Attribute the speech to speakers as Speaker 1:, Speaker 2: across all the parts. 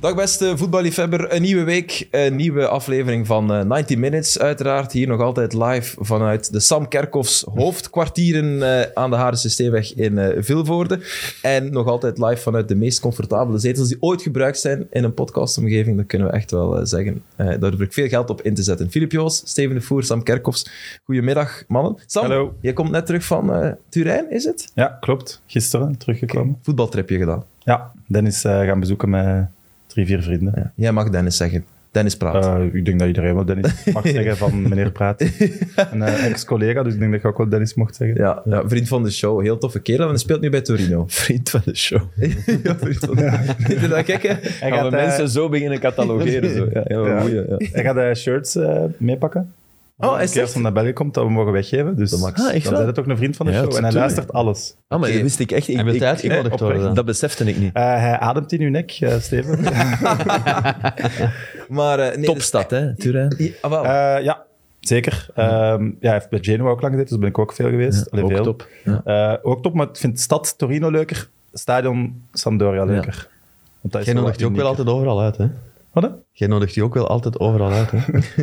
Speaker 1: Dag beste voetballiefhebber, een nieuwe week, een nieuwe aflevering van eh, 90 Minutes uiteraard. Hier nog altijd live vanuit de Sam Kerkhoffs hoofdkwartieren eh, aan de Harense Steeweg in eh, Vilvoorde. En nog altijd live vanuit de meest comfortabele zetels die ooit gebruikt zijn in een podcastomgeving. Dat kunnen we echt wel eh, zeggen. Eh, daar durf ik veel geld op in te zetten. Filip Joos, Steven de Voer, Sam Kerkhoffs. Goedemiddag mannen. Sam,
Speaker 2: Hallo.
Speaker 1: jij komt net terug van eh Turijn, is het?
Speaker 2: Ja, klopt. Gisteren teruggekomen.
Speaker 1: Voetbaltripje gedaan.
Speaker 2: Ja, Dennis eh, gaan bezoeken met drie, vier vrienden.
Speaker 1: Ja. Jij mag Dennis zeggen. Dennis praat.
Speaker 2: Eh, ik denk dat iedereen wel Dennis mag zeggen van meneer Praat. Een eh, ex-collega, dus ik denk dat ik ook wel Dennis mocht zeggen.
Speaker 1: Ja, ja, vriend van de show. Heel toffe kerel. En hij speelt nu bij Torino.
Speaker 3: Vriend van de show.
Speaker 1: ja, vriend van de Vind je dat gek, hè?
Speaker 2: Hij
Speaker 3: Gaan
Speaker 2: gaat,
Speaker 3: we
Speaker 2: eh,
Speaker 3: mensen zo beginnen catalogeren. Zo. Ja, ja,
Speaker 2: Ja.
Speaker 3: goeie, ja.
Speaker 2: hij gaat eh, shirts eh, meepakken.
Speaker 1: Oh, hij
Speaker 2: Als
Speaker 1: zegt...
Speaker 2: hij naar België komt, dat we mogen weggeven. Dus
Speaker 3: max. Ah,
Speaker 2: dan
Speaker 3: echt
Speaker 2: zijn
Speaker 3: wel?
Speaker 2: het ook een vriend van de
Speaker 3: Ja,
Speaker 2: show. En hij
Speaker 3: tuurlijk.
Speaker 2: luistert alles.
Speaker 3: Ah, maar
Speaker 1: Oké.
Speaker 3: dat wist ik echt. Ik,
Speaker 4: Hij wil
Speaker 3: ik-
Speaker 4: uitgenodigd
Speaker 3: ik-
Speaker 4: worden.
Speaker 3: Dat besefte ik niet.
Speaker 2: Eh, hij ademt in uw nek, eh, Steven.
Speaker 1: Maar, eh, nee,
Speaker 3: Topstad, hè, Turijn.
Speaker 1: dus- Ah, wel.
Speaker 2: Eh, ja, zeker. Ehm, ja, hij heeft bij Genoa ook lang gezeten, dus ben ik ook veel geweest. Allee,
Speaker 3: ook
Speaker 2: veel.
Speaker 3: top. Ja.
Speaker 2: Eh, ook top, maar ik vind stad Torino leuker, stadion Sampdoria leuker. Want dat is
Speaker 4: Jij
Speaker 2: wel
Speaker 4: nodigt die ook wel
Speaker 2: unieker.
Speaker 4: altijd overal uit, hè?
Speaker 2: Wat, hè?
Speaker 4: Jij nodigt die ook wel altijd overal uit, hè?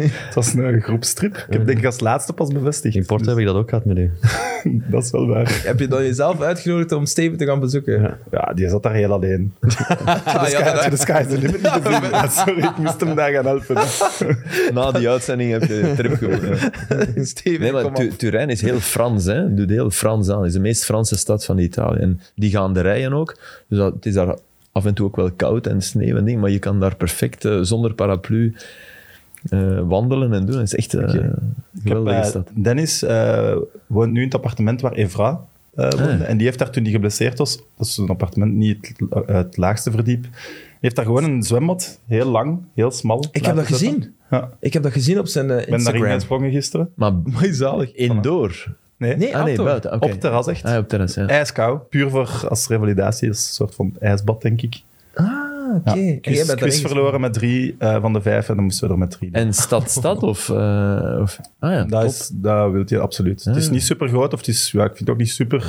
Speaker 2: Het was een eh, groepstrip. Ik heb denk ik als laatste pas bevestigd.
Speaker 4: In Porto heb ik dat ook gehad met u.
Speaker 2: Dus dat is wel waar.
Speaker 1: Heb je dan jezelf uitgenodigd om Steven te gaan bezoeken? Ja.
Speaker 2: Ja, die zat daar heel alleen.
Speaker 1: Ah,
Speaker 2: de,
Speaker 1: ja,
Speaker 2: sky,
Speaker 1: dat-
Speaker 2: de sky is the limit niet gezien. Ja, sorry, ik moest hem daar gaan helpen.
Speaker 3: Na die uitzending heb je de trip gewonnen.
Speaker 1: Steven,
Speaker 3: Nee, maar
Speaker 1: kom
Speaker 3: Tu-
Speaker 1: op.
Speaker 3: Turijn is heel Frans, hè. Doet heel Frans aan. Het is de meest Franse stad van Italië. En die gaan de rijen ook. Dus dat, het is daar af en toe ook wel koud en sneeuw en ding. Maar je kan daar perfect eh, zonder paraplu eh, wandelen en doen. Het is echt eh, een geweldige
Speaker 2: Eh,
Speaker 3: stad.
Speaker 2: Dennis eh, woont nu in het appartement waar Evra eh,
Speaker 1: Ah,
Speaker 2: woonde. En die heeft daar toen hij geblesseerd was, dat is een appartement niet het, eh, het laagste verdiep, heeft daar gewoon een zwembad, heel lang, heel smal.
Speaker 1: Ik heb dat
Speaker 2: laten zetten.
Speaker 1: gezien.
Speaker 2: Ja.
Speaker 1: Ik heb dat gezien op zijn eh,
Speaker 2: Ik ben daarin
Speaker 1: Instagram.
Speaker 2: gesprongen gisteren.
Speaker 3: Maar
Speaker 1: Mooi zalig.
Speaker 3: indoor?
Speaker 2: Nee,
Speaker 1: Nee,
Speaker 3: Ah, nee,
Speaker 1: outdoor.
Speaker 3: buiten. oké.
Speaker 2: op het terras echt.
Speaker 3: Ah, op terras, ja.
Speaker 2: IJskou, puur voor als revalidatie, is een soort van ijsbad, denk ik.
Speaker 1: Ah, oké.
Speaker 2: Ja.
Speaker 1: En jij
Speaker 2: Quiz,
Speaker 1: bent
Speaker 2: quiz
Speaker 1: daarin
Speaker 2: verloren met drie eh, van de vijf en dan moesten we er met drie.
Speaker 3: En stad-stad of, eh, of... Ah ja,
Speaker 2: dat,
Speaker 3: top.
Speaker 2: is, dat wil je absoluut. Het is
Speaker 3: Ja.
Speaker 2: niet super groot, of het is, ja, ik vind het ook niet super.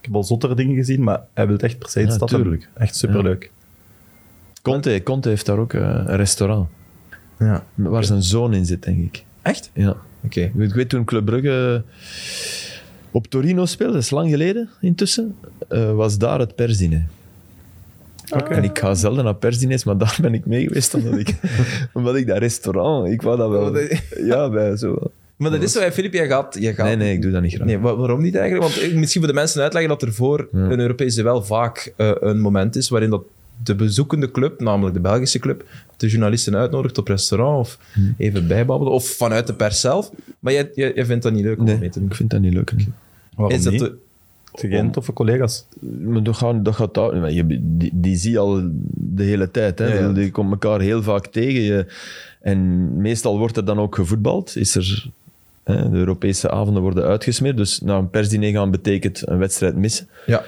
Speaker 2: Ik heb al zottere dingen gezien, maar hij wil het echt per se in
Speaker 3: Ja,
Speaker 2: stad hebben.
Speaker 3: tuurlijk.
Speaker 2: Echt superleuk.
Speaker 3: Conte, Conte heeft daar ook eh, een restaurant.
Speaker 1: Ja.
Speaker 3: Waar zijn zoon in zit, denk ik.
Speaker 1: Echt?
Speaker 3: Ja.
Speaker 1: Oké.
Speaker 3: Ik weet- ik weet toen Club Brugge eh, op Torino speelde, dat is lang geleden intussen, eh, was daar het persdiner. En ik ga zelden naar persdiners, maar daar ben ik mee geweest, omdat ik, omdat ik dat restaurant, ik wou dat
Speaker 1: Oh,
Speaker 3: wel...
Speaker 1: dat-
Speaker 3: Ja, bij zo wel.
Speaker 1: Maar dat is zo, hè, Filip, jij gaat... Jij gaat
Speaker 3: Nee, nee, ik doe dat niet graag.
Speaker 1: Nee, wa- waarom niet eigenlijk? Want eh, misschien voor de mensen uitleggen dat er voor een Europese wel vaak eh, een moment is waarin dat de bezoekende club, namelijk de Belgische club, de journalisten uitnodigt op restaurant of even bijbabbelen, of vanuit de pers zelf. Maar jij, jij, jij vindt dat niet leuk om
Speaker 3: Nee,
Speaker 1: mee te doen.
Speaker 3: ik vind dat niet leuk. nee.
Speaker 2: Waarom
Speaker 1: Is dat
Speaker 2: niet?
Speaker 1: de-
Speaker 2: Het zijn geen toffe collega's.
Speaker 3: Maar dat gaat, dat gaat daar- je- die, die zie je al de hele tijd. Hè?
Speaker 1: Ja, ja.
Speaker 3: Die komt elkaar heel vaak tegen. Je, en meestal wordt er dan ook gevoetbald. Is er, hè, de Europese avonden worden uitgesmeerd. Dus naar een persdiner gaan betekent een wedstrijd missen.
Speaker 1: ja.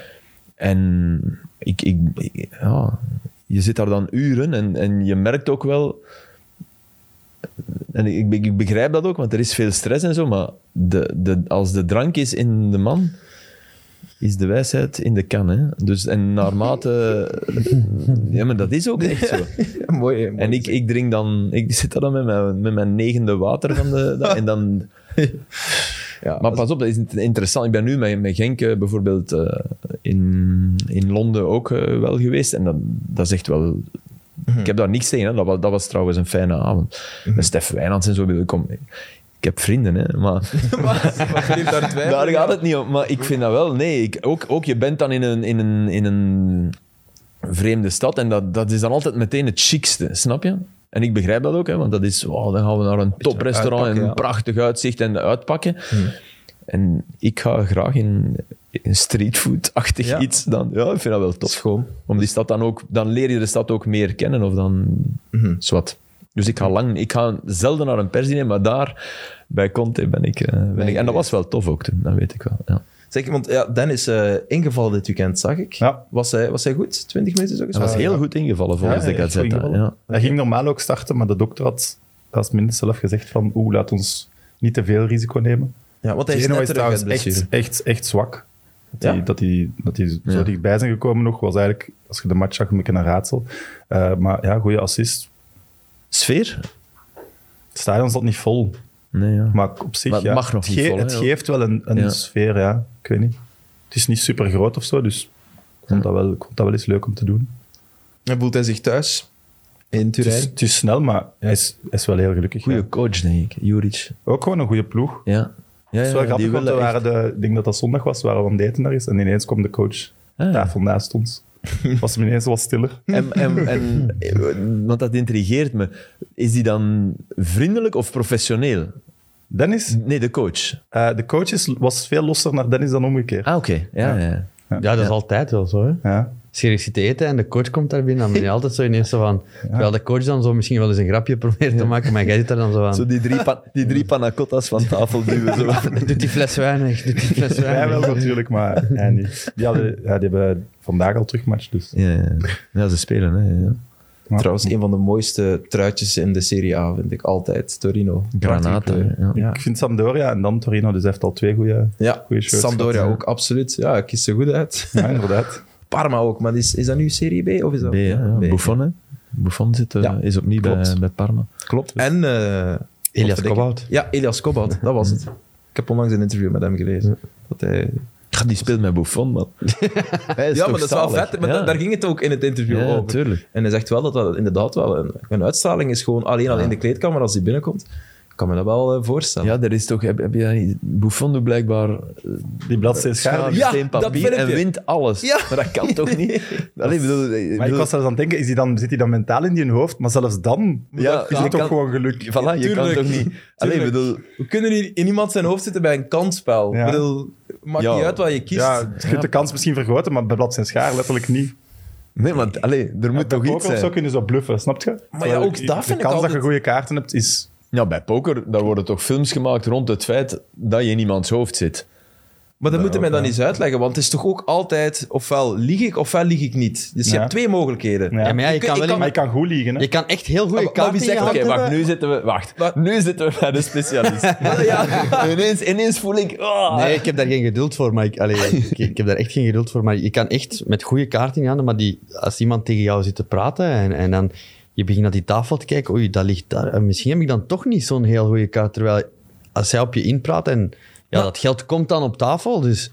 Speaker 3: En ik, ik, ik- ja, je zit daar dan uren en, en je merkt ook wel. En ik, ik begrijp dat ook, want er is veel stress en zo. Maar de, de, als de drank is in de man, is de wijsheid in de kan. Hè? Dus, en naarmate. ja, maar dat is ook echt zo.
Speaker 1: Ja, mooi, hè, mooi
Speaker 3: En ik,
Speaker 1: gezegd.
Speaker 3: ik drink dan. Ik zit daar dan met mijn, met mijn negende water van de. da- en dan.
Speaker 1: Ja,
Speaker 3: Maar pas op, dat is int- interessant. Ik ben nu met, met Genk eh, bijvoorbeeld eh, in, in Londen ook eh, wel geweest. En dat, dat is echt wel... Ik heb daar niks tegen. Hè. Dat, was, dat was trouwens een fijne avond. Met Stef Wijnands en zo. Ik, kom, ik heb vrienden, hè. Maar
Speaker 1: Maar- maar Filip, daar twijfel
Speaker 3: daar
Speaker 1: ik
Speaker 3: gaat
Speaker 1: aan.
Speaker 3: het niet om. Maar ik vind dat wel... Nee, ik, ook, ook je bent dan in een... In een, in een vreemde stad en dat, dat is dan altijd meteen het chicste, snap je? En ik begrijp dat ook, hè, want dat is, wow, dan gaan we naar een toprestaurant en
Speaker 1: uitpakken,
Speaker 3: een
Speaker 1: ja. Hmm.
Speaker 3: prachtig uitzicht en uitpakken. En ik ga graag in, in streetfood-achtig
Speaker 1: Ja.
Speaker 3: iets dan. Ja, ik vind dat wel tof.
Speaker 1: Schoon.
Speaker 3: Om die stad dan ook, dan leer je de stad ook meer kennen of dan
Speaker 2: Mhm.
Speaker 3: zwart. Dus ik ga, lang, ik ga zelden naar een persdiner, maar daar bij Conte ben ik, eh, ben ik. En dat was wel tof ook toen, dat weet ik wel. Ja.
Speaker 1: Zeg, want ja, Dan is eh, ingevallen dit weekend, zag ik.
Speaker 2: Ja.
Speaker 1: Was, hij, was hij goed? 20 minuten zo
Speaker 3: Dat was heel goed ingevallen volgens
Speaker 2: Ja,
Speaker 3: de
Speaker 2: echt goed
Speaker 3: Gazzetta.
Speaker 2: ingevallen.
Speaker 3: Ja.
Speaker 2: Hij ging normaal ook starten, maar de dokter had als minstens zelf gezegd van oeh, laat ons niet te veel risico nemen.
Speaker 1: Ja, want hij is
Speaker 2: Genoa
Speaker 1: net
Speaker 2: is
Speaker 1: terug uit
Speaker 2: trouwens
Speaker 1: blessure.
Speaker 2: echt, echt, echt zwak. Dat die,
Speaker 1: Ja.
Speaker 2: dat die, dat die zo
Speaker 3: Ja.
Speaker 2: dichtbij zijn gekomen nog, was eigenlijk, als je de match zag, een beetje een raadsel. Eh, maar ja, goede assist.
Speaker 3: Sfeer?
Speaker 2: Het stadion zat niet vol.
Speaker 3: Nee, ja.
Speaker 2: Maar op zich,
Speaker 3: Maar het
Speaker 2: ja,
Speaker 3: mag nog niet
Speaker 2: ge-
Speaker 3: vol, hè,
Speaker 2: Het
Speaker 3: ook.
Speaker 2: geeft wel een, een
Speaker 3: Ja.
Speaker 2: sfeer, ja. Ik weet niet. Het is niet super groot of zo, dus ik vond dat wel, ik vond dat wel eens leuk om te doen.
Speaker 1: En voelt hij zich thuis in
Speaker 2: Het is,
Speaker 1: Turijn?
Speaker 2: het is snel, maar hij is, hij is wel heel gelukkig.
Speaker 3: Goeie
Speaker 2: ja.
Speaker 3: coach, denk ik. Juric.
Speaker 2: Ook gewoon een goede ploeg.
Speaker 3: Ja. Ja, ja,
Speaker 2: Het is wel
Speaker 3: ja,
Speaker 2: grappig,
Speaker 3: die
Speaker 2: want we
Speaker 3: willen echt-
Speaker 2: waren de, ik denk dat dat zondag was, waren we aan het eten daar eens. En ineens kwam de coach
Speaker 3: Ah.
Speaker 2: tafel naast ons. Was hem ineens wat stiller.
Speaker 3: En, en, en, want dat intrigeert me. Is die dan vriendelijk of professioneel?
Speaker 2: Dennis,
Speaker 3: Nee, de coach.
Speaker 2: eh, de coach is, was veel losser naar Dennis dan omgekeerd.
Speaker 3: Ah, oké. Ja, ja.
Speaker 4: Ja, dat is altijd wel zo. Hè?
Speaker 2: Ja.
Speaker 4: Als je ergens zit te eten en de coach komt daar binnen, dan ben je altijd zo ineens zo van... Terwijl de coach dan zo misschien wel eens een grapje probeert te maken, maar jij zit daar dan zo
Speaker 3: Zo
Speaker 4: van...
Speaker 3: die drie, pa- die drie panacottas van tafel duwen. Zo.
Speaker 4: Doet die fles wijn weg, doet die fles wijn
Speaker 2: Wij
Speaker 4: weg.
Speaker 2: wel natuurlijk, maar hij niet. Die, hadden, ja, die hebben vandaag al terugmatch, dus...
Speaker 3: Ja, ja. ja, ze spelen. Hè. Ja.
Speaker 2: maar-
Speaker 1: Trouwens, een van de mooiste truitjes in de Serie A vind ik altijd. Torino.
Speaker 3: Granata.
Speaker 1: Prachtige kleur.
Speaker 3: hè, Ja.
Speaker 1: Ja.
Speaker 2: Ik vind Sampdoria en dan Torino, dus hij heeft al twee goede...
Speaker 1: Ja,
Speaker 2: Goeie shirts
Speaker 1: Sampdoria
Speaker 2: gehad,
Speaker 1: ook, absoluut. Ja, ik kies er goed uit.
Speaker 2: Ja, inderdaad.
Speaker 1: Parma ook, maar is, is dat nu Serie B of is dat...
Speaker 3: B, hè, ja.
Speaker 1: B.
Speaker 3: Buffon, hè. Buffon zit, eh,
Speaker 1: Ja,
Speaker 3: is opnieuw bij,
Speaker 1: klopt.
Speaker 3: bij Parma.
Speaker 1: Klopt. En... eh,
Speaker 4: Elias
Speaker 1: wat denk ik?
Speaker 4: Kobout.
Speaker 1: Ja, Elias Kobout, dat was het. Ik heb onlangs een interview met hem gelezen. Dat hij...
Speaker 3: Ja, die speelt met Buffon, man. Hij is
Speaker 1: Ja,
Speaker 3: toch
Speaker 1: maar dat is wel
Speaker 3: zalig.
Speaker 1: vet. Maar
Speaker 3: Ja.
Speaker 1: da- daar ging het ook in het interview
Speaker 3: Ja,
Speaker 1: over.
Speaker 3: tuurlijk.
Speaker 1: En hij zegt wel dat dat inderdaad wel een, een uitstraling is. Gewoon alleen al in de kleedkamer als hij binnenkomt. Ik kan me dat wel eh, voorstellen.
Speaker 3: Ja, er is toch... Heb, heb je dat niet- Buffon doet blijkbaar eh,
Speaker 2: Die bladzijde schaar.
Speaker 1: Ja,
Speaker 3: steen,
Speaker 1: dat
Speaker 3: papier
Speaker 1: filmpje.
Speaker 3: en wint alles.
Speaker 1: Ja.
Speaker 3: Maar dat kan toch niet? Allee, ik bedoel, ik
Speaker 2: Maar ik
Speaker 3: bedoel,
Speaker 2: was zelfs aan het denken, is die dan, zit hij dan mentaal in je hoofd? Maar zelfs dan
Speaker 3: Ja,
Speaker 2: is
Speaker 3: je
Speaker 2: het toch
Speaker 3: kan-
Speaker 2: gewoon geluk.
Speaker 3: voilà, je kan
Speaker 1: Tuurlijk.
Speaker 3: toch niet... Allee, ik
Speaker 1: Tuurlijk.
Speaker 3: bedoel...
Speaker 1: We kunnen hier in iemand zijn hoofd zitten bij een kansspel.
Speaker 2: Ja.
Speaker 1: Ik bedoel, maakt
Speaker 3: Ja.
Speaker 1: niet uit wat je kiest.
Speaker 2: Ja, je kunt de kans misschien vergroten, maar bij bladzijde schaar letterlijk niet.
Speaker 3: Nee, want allee, er moet toch
Speaker 2: Ook
Speaker 3: iets
Speaker 2: of zo
Speaker 3: zijn.
Speaker 2: kunnen ze bluffen, snap je?
Speaker 1: Maar ja, ook dat
Speaker 2: de
Speaker 1: vind ik
Speaker 2: kans dat je
Speaker 1: altijd-
Speaker 2: goede kaarten hebt, is...
Speaker 3: Ja, bij poker, daar worden toch films gemaakt rond het feit dat je in iemands hoofd zit.
Speaker 1: Maar dat moet je mij dan
Speaker 2: ja.
Speaker 1: eens uitleggen, want het is toch ook altijd ofwel lieg ik ofwel lieg ik niet. Dus je
Speaker 2: Ja.
Speaker 1: hebt twee mogelijkheden.
Speaker 2: Ja.
Speaker 4: Ja, maar ja, je
Speaker 1: Ik-
Speaker 4: kan
Speaker 1: ik
Speaker 4: wel...
Speaker 1: kan-
Speaker 2: Maar je
Speaker 4: in-
Speaker 2: kan goed liegen, hè?
Speaker 4: Je kan echt heel goede
Speaker 1: Maar- maar
Speaker 4: kaarten
Speaker 1: wie zegt-
Speaker 3: Oké,
Speaker 1: Wacht
Speaker 3: wacht, nu zitten we... Wacht.
Speaker 1: Wat?
Speaker 3: Nu zitten we bij de specialist. ja. ineens, ineens voel ik... ah.
Speaker 4: Nee, ik heb daar geen geduld voor. Maar ik, allee, ik, ik heb daar echt geen geduld voor. Maar je kan echt met goede kaarten gaan. Maar die, als iemand tegen jou zit te praten en, en dan je begint naar die tafel te kijken. Oei, dat ligt daar. En misschien heb ik dan toch niet zo'n heel goede kaart. Terwijl als hij op je inpraat en ja, dat geld komt dan op tafel. Dus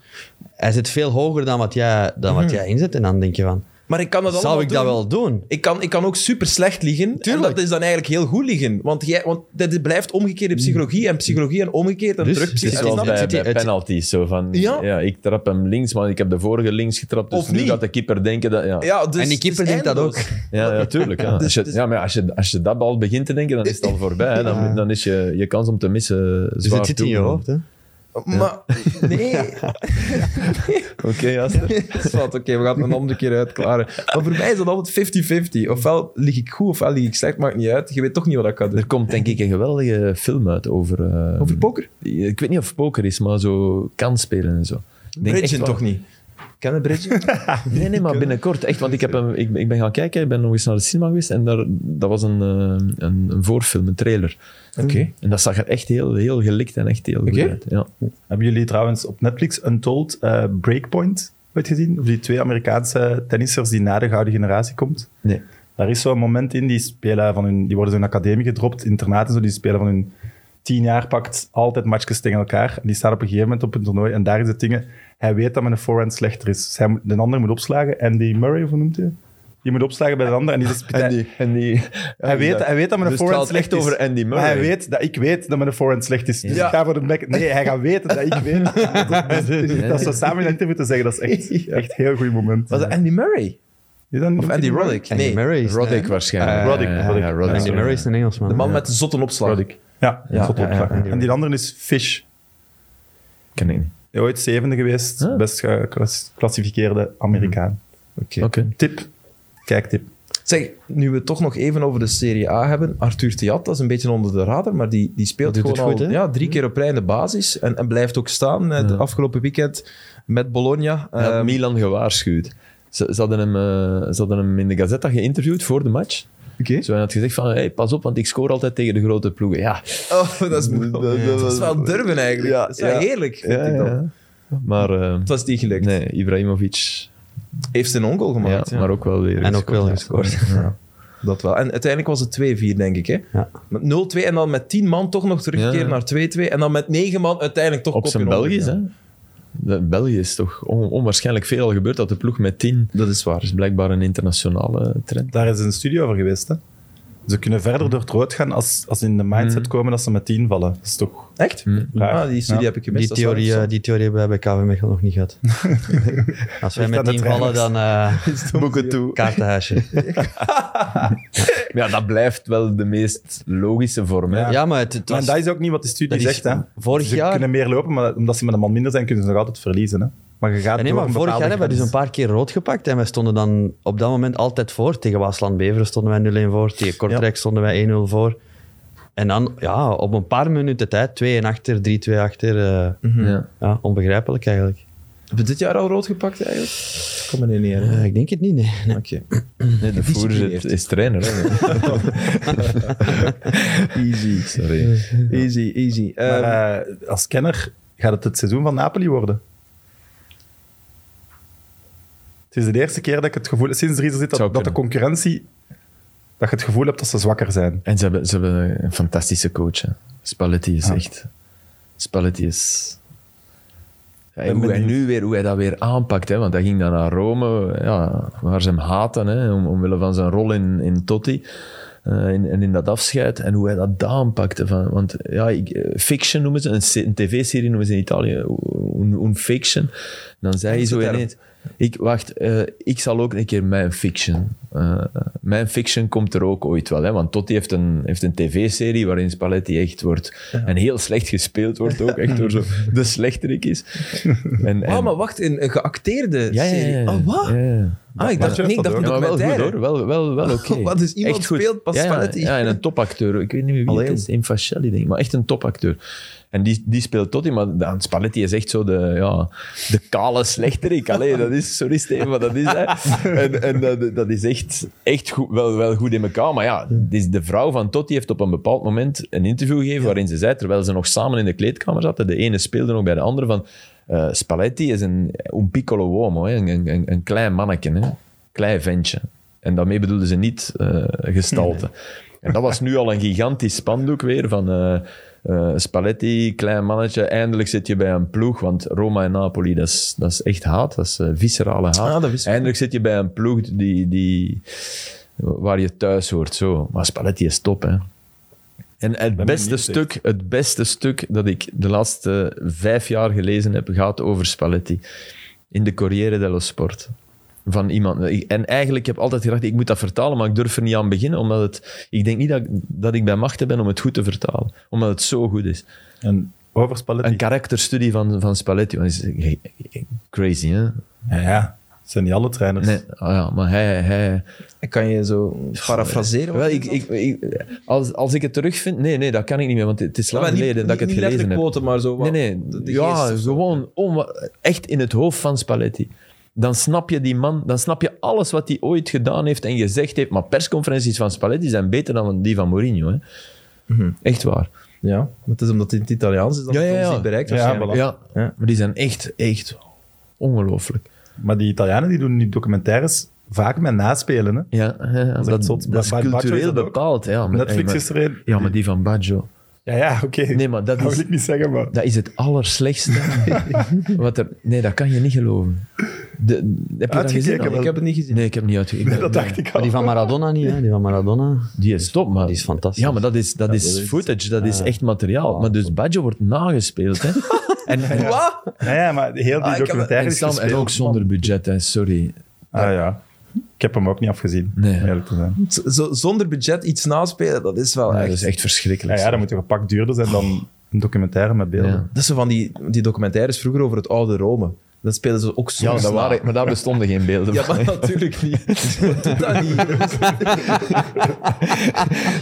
Speaker 4: hij zit veel hoger dan wat jij, dan wat jij inzet. En dan denk je van,
Speaker 1: Maar Mhm. ik kan dat allemaal
Speaker 4: zou ik dat
Speaker 1: doen.
Speaker 4: wel doen?
Speaker 1: Ik kan, ik kan ook super slecht liegen.
Speaker 4: Tuurlijk.
Speaker 1: En dat is dan eigenlijk heel goed liegen. Want, jij, want dit blijft omgekeerde psychologie en psychologie en omgekeerd en
Speaker 4: Dus,
Speaker 1: druk
Speaker 4: het
Speaker 3: Het
Speaker 4: is
Speaker 3: is
Speaker 1: psychologie.
Speaker 4: wel
Speaker 3: zoals
Speaker 4: snap-
Speaker 3: bij,
Speaker 4: het-
Speaker 3: bij
Speaker 4: het-
Speaker 3: penalties. Zo van,
Speaker 1: Ja.
Speaker 3: ja. ik trap hem links, maar ik heb de vorige links getrapt. Dus
Speaker 1: Of
Speaker 3: nu
Speaker 1: niet.
Speaker 3: gaat de keeper denken dat... Ja, ja.
Speaker 1: ja, dus,
Speaker 4: en die keeper
Speaker 1: dus
Speaker 4: denkt dat ook.
Speaker 1: eindeloos.
Speaker 3: ja, tuurlijk. Ja.
Speaker 1: Dus-
Speaker 3: Als je,
Speaker 1: dus-
Speaker 3: ja, maar als je, als je dat bal begint te denken, dan is het al voorbij. hè. Dan, dan is je, je kans om te missen
Speaker 4: Dus
Speaker 3: zwaar
Speaker 4: het zit in je
Speaker 3: toegenomen.
Speaker 4: hoofd. Hè?
Speaker 1: Maar nee,
Speaker 3: Oké, Jasper.
Speaker 1: Dat is wat, oké, we gaan het een andere keer uitklaren. Maar voor mij is dat altijd 50-50. Ofwel lig ik goed, ofwel lig ik slecht, maakt niet uit. Je weet toch niet wat ik kan doen.
Speaker 3: Er komt denk ik een geweldige film uit over... eh,
Speaker 1: Over poker?
Speaker 3: Ik weet niet of poker is, maar zo kansspelen en zo. Ik denk echt
Speaker 1: Bridget
Speaker 3: wel-
Speaker 1: toch niet? Ken je Bridget?
Speaker 3: Nee, nee, maar binnenkort. Echt, want ik, heb hem, ik, ik ben gaan kijken, ik ben nog eens naar de cinema geweest en daar, dat was een, eh, een, een voorfilm, een trailer.
Speaker 1: Oké.
Speaker 3: En dat zag er echt heel, heel gelikt en echt heel goed
Speaker 1: Oké.
Speaker 3: uit. Ja.
Speaker 2: Hebben jullie trouwens op Netflix Untold eh, Breakpoint ooit gezien? Of die twee Amerikaanse tennissers die na de gouden generatie komt?
Speaker 3: Nee.
Speaker 2: Daar is zo'n moment in, die, spelen van hun, die worden zo'n academie gedropt, internaten, zo, die spelen van hun tien jaar pakt altijd matchjes tegen elkaar. En die staan op een gegeven moment op een toernooi en daar is het ding, hij weet dat met een forehand slechter is. Dus hij moet, de ander moet opslagen en die Murray, of hoe noemt hij? Die moet opslagen bij de ander en die zegt...
Speaker 3: Andy,
Speaker 2: Hij weet, hij weet dat mijn
Speaker 3: dus het
Speaker 2: forehand
Speaker 3: gaat
Speaker 2: slecht
Speaker 3: echt
Speaker 2: is.
Speaker 3: over Andy Murray.
Speaker 2: Maar hij weet dat ik weet dat mijn forehand slecht is. Dus
Speaker 1: Ja.
Speaker 2: ik ga voor de back. Nee, hij gaat weten dat ik weet. dat is zo samen in een interview te zeggen. Dat is echt, echt een heel goed moment.
Speaker 1: Was dat Andy Murray?
Speaker 2: Is dat niet-
Speaker 1: Of Andy Roddick?
Speaker 4: Andy
Speaker 1: Nee,
Speaker 4: Murray is-
Speaker 3: Roddick waarschijnlijk.
Speaker 2: Eh, Roddick,
Speaker 3: Ja,
Speaker 2: Roddick.
Speaker 3: ja, Roddick.
Speaker 4: Andy Murray is een Engelsman.
Speaker 1: de man
Speaker 4: Ja.
Speaker 1: met de zotte opslag.
Speaker 2: Roddick. Ja,
Speaker 1: Ja,
Speaker 2: zot
Speaker 1: ja,
Speaker 2: opslag.
Speaker 1: ja, ja.
Speaker 2: En die andere is Fish.
Speaker 3: Ken ik niet.
Speaker 2: Ooit zevende geweest.
Speaker 3: Ah.
Speaker 2: Best geclassificeerde Amerikaan.
Speaker 4: Mhm.
Speaker 1: Oké.
Speaker 3: Oké.
Speaker 2: Tip. Kijk, tip.
Speaker 1: Zeg, nu we het toch nog even over de Serie A hebben. Arthur Theat, dat is een beetje onder de radar, maar die, die speelt
Speaker 4: Doet het
Speaker 1: gewoon al
Speaker 4: goed, hè?
Speaker 1: ja, drie keer op rij in de basis. En, en blijft ook staan. Het afgelopen weekend met Bologna.
Speaker 3: Hij had
Speaker 1: Ehm,
Speaker 3: Milan gewaarschuwd. Ze, ze, hadden hem, eh, ze hadden hem in de Gazzetta geïnterviewd voor de match.
Speaker 2: Oké.
Speaker 3: Zo, hij had gezegd van, hey, pas op, want ik scoor altijd tegen de grote ploegen. Ja,
Speaker 1: Oh, dat is, dat is wel durven eigenlijk.
Speaker 3: Ja,
Speaker 1: dat is wel
Speaker 3: ja.
Speaker 1: heerlijk, vind ik dat.
Speaker 3: Maar eh,
Speaker 1: Het was niet gelukt.
Speaker 3: nee, Ibrahimovic
Speaker 1: Heeft zijn onkel gemaakt.
Speaker 3: ja,
Speaker 1: ja.
Speaker 3: maar ook wel weer
Speaker 4: En ook wel
Speaker 3: gescoord.
Speaker 4: gescoord.
Speaker 1: Dat wel. En uiteindelijk was het 2-4, denk ik. Hè?
Speaker 4: Ja.
Speaker 1: Met 0-2 en dan met 10 man toch nog terugkeren
Speaker 3: Ja.
Speaker 1: naar 2-2. En dan met 9 man uiteindelijk toch
Speaker 3: Op
Speaker 1: kopje
Speaker 3: zijn
Speaker 1: onder,
Speaker 3: Belgisch,
Speaker 1: ja.
Speaker 3: hè. De- België is toch on- onwaarschijnlijk veel al gebeurd dat de ploeg met 10
Speaker 1: Dat is
Speaker 3: Dat
Speaker 1: waar.
Speaker 3: is blijkbaar een internationale trend.
Speaker 2: Daar is een studie over geweest. Hè? Ze kunnen verder door het rood gaan als, als ze in de mindset komen dat ze met 10 vallen. Dat is toch
Speaker 1: Echt?
Speaker 3: Hm.
Speaker 2: raar.
Speaker 1: Ah, die studie
Speaker 2: Ja.
Speaker 1: heb ik gemist.
Speaker 4: Mhm. Die
Speaker 1: dat is wel
Speaker 4: theorie, eh,
Speaker 1: interessant.
Speaker 4: die theorie hebben wij bij KV Mechelen nog niet gehad. Als wij
Speaker 2: Ligt aan
Speaker 4: met
Speaker 2: de
Speaker 4: 10 vallen, dan eh
Speaker 3: Boeken toe.
Speaker 4: kaartenhuisje.
Speaker 3: Ja, dat blijft wel de meest logische vorm. Hè?
Speaker 2: Ja.
Speaker 4: Ja, maar het, het
Speaker 2: Maar
Speaker 4: was...
Speaker 2: dat is ook niet wat die studie
Speaker 4: dat is-
Speaker 2: zegt. Hè?
Speaker 4: vorig
Speaker 2: ze
Speaker 4: jaar-
Speaker 2: kunnen meer lopen, maar omdat ze met een man minder zijn, kunnen ze nog altijd verliezen. Hè? Maar je gaat
Speaker 4: Nee,
Speaker 2: door
Speaker 4: maar
Speaker 2: een
Speaker 4: vorig jaar
Speaker 2: bepaalde
Speaker 4: hebben we dus een
Speaker 2: grens.
Speaker 4: paar keer rood gepakt en wij stonden dan op dat moment altijd voor. Tegen Waasland-Beveren stonden wij 0-1 voor, tegen Kortrijk stonden wij 1-0 voor. En dan, ja, op een paar minuten tijd, 2-1 achter, 3-2 achter. eh,
Speaker 2: Mhm.
Speaker 3: Ja.
Speaker 4: ja, onbegrijpelijk eigenlijk.
Speaker 1: Hebben we dit jaar al rood gepakt eigenlijk? Ik kan me niet herinneren.
Speaker 4: Eh, ik denk het niet, nee.
Speaker 1: Oké.
Speaker 3: Nee, de voer is, is trainer. Hè?
Speaker 1: Easy.
Speaker 3: Sorry.
Speaker 1: Easy, easy.
Speaker 2: Maar,
Speaker 1: Ehm,
Speaker 2: eh, als kenner gaat het het seizoen van Napoli worden. Het is de eerste keer dat ik het gevoel sinds Rieser zit
Speaker 3: zou
Speaker 2: dat, dat de
Speaker 3: kunnen.
Speaker 2: concurrentie dat je het gevoel hebt dat ze zwakker zijn.
Speaker 3: En ze hebben, ze hebben een fantastische coach. Hè. Spalletti is
Speaker 2: Ja.
Speaker 3: echt... Spalletti is... Ja,
Speaker 2: Ben
Speaker 3: hoe, hij
Speaker 2: benieuwd.
Speaker 3: nu weer, hoe hij dat weer aanpakt. Hè? Want hij ging dan naar Rome, ja, waar ze hem haten. Hè? Om, omwille van zijn rol in, in Totti. eh, in- en in dat afscheid. En hoe hij dat daar aanpakte. Van, want ja, ik, eh, fiction noemen ze... Een, se- een tv-serie noemen ze in Italië. Un, un fiction. En dan zei hij
Speaker 1: is de
Speaker 3: zo
Speaker 1: term.
Speaker 3: ineens... Ik, wacht, eh, ik zal ook een keer mijn fiction. eh, mijn fiction komt er ook ooit wel. Hè? Want Totti heeft een, heeft een tv-serie waarin Spalletti echt wordt. En heel slecht gespeeld wordt ook. Echt door zo de slechterik is. En, en-
Speaker 1: ah, maar wacht, in een geacteerde
Speaker 3: ja, ja,
Speaker 1: serie.
Speaker 3: ja, ja.
Speaker 1: Ah, wat?
Speaker 3: Ja, ja.
Speaker 1: Ah, ik dacht,
Speaker 2: Ja,
Speaker 1: nee, ik dacht
Speaker 2: maar
Speaker 3: Ja, maar wel goed
Speaker 1: documentaire.
Speaker 3: hoor. Wel, wel, wel oké.
Speaker 1: Wat, dus iemand
Speaker 3: Echt goed.
Speaker 1: speelt pas
Speaker 3: ja, ja,
Speaker 1: Spalletti?
Speaker 3: Ja, en een topacteur. Ik weet niet meer wie
Speaker 1: Alleen.
Speaker 3: het is. Infacelli, denk ik. Maar echt een topacteur. En die, die speelt Totti, maar dan Spalletti is echt zo de, ja, de kale slechterik. Allee, dat is, sorry Steven, maar dat is hij. En, en eh, dat, dat is echt, echt goed, wel, wel goed in elkaar. Maar ja, het is de vrouw van Totti heeft op een bepaald moment een interview gegeven waarin ze zei, terwijl ze nog samen in de kleedkamer zaten, de ene speelde nog bij de andere, van eh, Spalletti is een eh, un piccolo uomo, hè, een, een, een- een klein manneke, hè, klein ventje. En daarmee bedoelde ze niet eh, gestalte. En dat was nu al een gigantisch spandoek weer van eh, eh, Spalletti, klein mannetje, eindelijk zit je bij een ploeg. Want Roma en Napoli, dat is, dat is echt haat, dat is eh, viscerale haat.
Speaker 1: Ah, dat wist ik.
Speaker 3: eindelijk zit je bij een ploeg die, die, waar je thuis hoort. Zo. Maar Spalletti is top, hè. En het beste,
Speaker 2: benieuwd,
Speaker 3: stuk, het beste stuk dat ik de laatste vijf jaar gelezen heb, gaat over Spalletti. In de Corriere dello Sport. Van iemand. Ik- En eigenlijk heb ik altijd gedacht, ik moet dat vertalen, maar ik durf er niet aan beginnen, omdat het... Ik denk niet dat, ik- dat ik bij machten ben om het goed te vertalen. Omdat het zo goed is.
Speaker 2: En over Spalletti.
Speaker 3: Een karakterstudie van, van Spalletti. want Dat is crazy, hè?
Speaker 2: ja, ja, het zijn niet alle trainers.
Speaker 3: Nee, ah ja, maar hij... hij
Speaker 1: Kan je zo parafraseren?
Speaker 3: wel, ik, ik, ik- als, als ik het terugvind... Nee, nee, dat kan ik niet meer, want het is lang geleden dat ik het
Speaker 1: niet
Speaker 3: gelezen heb.
Speaker 1: quote, maar zo.
Speaker 3: Nee, nee. ja, gewoon onwa- echt in het hoofd van Spalletti. Dan snap je die man, dan snap je alles wat hij ooit gedaan heeft en gezegd heeft. Maar persconferenties van Spalletti zijn beter dan die van Mourinho. Hè?
Speaker 2: Mhm.
Speaker 3: Echt waar.
Speaker 1: Ja, maar het is omdat het in het Italiaans is dat
Speaker 3: Ja,
Speaker 1: het
Speaker 3: ja,
Speaker 1: ons
Speaker 3: ja.
Speaker 1: niet bereikt.
Speaker 2: Ja,
Speaker 1: waarschijnlijk.
Speaker 2: voilà.
Speaker 3: Ja,
Speaker 1: Ja.
Speaker 3: maar die zijn echt, echt ongelooflijk.
Speaker 2: Maar die Italianen die doen die documentaires vaak met naspelen. Hè?
Speaker 3: Ja, ja, ja, dat,
Speaker 2: echt
Speaker 3: dat,
Speaker 2: zot.
Speaker 3: is
Speaker 2: Bij Baggio is
Speaker 3: cultureel
Speaker 2: dat ook.
Speaker 3: bepaald. Ja, maar,
Speaker 2: Netflix
Speaker 3: maar-
Speaker 2: is er een.
Speaker 3: Ja, maar die van Baggio.
Speaker 2: Ja, ja, oké.
Speaker 3: Nee, maar dat
Speaker 2: dat
Speaker 3: is-
Speaker 2: wil ik niet zeggen, maar...
Speaker 3: Dat is het allerslechtste. wat er, nee, dat kan je niet geloven. De, heb je dat gezien?
Speaker 2: Uitgekeken
Speaker 3: al?
Speaker 2: wel.
Speaker 1: Ik heb het niet gezien.
Speaker 3: Nee, ik heb het niet uitgekeken.
Speaker 2: Dat dacht ik al.
Speaker 4: Maar die van Maradona niet, hè? Die van Maradona.
Speaker 3: Die is top, maar...
Speaker 4: Die is fantastisch.
Speaker 3: Ja, maar dat is, dat is
Speaker 1: dat is-
Speaker 3: footage, dat is echt materiaal. Maar dus Badjo wordt nagespeeld, hè. En, en,
Speaker 1: Wat?
Speaker 2: Ja, ja, maar heel die
Speaker 1: Ah, ik heb-
Speaker 2: documentaire
Speaker 3: en,
Speaker 2: is
Speaker 3: Sam- en
Speaker 2: gespeeld.
Speaker 3: ook zonder budget, hè. Sorry.
Speaker 2: Ah ja. Ik heb hem ook niet afgezien,
Speaker 3: Nee.
Speaker 2: om eerlijk te zijn.
Speaker 1: Z- zo- zonder budget iets naspelen, dat is wel
Speaker 3: Ja,
Speaker 1: echt...
Speaker 3: dat is echt
Speaker 2: Ja,
Speaker 3: verschrikkelijk.
Speaker 2: ja, dat moet toch een pak duurder zijn dan een documentaire met beelden.
Speaker 3: Ja.
Speaker 1: Dat is zo van die, die documentaires vroeger over het oude Rome. dan spelen ze ook zo.
Speaker 3: Ja, dat
Speaker 1: snel.
Speaker 3: waren, maar daar bestonden geen beelden
Speaker 1: Ja,
Speaker 3: van.
Speaker 1: maar natuurlijk niet. Wat doet dat niet?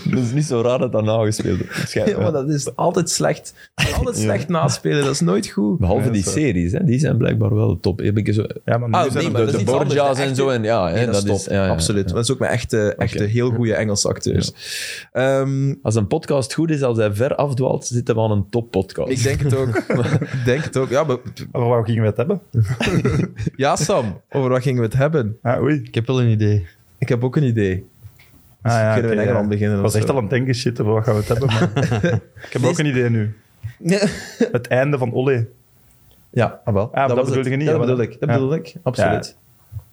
Speaker 3: Dat is niet zo raar dat dat nagespeeld wordt.
Speaker 1: Ja,
Speaker 3: waarschijnlijk.
Speaker 1: maar dat is altijd slecht. Altijd slecht naspelen, dat is nooit goed.
Speaker 3: Behalve
Speaker 2: Ja,
Speaker 3: die
Speaker 2: zo.
Speaker 3: series, hè. die zijn blijkbaar wel top. Heb ik zo,
Speaker 2: Ja, maar nu
Speaker 1: Ah,
Speaker 2: zijn
Speaker 1: nee,
Speaker 2: er-
Speaker 1: maar dat
Speaker 3: de
Speaker 1: is
Speaker 3: de
Speaker 1: iets anders,
Speaker 3: Borgia's
Speaker 1: de
Speaker 3: en
Speaker 1: echte-
Speaker 3: zo. En, ja, hè,
Speaker 1: Nee, dat,
Speaker 3: dat,
Speaker 1: is top,
Speaker 3: is, ja, ja,
Speaker 1: absoluut.
Speaker 3: ja.
Speaker 1: Dat is ook met echte, echte
Speaker 3: Oké.
Speaker 1: heel goede Engelse acteurs. Ehm,
Speaker 3: Als een podcast goed is, als hij ver afdwaalt, zitten we aan een toppodcast.
Speaker 1: ik denk het ook. ik denk het ook. Ja, maar,
Speaker 2: Over waar gingen we het hebben?
Speaker 1: ja, Sam, over wat gingen we het hebben?
Speaker 2: Ah, oei.
Speaker 4: Ik heb wel een idee.
Speaker 1: Ik heb ook een idee. kunnen
Speaker 2: Ah,
Speaker 1: we in
Speaker 2: oké,
Speaker 1: Engeland
Speaker 2: ja.
Speaker 1: beginnen
Speaker 2: Ik
Speaker 1: of
Speaker 2: was echt
Speaker 1: zo.
Speaker 2: al aan het denken, shit, over wat gaan we het hebben? Maar... ik heb ook een idee nu. Het einde van Olé.
Speaker 1: Ja, ah, wel.
Speaker 2: maar dat
Speaker 1: was
Speaker 2: bedoelde
Speaker 1: het.
Speaker 2: je niet,
Speaker 1: Ja,
Speaker 2: hè,
Speaker 1: dat
Speaker 2: maar
Speaker 1: bedoel ik.
Speaker 2: dat-
Speaker 1: Dat
Speaker 2: ja.
Speaker 1: bedoel ik, absoluut.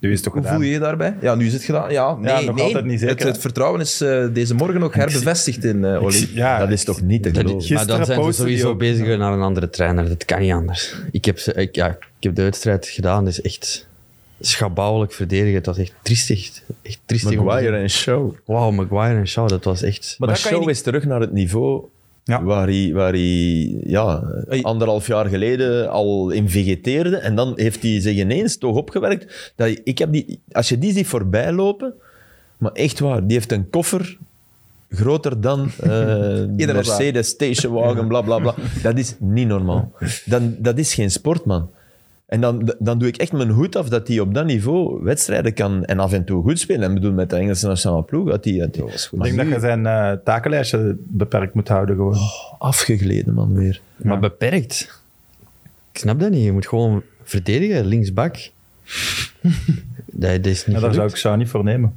Speaker 2: Nu is het toch
Speaker 1: Hoe
Speaker 2: gedaan.
Speaker 1: voel je je daarbij? Ja, nu is het gedaan. Ja, nee,
Speaker 2: nog
Speaker 1: nee.
Speaker 2: altijd niet zeker,
Speaker 1: Het, het
Speaker 2: hè?
Speaker 1: vertrouwen is eh, deze morgen ook herbevestigd in eh Olly.
Speaker 2: Ja,
Speaker 3: dat is toch niet te geloven?
Speaker 2: Gisteren
Speaker 4: maar dan zijn ze
Speaker 2: posten die
Speaker 4: sowieso
Speaker 2: ook.
Speaker 4: bezig naar een andere trainer. Dat kan niet anders. Ik heb, ze, ik, ja, ik heb de wedstrijd gedaan. Dat is echt schabouwelijk verdedigen. Dat was echt triestig. Echt triestig. om te
Speaker 3: Maguire
Speaker 4: zien.
Speaker 3: en Show.
Speaker 4: Wauw, Maguire en Shaw. Dat was echt...
Speaker 3: Maar,
Speaker 1: dat kan je
Speaker 3: Show
Speaker 1: niet-
Speaker 3: is terug naar het niveau
Speaker 2: Ja.
Speaker 3: waar hij, waar hij ja,
Speaker 1: Hey.
Speaker 3: anderhalf jaar geleden al in vegeteerde. En dan heeft hij zich ineens toch opgewerkt. Dat hij- ik heb die, als je die ziet voorbij lopen, maar echt waar, die heeft een koffer groter dan eh de
Speaker 1: Iedere
Speaker 3: Mercedes stationwagen, bla bla bla. Dat is niet normaal. Dan, dat is geen sportman. En dan, dan doe ik echt mijn hoed af dat hij op dat niveau wedstrijden kan en af en toe goed spelen. Ik bedoel, met de Engelse nationale ploeg. Dat die, dat die,
Speaker 2: Ik denk dat je zijn eh, takenlijstje beperkt moet houden gewoon.
Speaker 4: Oh,
Speaker 3: afgegleden man weer.
Speaker 4: Maar beperkt. Ik snap dat niet. Je moet gewoon verdedigen, linksbak. dat, dat is niet
Speaker 2: Ja, daar zou
Speaker 4: gelukt.
Speaker 2: ik Shaw niet voor nemen.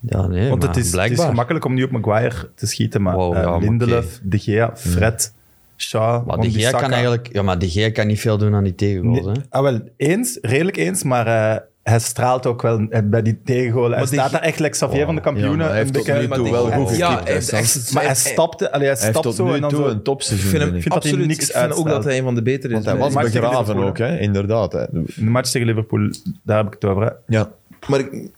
Speaker 4: Ja, nee,
Speaker 2: Want het
Speaker 4: maar
Speaker 2: is, het is
Speaker 4: blijkbaar.
Speaker 2: gemakkelijk om nu op Maguire te schieten, maar
Speaker 4: Wow,
Speaker 2: eh,
Speaker 4: ja, maar Mm.
Speaker 2: Lindelöf, De Gea, Fred, Shaw,
Speaker 4: maar de Gea
Speaker 2: Wan-Bissaka.
Speaker 4: kan eigenlijk... Ja, maar de Gea kan niet veel doen aan die tegengoals,
Speaker 2: Nee,
Speaker 4: hè.
Speaker 2: ah, wel, eens, redelijk eens, maar eh, hij straalt ook wel eh, bij die tegengolen. Hij
Speaker 1: Maar De
Speaker 2: staat
Speaker 1: Gea-
Speaker 2: daar echt like Xavier van de
Speaker 3: Oh, Ja, maar
Speaker 2: kampioenen.
Speaker 3: hij heeft
Speaker 2: een
Speaker 3: tot
Speaker 2: beetje-
Speaker 3: nu toe
Speaker 2: maar
Speaker 3: wel
Speaker 2: hij-
Speaker 3: goed
Speaker 2: ja,
Speaker 1: ja,
Speaker 3: geknipt,
Speaker 1: hij
Speaker 3: hè,
Speaker 1: heeft echt-
Speaker 2: Maar hij
Speaker 1: hij-
Speaker 2: stapte, allee, hij
Speaker 3: Hij heeft
Speaker 2: stapt
Speaker 3: tot
Speaker 2: zo en
Speaker 3: nu
Speaker 2: dan
Speaker 3: toe
Speaker 2: zo.
Speaker 3: een
Speaker 1: Ik
Speaker 3: topseizoen.
Speaker 1: vind hem
Speaker 3: vind ik.
Speaker 2: dat hij
Speaker 1: absoluut.
Speaker 2: niks
Speaker 1: ik vind ook
Speaker 2: uitstraalt.
Speaker 1: dat hij een van de betere is.
Speaker 3: Want hij was
Speaker 2: maar-
Speaker 3: begraven ook, hè? inderdaad. Hè.
Speaker 2: In de match tegen Liverpool, daar heb ik het over. hè.
Speaker 3: Ja.
Speaker 1: Maar ik,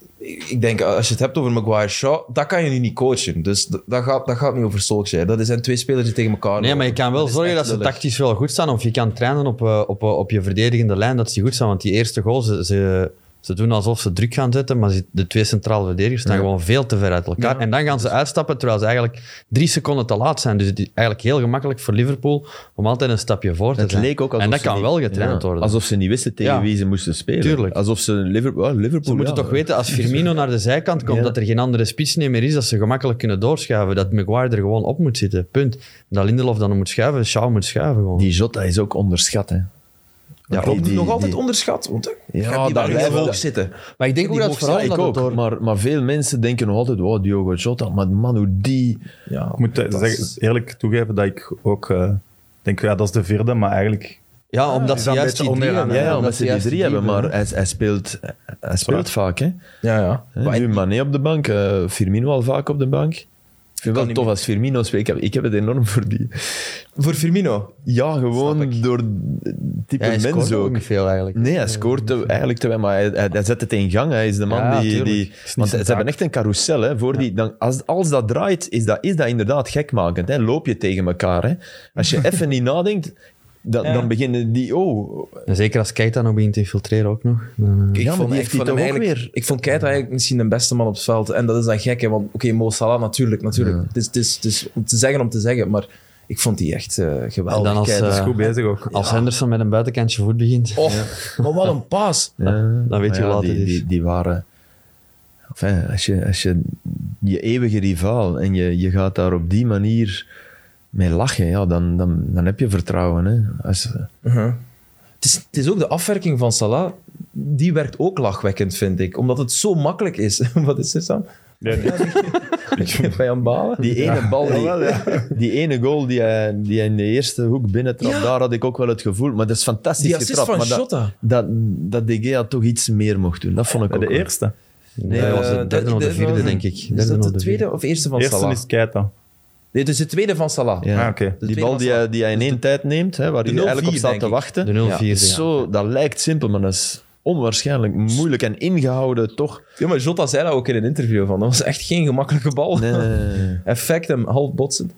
Speaker 1: ik denk, als je het hebt over Maguire Shaw, dat kan je nu niet coachen. Dus d- dat gaat, dat gaat niet over Solskjaer. Dat zijn twee spelers die tegen elkaar
Speaker 4: Nee,
Speaker 1: lopen.
Speaker 4: maar je kan wel
Speaker 1: is
Speaker 4: zorgen
Speaker 1: echt
Speaker 4: dat ze
Speaker 1: lullig.
Speaker 4: tactisch wel goed staan. Of je kan trainen op, eh, op, eh, op je verdedigende lijn dat ze goed staan. Want die eerste goal, ze, ze, ze doen alsof ze druk gaan zetten. Maar ze- de twee centrale verdedigers staan gewoon veel te ver uit elkaar. En dan gaan ze uitstappen terwijl ze eigenlijk drie seconden te laat zijn. Dus het is eigenlijk heel gemakkelijk voor Liverpool om altijd een stapje voor te
Speaker 3: Het
Speaker 4: zijn.
Speaker 3: leek ook alsof
Speaker 4: en dat
Speaker 3: ze
Speaker 4: kan
Speaker 3: niet-
Speaker 4: wel getraind
Speaker 3: ja,
Speaker 4: worden.
Speaker 3: Alsof ze niet wisten tegen
Speaker 4: Ja.
Speaker 3: wie ze moesten spelen.
Speaker 4: Tuurlijk.
Speaker 3: Alsof ze Liverpool... ah, Liverpool
Speaker 4: Ze moeten
Speaker 3: ja.
Speaker 4: toch weten, als Firmino naar de zijkant komt,
Speaker 3: Ja.
Speaker 4: dat er geen andere spits niet meer is, dat ze gemakkelijk kunnen doorschuiven. Dat Maguire er gewoon op moet zitten, punt. En dat Lindelof dan moet schuiven, Shaw moet schuiven gewoon.
Speaker 3: Die Jota is ook onderschat. Hè.
Speaker 1: Ja,
Speaker 3: Die-
Speaker 1: klopt.
Speaker 3: die-
Speaker 1: nog altijd
Speaker 3: die-
Speaker 1: onderschat. Want ik
Speaker 3: Ja,
Speaker 1: heb die
Speaker 3: daar
Speaker 1: daar heel
Speaker 3: blijven-
Speaker 1: hoog zitten.
Speaker 4: Maar ik
Speaker 1: Die
Speaker 4: denk ook dat
Speaker 1: mogen
Speaker 4: vooral
Speaker 3: Ja, ik
Speaker 4: dat het
Speaker 3: ook.
Speaker 4: door...
Speaker 3: Maar, maar veel mensen denken nog altijd, wow, Diogo Jota. Maar man, hoe die...
Speaker 1: Ja,
Speaker 2: Ik moet eh,
Speaker 1: dat
Speaker 2: zeggen,
Speaker 1: is-
Speaker 2: eerlijk toegeven dat ik ook eh, denk, ja, dat is de vierde, maar eigenlijk...
Speaker 4: Ja, omdat
Speaker 2: is
Speaker 4: ze
Speaker 2: dat een
Speaker 4: juist
Speaker 2: beetje
Speaker 4: die drie
Speaker 2: onderaan,
Speaker 4: hebben.
Speaker 3: Ja, ja, omdat
Speaker 4: Omdat
Speaker 3: ze die
Speaker 4: juist
Speaker 3: drie hebben.
Speaker 4: doen,
Speaker 3: Maar
Speaker 4: hè.
Speaker 3: hij, hij speelt, hij speelt vaak, hè.
Speaker 1: ja, ja.
Speaker 3: Hè, nu Mané op de bank, eh, Firmino al vaak op de bank. Ik vind het wel
Speaker 1: niet
Speaker 3: tof als Firmino speelt. Ik heb, ik heb het enorm voor die.
Speaker 1: Voor Firmino.
Speaker 3: Ja, gewoon door eh, type
Speaker 4: Ja, hij scoort
Speaker 3: mens
Speaker 4: ook
Speaker 3: ook.
Speaker 4: niet veel eigenlijk.
Speaker 3: Nee, hij scoort te- eigenlijk te weinig, maar hij, hij, hij zet het in gang. Hij is de man
Speaker 4: Ja,
Speaker 3: die...
Speaker 4: tuurlijk.
Speaker 3: die
Speaker 2: niet
Speaker 3: want ze
Speaker 2: zijn
Speaker 3: hebben
Speaker 2: taak.
Speaker 3: echt een carousel. Hè, voor die, dan, als, als dat draait, is dat, is dat inderdaad gekmakend. Hè, loop je tegen elkaar. Hè. Als je even niet nadenkt, dan, dan beginnen die... Oh,
Speaker 4: En zeker als Keita nog begint te infiltreren ook nog. dan, eh,
Speaker 1: Ik
Speaker 3: Ja, maar
Speaker 1: vond
Speaker 3: die
Speaker 1: echt
Speaker 3: heeft
Speaker 1: van
Speaker 3: die
Speaker 1: hem
Speaker 3: toch ook
Speaker 1: eigenlijk- Ik vond Keita eigenlijk misschien de beste man op het veld. En dat is dan gek, hè, want oké, Mo Salah natuurlijk. natuurlijk. Het, is, het, is, het is om te zeggen om te zeggen, maar ik vond die echt eh, geweldig.
Speaker 4: En dan als,
Speaker 1: Keita.
Speaker 2: Dat is
Speaker 4: eh,
Speaker 2: goed bezig ook.
Speaker 4: Als Henderson met een buitenkantje voet begint.
Speaker 1: Och, maar wat een paas.
Speaker 3: Ja,
Speaker 4: dan weet
Speaker 3: Eh, maar
Speaker 4: je hoe laat
Speaker 3: die,
Speaker 4: het is.
Speaker 3: Die, die waren... Enfin, als, je, als je je eeuwige rivaal en je, je gaat daar op die manier mee lachen, ja, dan, dan, dan heb je vertrouwen. Hè. Als,
Speaker 1: Uh-huh. Het, is, het is ook de afwerking van Salah. Die werkt ook lachwekkend, vind ik. Omdat het zo makkelijk is. Wat is er dan?
Speaker 2: Nee, nee.
Speaker 1: Bij aan het balen?
Speaker 3: die ene bal, die, die ene goal die hij, die hij in de eerste hoek binnentrapt,
Speaker 1: Ja.
Speaker 3: daar had ik ook wel het gevoel. Maar dat is fantastisch
Speaker 1: Die assist
Speaker 3: getrapt.
Speaker 1: van
Speaker 3: maar dat-
Speaker 1: Jota.
Speaker 3: Dat, dat De Gea toch iets meer mocht doen. Dat vond ik
Speaker 2: Bij
Speaker 3: ook
Speaker 2: de
Speaker 3: wel.
Speaker 2: eerste.
Speaker 4: Nee, dat was de
Speaker 1: Eh,
Speaker 4: derde of de vierde, denk ik.
Speaker 1: Is
Speaker 4: Derde
Speaker 1: dat de
Speaker 4: of vierde.
Speaker 1: tweede of eerste van
Speaker 2: eerste
Speaker 1: Salah?
Speaker 2: is Keita.
Speaker 1: Nee, dus de tweede van Salah.
Speaker 3: Ja.
Speaker 2: Ah,
Speaker 1: De
Speaker 2: oké.
Speaker 3: Die
Speaker 1: tweede Dus
Speaker 3: bal die hij, die hij in één tijd neemt, hè, waar
Speaker 1: de
Speaker 3: hij eigenlijk op
Speaker 1: 0-4
Speaker 3: staat te
Speaker 1: denk ik.
Speaker 3: wachten.
Speaker 4: De 0-4.
Speaker 3: is
Speaker 4: ja.
Speaker 3: zo, dat lijkt simpel, maar dat is onwaarschijnlijk moeilijk en ingehouden toch.
Speaker 1: Ja, maar Jota zei dat ook in een interview van. Dat was echt geen gemakkelijke bal.
Speaker 3: Nee, nee, nee, nee.
Speaker 1: Effect hem half botsen.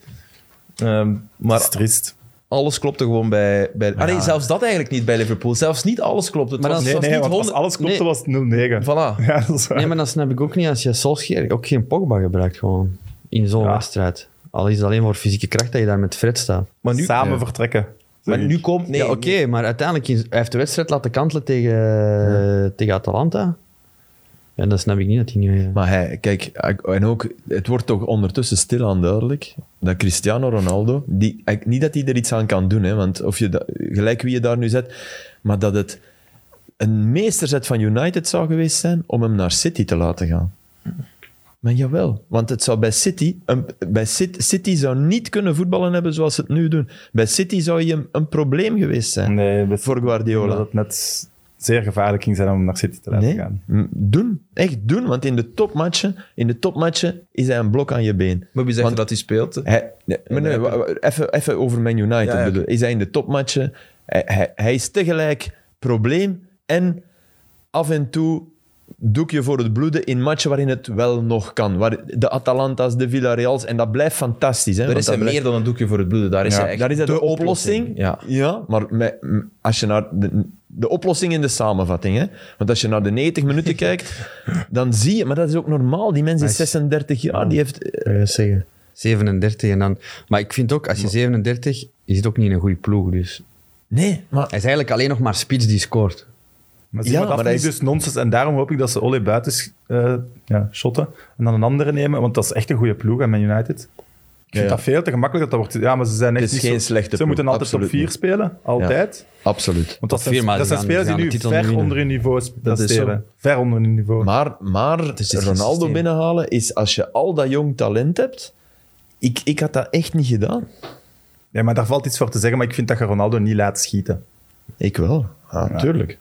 Speaker 1: Ehm,
Speaker 2: Dat is
Speaker 1: maar
Speaker 2: triest.
Speaker 1: Alles klopte gewoon bij... bij ah, nee, zelfs dat eigenlijk niet bij Liverpool. Zelfs niet alles klopte. Het
Speaker 4: Maar
Speaker 1: was,
Speaker 4: dan-
Speaker 1: het
Speaker 2: Nee,
Speaker 1: was
Speaker 2: nee,
Speaker 1: niet
Speaker 2: want als
Speaker 1: 100...
Speaker 2: alles klopte
Speaker 4: Nee.
Speaker 2: was
Speaker 1: Voilà.
Speaker 2: het 0-9. Ja, dat is waar.
Speaker 4: Nee, maar dan snap ik ook niet als je Solskjaer ook geen Pogba gebruikt gewoon in zo'n
Speaker 2: Ja.
Speaker 4: wedstrijd. Al is het alleen voor fysieke kracht dat je daar met Fred staat.
Speaker 1: Maar nu,
Speaker 2: Samen vertrekken.
Speaker 1: maar
Speaker 2: zeg
Speaker 1: nu
Speaker 2: ik.
Speaker 1: komt... Nee,
Speaker 4: ja, oké,
Speaker 1: nee.
Speaker 4: maar uiteindelijk is- hij heeft de wedstrijd laten kantelen tegen, tegen Atalanta. En dan snap ik niet dat hij nu... eh,
Speaker 3: Maar hij, kijk, en ook, het wordt toch ondertussen stilaan duidelijk dat Cristiano Ronaldo, die, ik- niet dat hij er iets aan kan doen, hè, want of je da- gelijk wie je daar nu zet, maar dat het een meesterzet van United zou geweest zijn om hem naar City te laten gaan. Maar jawel, want het zou bij City, een, bij City, City zou niet kunnen voetballen hebben zoals ze het nu doen. Bij City zou je hem een probleem geweest zijn
Speaker 2: Nee, best-
Speaker 3: voor Guardiola.
Speaker 2: dat het net zeer gevaarlijk ging zijn om hem naar City te laten
Speaker 3: Nee,
Speaker 2: gaan.
Speaker 3: m- doen. Echt doen. Want in de topmatchen, in de topmatchen is hij een blok aan je been.
Speaker 1: Maar wie zegt
Speaker 3: Want-
Speaker 1: dat hij speelt? hè?
Speaker 3: Hij, nee, maar nee, wa- wa- even, even over Man United.
Speaker 1: Ja, ja,
Speaker 3: bedoel.
Speaker 1: oké.
Speaker 3: Is hij in de topmatchen? Hij, hij, hij is tegelijk probleem en af en toe doekje voor het bloeden in matchen waarin het wel nog kan. Waar de Atalanta's, de Villarreals. En dat blijft fantastisch. Hè,
Speaker 1: Daar
Speaker 3: want
Speaker 1: is
Speaker 3: dat
Speaker 1: hij meer dan een doekje voor het bloeden. Daar is
Speaker 2: Ja,
Speaker 1: hij echt
Speaker 3: daar is dat de, oplossing.
Speaker 1: Ja.
Speaker 3: maar met- m- als je naar de, de oplossing in de samenvatting, hè? want als je naar de 90 minuten kijkt, dan zie je, maar dat is ook normaal. Die mens is 36 jaar, die heeft. eh,
Speaker 4: eh, zeggen. 37 en dan... Maar ik vind ook, als je 37... Je zit ook niet in een goede ploeg, dus...
Speaker 3: Nee, maar
Speaker 4: Hij is eigenlijk alleen nog maar spits die scoort.
Speaker 2: Maar, zie,
Speaker 3: Ja,
Speaker 2: maar dat
Speaker 3: maar
Speaker 2: vind
Speaker 3: dat
Speaker 2: ik dus nonsens. En daarom hoop ik dat ze Ole buiten eh, ja, shotten en dan een andere nemen. Want dat is echt een goede ploeg aan Man United. Ik vind
Speaker 3: Ja, ja.
Speaker 2: dat veel te gemakkelijk. Dat dat wordt, ja, maar ze zijn echt
Speaker 3: Het is
Speaker 2: niet
Speaker 3: geen
Speaker 2: zo-
Speaker 3: slechte
Speaker 2: Ze
Speaker 3: ploeg,
Speaker 2: moeten altijd
Speaker 3: absoluut
Speaker 2: top 4
Speaker 3: niet.
Speaker 2: spelen. Altijd.
Speaker 3: absoluut.
Speaker 2: Want dat
Speaker 4: Top vier,
Speaker 2: zijn,
Speaker 4: maar
Speaker 2: dat
Speaker 4: ze
Speaker 2: zijn
Speaker 4: gaan-
Speaker 2: spelers
Speaker 4: ze
Speaker 2: die nu
Speaker 4: gaan de titel niet
Speaker 2: ver
Speaker 4: winnen.
Speaker 2: onder hun niveau
Speaker 1: Dat is
Speaker 2: spelen. Ver onder hun niveau.
Speaker 3: Maar, maar
Speaker 1: is het
Speaker 3: Ronaldo
Speaker 1: systeem.
Speaker 3: binnenhalen is als je al dat jong talent hebt. Ik, ik had dat echt niet gedaan.
Speaker 2: ja, maar daar valt iets voor te zeggen. Maar ik vind dat je Ronaldo niet laat schieten.
Speaker 3: Ik wel,
Speaker 2: Ja.
Speaker 3: natuurlijk.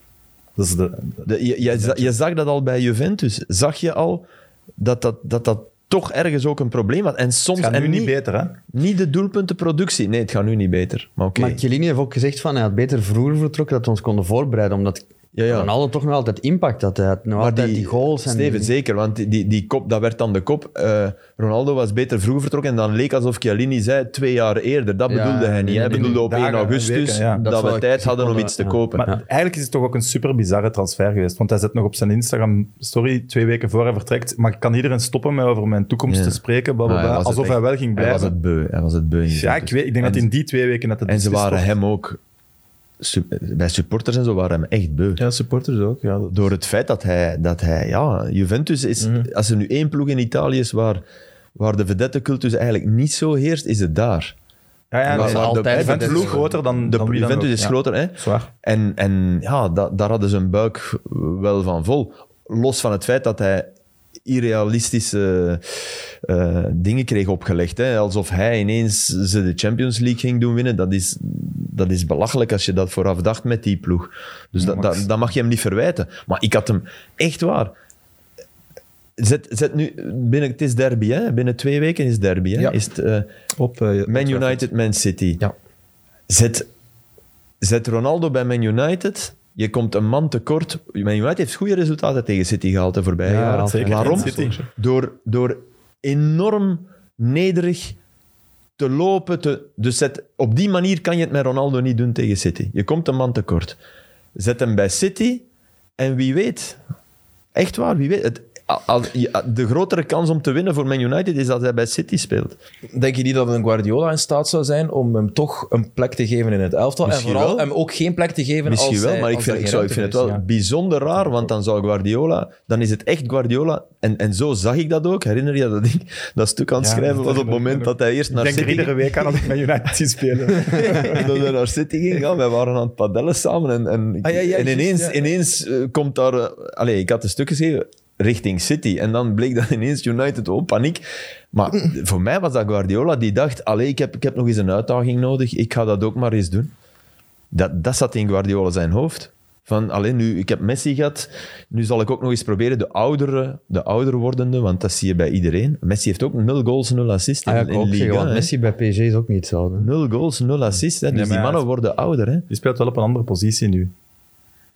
Speaker 2: Dat is de,
Speaker 3: De- je, je, za- je zag dat al bij Juventus. Zag je al dat dat, dat, dat toch ergens ook een probleem had. En soms
Speaker 2: het gaat nu
Speaker 3: en
Speaker 2: niet
Speaker 3: niet,
Speaker 2: beter, hè?
Speaker 3: niet de doelpuntenproductie. Nee, het gaat nu niet beter. Maar oké.
Speaker 4: Maar Chiellini heeft ook gezegd van... Hij had beter vroeger vertrokken dat we ons konden voorbereiden. Omdat
Speaker 3: Ja, ja.
Speaker 4: Ronaldo toch nog altijd impact had. Hij had nog altijd die, goals. En
Speaker 3: Steven, zeker. Want die- die, die kop, dat werd dan de kop. Eh, Ronaldo was beter vroeg vertrokken en dan leek alsof Chiellini zei twee jaar eerder. Dat
Speaker 4: Ja,
Speaker 3: bedoelde hij
Speaker 4: nee,
Speaker 3: niet.
Speaker 4: nee,
Speaker 3: Hij
Speaker 4: nee,
Speaker 3: bedoelde op
Speaker 2: dagen
Speaker 3: 1
Speaker 2: en
Speaker 3: augustus
Speaker 2: weken, ja.
Speaker 3: dat,
Speaker 4: Dat zou
Speaker 3: we
Speaker 4: ik
Speaker 3: tijd hadden om
Speaker 4: seconden-
Speaker 3: iets te
Speaker 4: ja.
Speaker 3: kopen.
Speaker 2: Maar eigenlijk is het toch ook een super bizarre transfer geweest. Want hij zet nog op zijn Instagram-story twee weken voor hij vertrekt. Maar ik kan iedereen stoppen met over mijn toekomst
Speaker 3: Ja.
Speaker 2: te spreken. Blablabla,
Speaker 3: Maar hij was het
Speaker 2: alsof
Speaker 3: echt-
Speaker 2: hij wel ging
Speaker 3: hij was
Speaker 2: blijven.
Speaker 3: het beu. Hij was het beu in
Speaker 2: ja, ik,
Speaker 3: Juventus.
Speaker 2: weet, ik denk
Speaker 3: en,
Speaker 2: dat in die twee weken dat het
Speaker 3: En ze
Speaker 2: is
Speaker 3: waren
Speaker 2: gestopt.
Speaker 3: hem ook... su- Bij supporters en zo waren hem echt beu.
Speaker 1: Ja, supporters ook. Ja, dat-
Speaker 3: Door het feit dat hij, dat hij ja, Juventus is, als er nu één ploeg in Italië is waar, waar de vedettencultus eigenlijk niet zo heerst, is het daar.
Speaker 2: Ja, ja,
Speaker 3: Maar-
Speaker 2: nee,
Speaker 3: maar de-
Speaker 2: de
Speaker 3: de-
Speaker 2: Juventus is groter dan,
Speaker 3: De
Speaker 2: dan wie dan
Speaker 3: Juventus
Speaker 2: ook.
Speaker 3: is
Speaker 2: Ja.
Speaker 3: groter, hè?
Speaker 2: Zwaar.
Speaker 3: En, en ja, da- daar hadden ze een buik wel van vol. Los van het feit dat hij irrealistische eh, dingen kreeg opgelegd. Hè? Alsof hij ineens ze de Champions League ging doen winnen. Dat is, dat is belachelijk als je dat vooraf dacht met die ploeg. Dus dat, dat, dat mag je hem niet verwijten. Maar ik had hem echt waar. Zet, zet nu, binnen, het is derby, hè? binnen twee weken is derby. Hè?
Speaker 1: Ja.
Speaker 3: Is het, eh,
Speaker 1: Op, eh,
Speaker 3: Man United, Man City.
Speaker 1: Ja.
Speaker 3: Zet, zet Ronaldo bij Man United. Je komt een man tekort. Man United heeft goede resultaten tegen City gehaald de voorbije
Speaker 4: Ja,
Speaker 3: jaren.
Speaker 4: altijd.
Speaker 3: Waarom?
Speaker 2: En City.
Speaker 3: Door, door enorm nederig te lopen. Te, dus zet, op die manier kan je het met Ronaldo niet doen tegen City. Je komt een man tekort. Zet hem bij City en wie weet. Echt waar, wie weet. Het, als- je- de grotere kans om te winnen voor Man United is dat hij bij City speelt.
Speaker 1: Denk je niet dat een Guardiola in staat zou zijn om hem toch een plek te geven in het elftal?
Speaker 3: Misschien
Speaker 1: en vooral
Speaker 3: wel.
Speaker 1: hem ook geen plek te geven
Speaker 3: Misschien
Speaker 1: als
Speaker 3: wel,
Speaker 1: hij-
Speaker 3: maar ik
Speaker 1: als
Speaker 3: vind,
Speaker 1: er
Speaker 3: ik,
Speaker 1: geen
Speaker 3: zou, ik
Speaker 1: ruimte
Speaker 3: vind het
Speaker 1: voor
Speaker 3: wel
Speaker 1: is, ja.
Speaker 3: bijzonder raar, want dan zou Guardiola... Dan is het echt Guardiola. En, en zo zag ik dat ook. Herinner je dat ik dat stuk aan het
Speaker 2: Ja,
Speaker 3: schrijven
Speaker 2: dat
Speaker 3: was op het
Speaker 2: herinner ik
Speaker 3: moment
Speaker 2: me
Speaker 3: dat hij eerst
Speaker 2: Ik
Speaker 3: naar
Speaker 2: denk er
Speaker 3: City
Speaker 2: iedere
Speaker 3: ging?
Speaker 2: week aan dat ik met United zie spelen.
Speaker 3: dat hij naar City ging. Ja, wij waren aan het padellen samen. En, en,
Speaker 1: Ah, ja, ja,
Speaker 3: en
Speaker 1: juist,
Speaker 3: ineens,
Speaker 1: ja.
Speaker 3: ineens eh, komt daar... eh, allee, ik had een stuk geschreven richting City. En dan bleek dat ineens United, oh, paniek. Maar voor mij was dat Guardiola die dacht... Allee, ik heb, ik heb nog eens een uitdaging nodig. Ik ga dat ook maar eens doen. Dat, dat zat in Guardiola zijn hoofd. Van, alleen nu, ik heb Messi gehad, nu zal ik ook nog eens proberen de oudere, de ouder wordende, want dat zie je bij iedereen. Messi heeft ook nul goals, nul assists in,
Speaker 4: Ah, ja, ik wou
Speaker 3: in
Speaker 4: ook
Speaker 3: Liga.
Speaker 4: zeggen, want
Speaker 3: hè.
Speaker 4: Messi bij PSG is ook niet hetzelfde.
Speaker 3: Nul goals, nul assists. Hè. Dus
Speaker 2: Nee, maar
Speaker 3: die
Speaker 2: ja,
Speaker 3: mannen
Speaker 2: het-
Speaker 3: worden ouder. Hè.
Speaker 2: Die speelt wel op een andere positie nu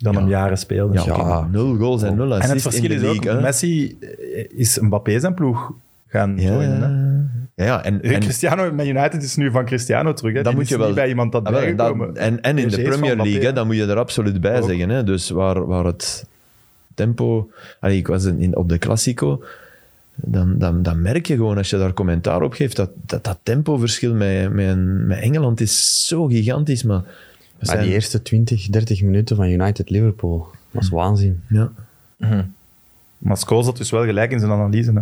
Speaker 2: dan hem jaren speelde.
Speaker 3: Ja, oké, maar nul goals en nul
Speaker 2: Oh. En het
Speaker 3: assists in
Speaker 2: verschil
Speaker 3: de
Speaker 2: is ook,
Speaker 3: league. hè.
Speaker 2: Messi eh, is Mbappé zijn ploeg gaan
Speaker 3: ja,
Speaker 2: joinen. hè.
Speaker 3: ja, Ja, ja, en,
Speaker 2: Eh,
Speaker 3: en,
Speaker 2: Cristiano met United is nu van Cristiano terug. Hè. Die
Speaker 3: Dan moet
Speaker 2: is
Speaker 3: je
Speaker 2: niet
Speaker 3: wel-
Speaker 2: bij iemand dat
Speaker 3: Ah, wel, en dat-
Speaker 2: bijgekomen.
Speaker 3: en, en in
Speaker 2: PSG
Speaker 3: de
Speaker 2: is van
Speaker 3: Premier League,
Speaker 2: Mbappé.
Speaker 3: hè, dan moet je er absoluut bij
Speaker 2: Ook.
Speaker 3: zeggen. Hè. Dus waar, waar het tempo... Allee, ik was in, op de Classico. Dan, dan, dan merk je gewoon, als je daar commentaar op geeft, dat dat, dat tempoverschil met, met, met Engeland is zo gigantisch. Maar, we
Speaker 4: Maar
Speaker 3: zijn-
Speaker 4: die eerste 20, 30 minuten van United-Liverpool
Speaker 3: Hm.
Speaker 4: was waanzin.
Speaker 3: ja.
Speaker 2: Maar Scholes had dus wel gelijk in zijn analyse. Hè.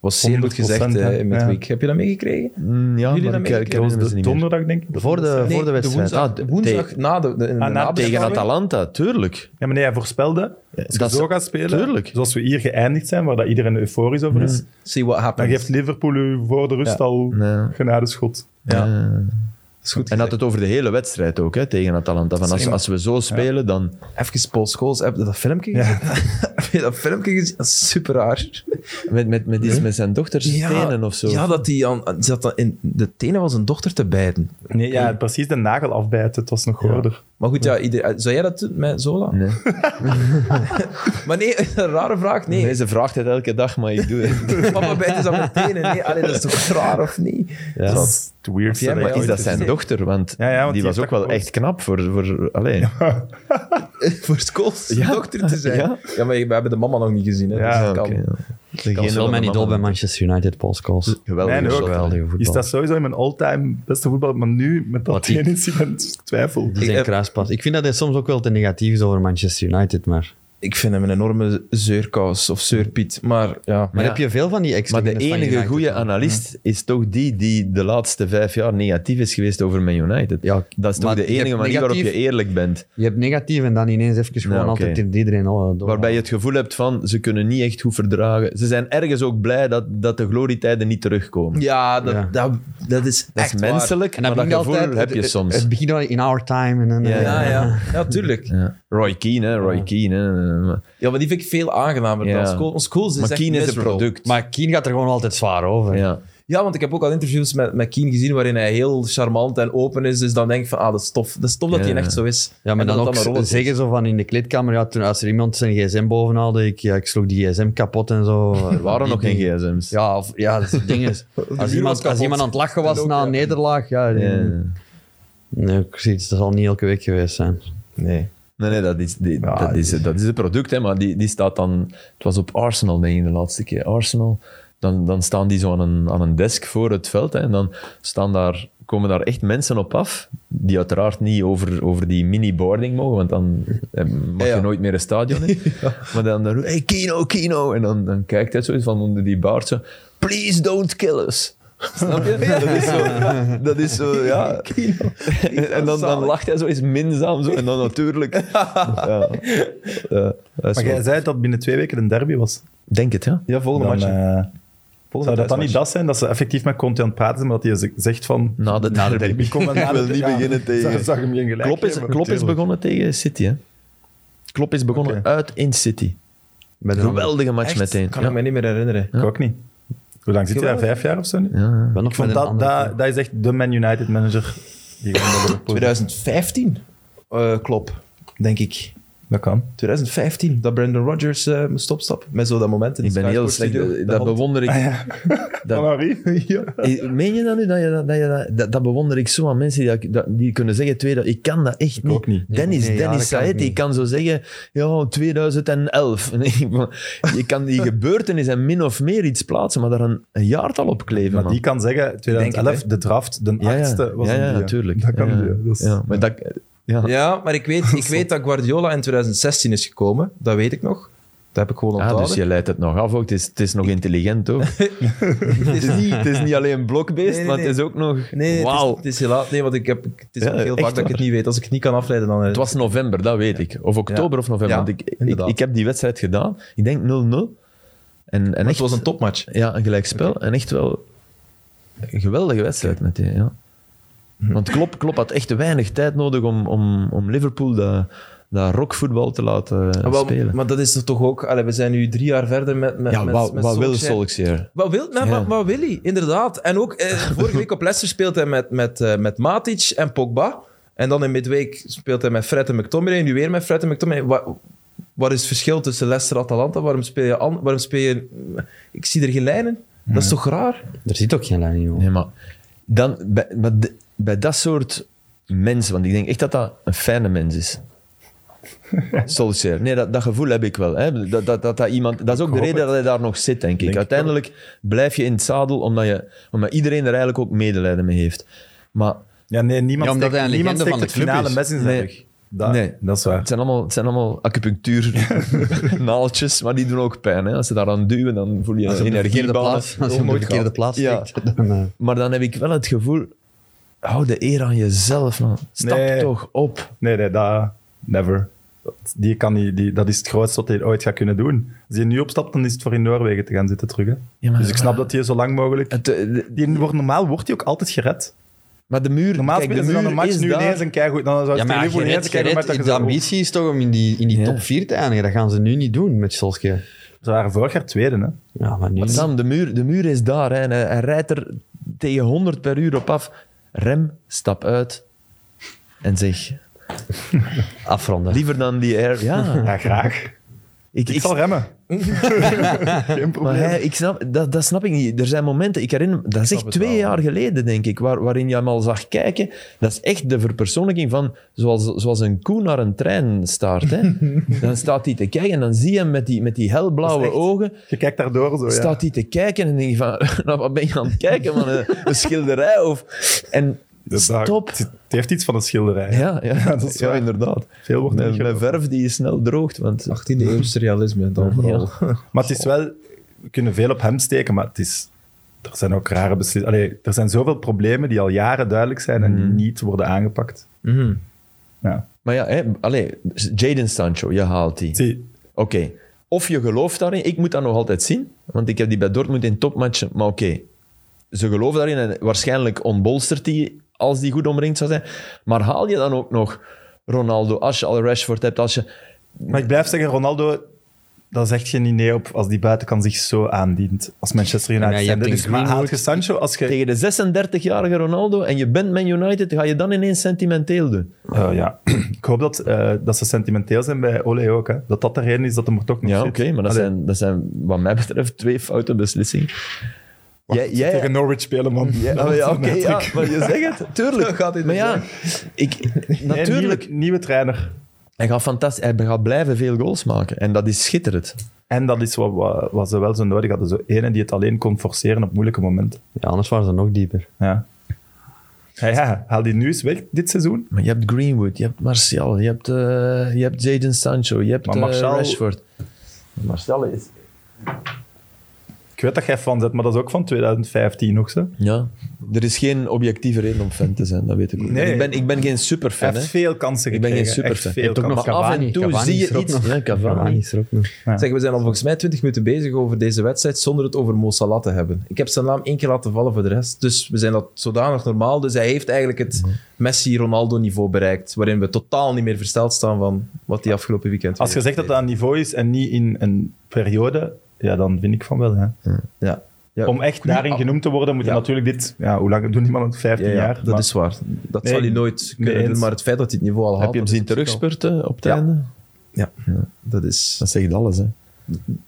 Speaker 1: Was zeer goed gezegd
Speaker 2: 100%,
Speaker 1: eh, in
Speaker 2: hè.
Speaker 1: midweek.
Speaker 2: Ja.
Speaker 1: Heb je dat meegekregen?
Speaker 3: Mm, ja,
Speaker 1: Jullie
Speaker 3: maar
Speaker 1: dat
Speaker 3: ik,
Speaker 1: meegekregen?
Speaker 3: ik
Speaker 2: eh, Dat
Speaker 3: herinner me
Speaker 2: was
Speaker 3: ze
Speaker 2: de
Speaker 3: niet meer.
Speaker 2: donderdag, denk ik.
Speaker 4: Voor de,
Speaker 1: Nee,
Speaker 4: voor de
Speaker 1: de
Speaker 4: wedstrijd.
Speaker 1: woensdag,
Speaker 3: Ah, de-
Speaker 1: woensdag na de, de, in de
Speaker 2: Ah, na de
Speaker 3: Tegen
Speaker 1: nabeschouwing.
Speaker 3: Atalanta, tuurlijk.
Speaker 2: Ja, maar nee, hij voorspelde, als je
Speaker 3: dat
Speaker 2: zo
Speaker 3: is-
Speaker 2: gaat spelen,
Speaker 3: tuurlijk. Mm.
Speaker 2: zoals we hier geëindigd zijn, waar dat iedereen euforisch over is,
Speaker 1: See what
Speaker 2: dan
Speaker 1: happens.
Speaker 2: geeft Liverpool u voor de rust al
Speaker 3: Nee.
Speaker 2: genadeschot.
Speaker 1: Ja.
Speaker 3: Eh,
Speaker 1: Dat is goed
Speaker 3: en
Speaker 1: gezegd.
Speaker 3: had het over de hele wedstrijd ook, hè, tegen Atalanta. Van als,
Speaker 1: Zeker.
Speaker 3: als we zo spelen, dan...
Speaker 1: Even Paul Scholes, heb je dat filmpje gezien? heb je dat filmpje gezien? Dat is super raar.
Speaker 3: Met, met, met, die- met zijn dochters tenen of zo.
Speaker 1: Ja, dat die aan, die zat dan in de tenen was een dochter te bijten.
Speaker 2: Nee, ja, precies de nagel afbijten, het was nog hoorder.
Speaker 1: Maar goed, ja, ieder, zou jij dat doen met Zola?
Speaker 3: Nee.
Speaker 1: Maar nee, een rare vraag. Nee,
Speaker 3: Nee, ze vraagt het elke dag, maar ik doe het.
Speaker 1: papa bijt is aan mijn tenen. Nee, allee, dat is toch raar of niet?
Speaker 2: Dat
Speaker 1: Dat-
Speaker 2: is het weirdste.
Speaker 1: jij
Speaker 2: dat
Speaker 1: maar
Speaker 2: ik
Speaker 3: Is
Speaker 1: ooit
Speaker 3: dat
Speaker 2: ooit
Speaker 3: zijn
Speaker 2: gezien
Speaker 3: dochter? Want,
Speaker 2: Ja, ja, want die
Speaker 3: die was ook
Speaker 2: heeft
Speaker 3: wel
Speaker 2: dat
Speaker 3: echt knap voor... voor allee.
Speaker 1: voor Scholes
Speaker 3: Ja.
Speaker 1: dochter te zijn. Ja,
Speaker 3: Ja.
Speaker 1: maar we hebben de mama nog niet gezien. Hè,
Speaker 2: Ja,
Speaker 1: dus dat
Speaker 3: oké,
Speaker 1: kan.
Speaker 3: ja.
Speaker 4: Ik was wel mijn idool bij Manchester United, Paul Scholes.
Speaker 3: Geweldig.
Speaker 2: Mijn ook.
Speaker 4: Geweldige
Speaker 2: Is
Speaker 4: voetbal.
Speaker 2: dat sowieso in mijn all-time beste voetbal? Maar nu, met dat
Speaker 4: Wat die-
Speaker 2: tenincident, twijfel. Dus
Speaker 4: Die zijn
Speaker 1: Ik-
Speaker 4: kruispas. Ik vind dat hij soms ook wel te negatief is over Manchester United, maar...
Speaker 1: Ik vind hem een enorme zeurkous of zeurpiet. Maar ja,
Speaker 4: Maar
Speaker 3: Ja.
Speaker 4: heb je veel van die extra
Speaker 3: Maar de enige goede analist is toch die die de laatste vijf jaar negatief is geweest over Man United.
Speaker 4: Ja,
Speaker 3: dat is toch
Speaker 4: maar
Speaker 3: de
Speaker 4: je hebt
Speaker 3: enige manier waarop je
Speaker 4: negatief- Oh.
Speaker 3: eerlijk bent.
Speaker 4: Je hebt negatief en dan ineens even gewoon
Speaker 3: oké.
Speaker 4: altijd in iedereen oh, door.
Speaker 3: Waarbij je het gevoel hebt van, ze kunnen niet echt goed verdragen. Ze zijn ergens ook blij dat, dat de glorietijden niet terugkomen.
Speaker 1: ja, dat,
Speaker 4: Ja.
Speaker 1: Dat, dat is
Speaker 3: dat
Speaker 1: echt
Speaker 3: is menselijk,
Speaker 4: en
Speaker 3: maar
Speaker 4: dan
Speaker 3: dat
Speaker 4: begint
Speaker 3: gevoel
Speaker 4: altijd,
Speaker 3: heb je
Speaker 4: het-
Speaker 3: soms.
Speaker 4: Het begint al in our time. En dan, eh,
Speaker 1: waar. Ja, ja. ja, tuurlijk.
Speaker 3: Ja. Roy Keane, hè, Roy Keane. Hè. Maar-
Speaker 1: Ja, maar die vind ik veel aangenamer
Speaker 3: Ja.
Speaker 1: dan Scholes. Want Scholes is
Speaker 3: Maar
Speaker 1: echt
Speaker 3: Keane is een
Speaker 1: miserable.
Speaker 3: product.
Speaker 4: Maar Keen gaat er gewoon altijd zwaar over.
Speaker 3: ja.
Speaker 1: Ja, want ik heb ook al interviews met, met Keane gezien waarin hij heel charmant en open is. Dus dan denk ik van, ah, dat is tof. Dat is tof dat
Speaker 3: Ja.
Speaker 1: hij echt zo is.
Speaker 4: Ja, maar
Speaker 1: En dat
Speaker 4: dan
Speaker 1: dat
Speaker 4: ook
Speaker 1: een rol is.
Speaker 4: zeggen zo van in de kleedkamer, ja, toen, als er iemand zijn gsm boven haalde, ik, ja, ik sloeg die gsm kapot en zo.
Speaker 3: Er waren nog geen gsm's.
Speaker 4: Ja, of, ja, dat soort dingen. Als iemand, als
Speaker 1: kapot.
Speaker 4: iemand aan het lachen was
Speaker 1: En ook,
Speaker 4: na een
Speaker 1: ja.
Speaker 4: nederlaag, ja,
Speaker 3: Ja.
Speaker 4: nee, precies, dat zal niet elke week geweest zijn.
Speaker 1: Nee.
Speaker 3: Nee, nee, dat is, die-
Speaker 2: Ja,
Speaker 3: dat is, dat is het product, hè, maar die, die staat dan... Het was op Arsenal, denk ik, de laatste keer. Arsenal. Dan, dan staan die zo aan een, aan een desk voor het veld hè, en dan staan daar, komen daar echt mensen op af, die uiteraard niet over, over die mini-boarding mogen, want dan eh, mag
Speaker 1: Ja, ja.
Speaker 3: je nooit meer een stadion in. Maar dan, dan hey, Kino, Kino! En dan, dan kijkt hij zo van onder die baard zo, please don't kill us. Snap je? Dat is zo, dat is zo ja. En dan, dan lacht hij zo eens minzaam zo, en dan natuurlijk. Ja. Ja, dat is
Speaker 2: Maar
Speaker 3: wel-
Speaker 2: jij zei dat binnen twee weken een derby was.
Speaker 3: Denk het, ja.
Speaker 1: Ja, volgende
Speaker 2: Dan,
Speaker 1: match.
Speaker 2: eh, zou dat dan niet dat zijn, dat ze effectief met Conte aan het praten zijn, maar dat hij zegt van...
Speaker 3: Na de derby.
Speaker 2: Ik kom maar na
Speaker 3: Ik wil
Speaker 2: de-
Speaker 3: niet
Speaker 2: ja,
Speaker 3: beginnen tegen.
Speaker 2: Zag, zag hem geen gelijk
Speaker 3: Klopp is,
Speaker 2: geven,
Speaker 3: Klopp is
Speaker 2: natuurlijk.
Speaker 3: begonnen tegen City, hè. Klopp is begonnen
Speaker 2: Oké.
Speaker 3: uit in City.
Speaker 4: Met een andere-
Speaker 3: Geweldige match
Speaker 1: Echt?
Speaker 3: meteen.
Speaker 1: Kan
Speaker 3: Ja.
Speaker 1: ik me niet meer herinneren.
Speaker 2: Ik ook niet. Hoe lang zit hij daar?
Speaker 1: Geweldig.
Speaker 2: Vijf jaar of zo nu?
Speaker 3: Ja, ja.
Speaker 4: wel nog
Speaker 2: Ik vond
Speaker 4: met een
Speaker 2: dat,
Speaker 4: andere-
Speaker 2: dat, dat is echt de Man United manager. Die gewoon naar Liverpool-
Speaker 1: 2015 eh klopt, denk ik.
Speaker 2: Dat kan.
Speaker 1: 2015, dat Brandon Rodgers eh, moest opstappen. Met zo dat moment. in de
Speaker 3: Ik ben
Speaker 1: Sky
Speaker 3: heel
Speaker 1: Sports
Speaker 3: slecht.
Speaker 1: studio, de
Speaker 3: Dat
Speaker 1: hand.
Speaker 3: bewonder ik. Dat-
Speaker 2: Van Henri? Ja.
Speaker 3: Eh, Meen je dat nu? Dat, je dat, dat, je dat, dat, dat bewonder ik zo aan mensen die, dat- dat- die kunnen zeggen, tweede, ik kan dat echt niet.
Speaker 2: ook niet.
Speaker 3: Dennis,
Speaker 4: Nee, ja, dat
Speaker 3: Dennis
Speaker 4: kan ik
Speaker 3: Said, die
Speaker 4: niet.
Speaker 3: kan zo zeggen, ja, 2011. Nee, maar je kan die gebeurtenis en min of meer iets plaatsen, maar daar een, een jaartal op kleven,
Speaker 2: Maar
Speaker 3: man.
Speaker 2: die kan zeggen, 2011, de draft, de
Speaker 3: ja, ja,
Speaker 2: achtste was
Speaker 3: ja,
Speaker 2: een
Speaker 3: ja,
Speaker 2: die, hè.
Speaker 3: natuurlijk.
Speaker 2: Dat kan
Speaker 3: ja,
Speaker 2: die, hè. Dat is-
Speaker 3: ja, maar dat, ja.
Speaker 1: Ja, maar ik weet, ik weet dat Guardiola in 2016 is gekomen. Dat weet ik nog. Dat heb ik gewoon
Speaker 3: Ah,
Speaker 1: onthouden.
Speaker 3: dus je leidt het nog af ook. Het is, het is nog intelligent ook. het, is niet, het is niet alleen een blokbeest,
Speaker 1: Nee, nee,
Speaker 3: maar het
Speaker 1: nee.
Speaker 3: is ook nog...
Speaker 1: Nee, het
Speaker 3: Wauw.
Speaker 1: is, het is helaas... Nee, want ik heb, het is
Speaker 3: Ja,
Speaker 1: ook heel
Speaker 3: echt
Speaker 1: vaak dat ik het
Speaker 3: waar.
Speaker 1: niet weet. Als ik het niet kan afleiden, dan... eh,
Speaker 3: Het was november, dat weet ik. Of oktober
Speaker 1: Ja.
Speaker 3: of november.
Speaker 1: Ja,
Speaker 3: want ik, ik,
Speaker 1: inderdaad.
Speaker 3: ik heb die wedstrijd gedaan. Ik denk 0-0. En, en
Speaker 1: maar
Speaker 3: echt,
Speaker 1: het was een topmatch.
Speaker 3: Ja, een gelijkspel. En echt wel een geweldige wedstrijd meteen, ja.
Speaker 1: Hm.
Speaker 3: Want Klopp, Klopp had echt te weinig tijd nodig om, om, om Liverpool dat, dat rockvoetbal te laten
Speaker 1: Ah, wel,
Speaker 3: spelen.
Speaker 1: maar dat is er toch ook... allee, we zijn nu drie jaar verder met, met,
Speaker 3: ja,
Speaker 1: met,
Speaker 3: wat,
Speaker 1: met
Speaker 3: wat wil
Speaker 1: Solskjaer.
Speaker 3: Solskjaer?
Speaker 1: Wat wil, nee,
Speaker 3: Ja.
Speaker 1: wat, wat wil hij? Inderdaad. En ook eh, vorige week op Leicester speelt hij met, met, eh, met Matic en Pogba. En dan in midweek speelt hij met Fred en McTominay. Nu weer met Fred en McTominay. Wat, wat is het verschil tussen Leicester en Atalanta? Waarom speel je... an- Waarom speel je ik zie er geen lijnen. Dat is toch raar?
Speaker 4: Er zit ook geen lijn in, joh.
Speaker 3: Nee, maar dan, bij, maar de- bij dat soort mensen, want ik denk echt dat dat een fijne mens is. Solskjaer. Nee, dat, dat gevoel heb ik wel. Hè. Dat, dat, dat, dat, iemand, dat is ook de reden dat hij daar nog zit, denk ik.
Speaker 2: Denk ik
Speaker 3: Uiteindelijk blijf je in het zadel omdat, je, omdat iedereen er eigenlijk ook medelijden mee heeft. Maar
Speaker 2: Ja, nee, niemand
Speaker 4: Ja, omdat
Speaker 2: steekt,
Speaker 4: hij een
Speaker 2: niemand
Speaker 4: legende
Speaker 2: steekt het
Speaker 4: van de club
Speaker 2: finale
Speaker 4: is.
Speaker 2: mes in zijn
Speaker 3: Nee.
Speaker 2: rug. Dat,
Speaker 3: Nee.
Speaker 2: dat is waar.
Speaker 3: het zijn allemaal, het zijn allemaal acupunctuurnaaltjes, maar die doen ook pijn. Hè. Als ze daaraan duwen, dan voel je
Speaker 4: Als je
Speaker 3: een
Speaker 4: op de
Speaker 3: energie
Speaker 4: verkeerde plaats, als je op de verkeerde plaats
Speaker 3: Ja.
Speaker 4: steekt, dan... eh,
Speaker 3: Maar dan heb ik wel het gevoel, hou de eer aan jezelf, man. Stap
Speaker 2: Nee.
Speaker 3: toch op.
Speaker 2: Nee, nee, dat... Never. Dat- Die kan die, die, dat is het grootste wat hij ooit gaat kunnen doen. Als hij nu opstapt, dan is het voor in Noorwegen te gaan zitten terug. Hè.
Speaker 3: Ja, maar-
Speaker 2: dus ik snap dat hij zo lang mogelijk...
Speaker 3: Het, eh, de-
Speaker 2: Die wordt, normaal wordt hij ook altijd gered.
Speaker 3: Maar de muur,
Speaker 2: Normaal
Speaker 3: kijk,
Speaker 2: spelen
Speaker 3: de
Speaker 2: ze dan
Speaker 3: muur
Speaker 2: een match
Speaker 3: is
Speaker 2: nu
Speaker 3: daar.
Speaker 2: ineens een keigoed. Dan zou
Speaker 4: Ja,
Speaker 2: het
Speaker 4: maar
Speaker 2: Liverpool
Speaker 4: Gerrit,
Speaker 2: ineens een keigoed match
Speaker 4: Gerrit,
Speaker 2: dat je
Speaker 4: de
Speaker 2: zo-
Speaker 4: ambitie is toch om in die, in die
Speaker 3: Ja.
Speaker 4: top 4 te eindigen. Dat gaan ze nu niet doen met Solskjaer.
Speaker 2: Ze waren vorig jaar tweede, hè.
Speaker 4: Ja, maar nu...
Speaker 3: Maar Sam, de muur, de muur is daar. Hè, en hij, hij rijdt er tegen 100 per uur op af. Rem, stap uit. En zeg,
Speaker 4: Afronden.
Speaker 3: liever dan die air. Ja,
Speaker 2: Ja, graag.
Speaker 3: ik,
Speaker 2: Ik,
Speaker 3: ik,
Speaker 2: zal remmen. Geen
Speaker 3: maar
Speaker 2: probleem.
Speaker 3: hij, ik snap, dat, dat snap ik niet. Er zijn momenten, ik herinner me, dat is echt twee jaar geleden, denk ik, waar, waarin je hem al zag kijken. Dat is echt de verpersoonlijking van, zoals, zoals een koe naar een trein staart. Hè. dan staat hij te kijken en dan zie je hem met die, met die helblauwe
Speaker 2: echt-
Speaker 3: ogen.
Speaker 2: Je kijkt daardoor zo, ja.
Speaker 3: staat hij te kijken en denk je van, naar wat ben je aan het kijken? Man, een, een schilderij of... En
Speaker 2: Dus daar-
Speaker 3: stop.
Speaker 2: Het, het heeft iets van een schilderij.
Speaker 3: Ja, ja,
Speaker 2: Ja, dat is
Speaker 3: ja,
Speaker 2: waar.
Speaker 3: inderdaad.
Speaker 2: Veel wordt niet
Speaker 3: Met, met
Speaker 2: geloofd.
Speaker 3: verf die je snel droogt, want...
Speaker 1: 18e eeuwse realisme dan vooral.
Speaker 2: Maar het is wel... We kunnen veel op hem steken, maar het is... Er zijn ook rare beslissingen. Allee, er zijn zoveel problemen die al jaren duidelijk zijn en die niet worden aangepakt.
Speaker 1: Mhm.
Speaker 2: Ja.
Speaker 3: Maar ja, hè, allee, Jaden Sancho, je haalt die.
Speaker 2: Zie,
Speaker 3: Oké. Of je gelooft daarin. Ik moet dat nog altijd zien, want ik heb die bij Dortmund in topmatchen. Maar oké, ze geloven daarin en waarschijnlijk ontbolstert die als die goed omringd zou zijn. Maar haal je dan ook nog Ronaldo, als je al Rashford hebt, als je...
Speaker 2: maar ik blijf zeggen, Ronaldo... Daar zegt je niet nee op als die buitenkant zich zo aandient. Als Manchester United.
Speaker 4: Nee, je
Speaker 2: zijn.
Speaker 4: hebt
Speaker 2: dus,
Speaker 4: een
Speaker 2: maar haalt
Speaker 4: Greenwood.
Speaker 2: je Sancho als je...
Speaker 3: Tegen de 36-jarige Ronaldo en je bent Man United, ga je dan ineens sentimenteel doen?
Speaker 2: Eh, ja. ik hoop dat, eh, dat ze sentimenteel zijn bij Ole ook. Hè. Dat dat de reden is dat hem er toch nog
Speaker 3: Ja,
Speaker 2: zit.
Speaker 3: oké, maar dat
Speaker 2: Allee,
Speaker 3: zijn, dat zijn wat mij betreft twee foute beslissingen. Jij, jij,
Speaker 2: Tegen Norwich spelen, man.
Speaker 3: ja,
Speaker 2: Dat
Speaker 3: maar ja,
Speaker 2: is
Speaker 3: oké,
Speaker 2: een
Speaker 3: ja,
Speaker 2: hattrick.
Speaker 3: maar je zegt het, tuurlijk. gaat maar ja, ik,
Speaker 2: Nee,
Speaker 3: natuurlijk,
Speaker 2: Nieuwe, nieuwe trainer.
Speaker 3: hij gaat fantastisch, hij gaat blijven veel goals maken en dat is schitterend.
Speaker 2: En dat is wat, wat, wat ze wel zo nodig hadden. Zo ene die het alleen kon forceren op moeilijke momenten.
Speaker 4: Ja, anders waren ze nog dieper.
Speaker 2: Ja. Ja, ja, haal die nu eens weg dit seizoen.
Speaker 3: Maar je hebt Greenwood, je hebt Martial, je hebt, eh, je hebt Jadon Sancho, je hebt
Speaker 2: Maar
Speaker 3: eh,
Speaker 2: Martial-
Speaker 3: Rashford.
Speaker 2: Ik weet dat jij fan bent, maar dat is ook van 2015 nog zo.
Speaker 3: Ja, er is geen objectieve reden om fan te zijn, dat weet ik ook.
Speaker 2: Nee.
Speaker 3: Ik, ben, ik ben geen superfan,
Speaker 2: Hij
Speaker 3: hè.
Speaker 2: heeft veel kansen
Speaker 3: Ik ben
Speaker 2: gekregen.
Speaker 3: geen superfan.
Speaker 2: Echt veel
Speaker 3: Je hebt ook
Speaker 2: kansen.
Speaker 3: nog- af en toe zie je
Speaker 4: is er ook
Speaker 3: iets.
Speaker 4: Nog.
Speaker 3: Ja, Cavani.
Speaker 4: is er ook nog.
Speaker 1: Zeg, we zijn al volgens mij 20 minuten bezig over deze wedstrijd zonder het over Mo Salah te hebben. Ik heb zijn naam één keer laten vallen voor de rest, dus we zijn dat zodanig normaal. Dus hij heeft eigenlijk het Messi-Ronaldo-niveau bereikt, waarin we totaal niet meer versteld staan van wat hij afgelopen weekend
Speaker 2: Als je
Speaker 1: weer
Speaker 2: zegt dat dat een niveau is en niet in een periode, ja, dan vind ik van wel. Hè.
Speaker 1: deed. Ja, ja,
Speaker 2: Om echt daarin genoemd te worden, moet je
Speaker 1: Ja.
Speaker 2: natuurlijk dit... Ja, hoe lang doet niemand het? 15
Speaker 1: ja, ja,
Speaker 2: jaar?
Speaker 1: dat
Speaker 2: Maar-
Speaker 1: is waar. Dat
Speaker 2: Nee,
Speaker 1: zal hij nooit
Speaker 2: mee
Speaker 1: kunnen doen,
Speaker 2: eens.
Speaker 1: maar het feit dat hij het niveau al haalt...
Speaker 3: Heb je hem
Speaker 1: dat
Speaker 3: zien
Speaker 1: is op zich
Speaker 3: terugspurten op het
Speaker 1: Ja.
Speaker 3: einde?
Speaker 1: al- Dat is...
Speaker 3: Dat zegt alles, hè.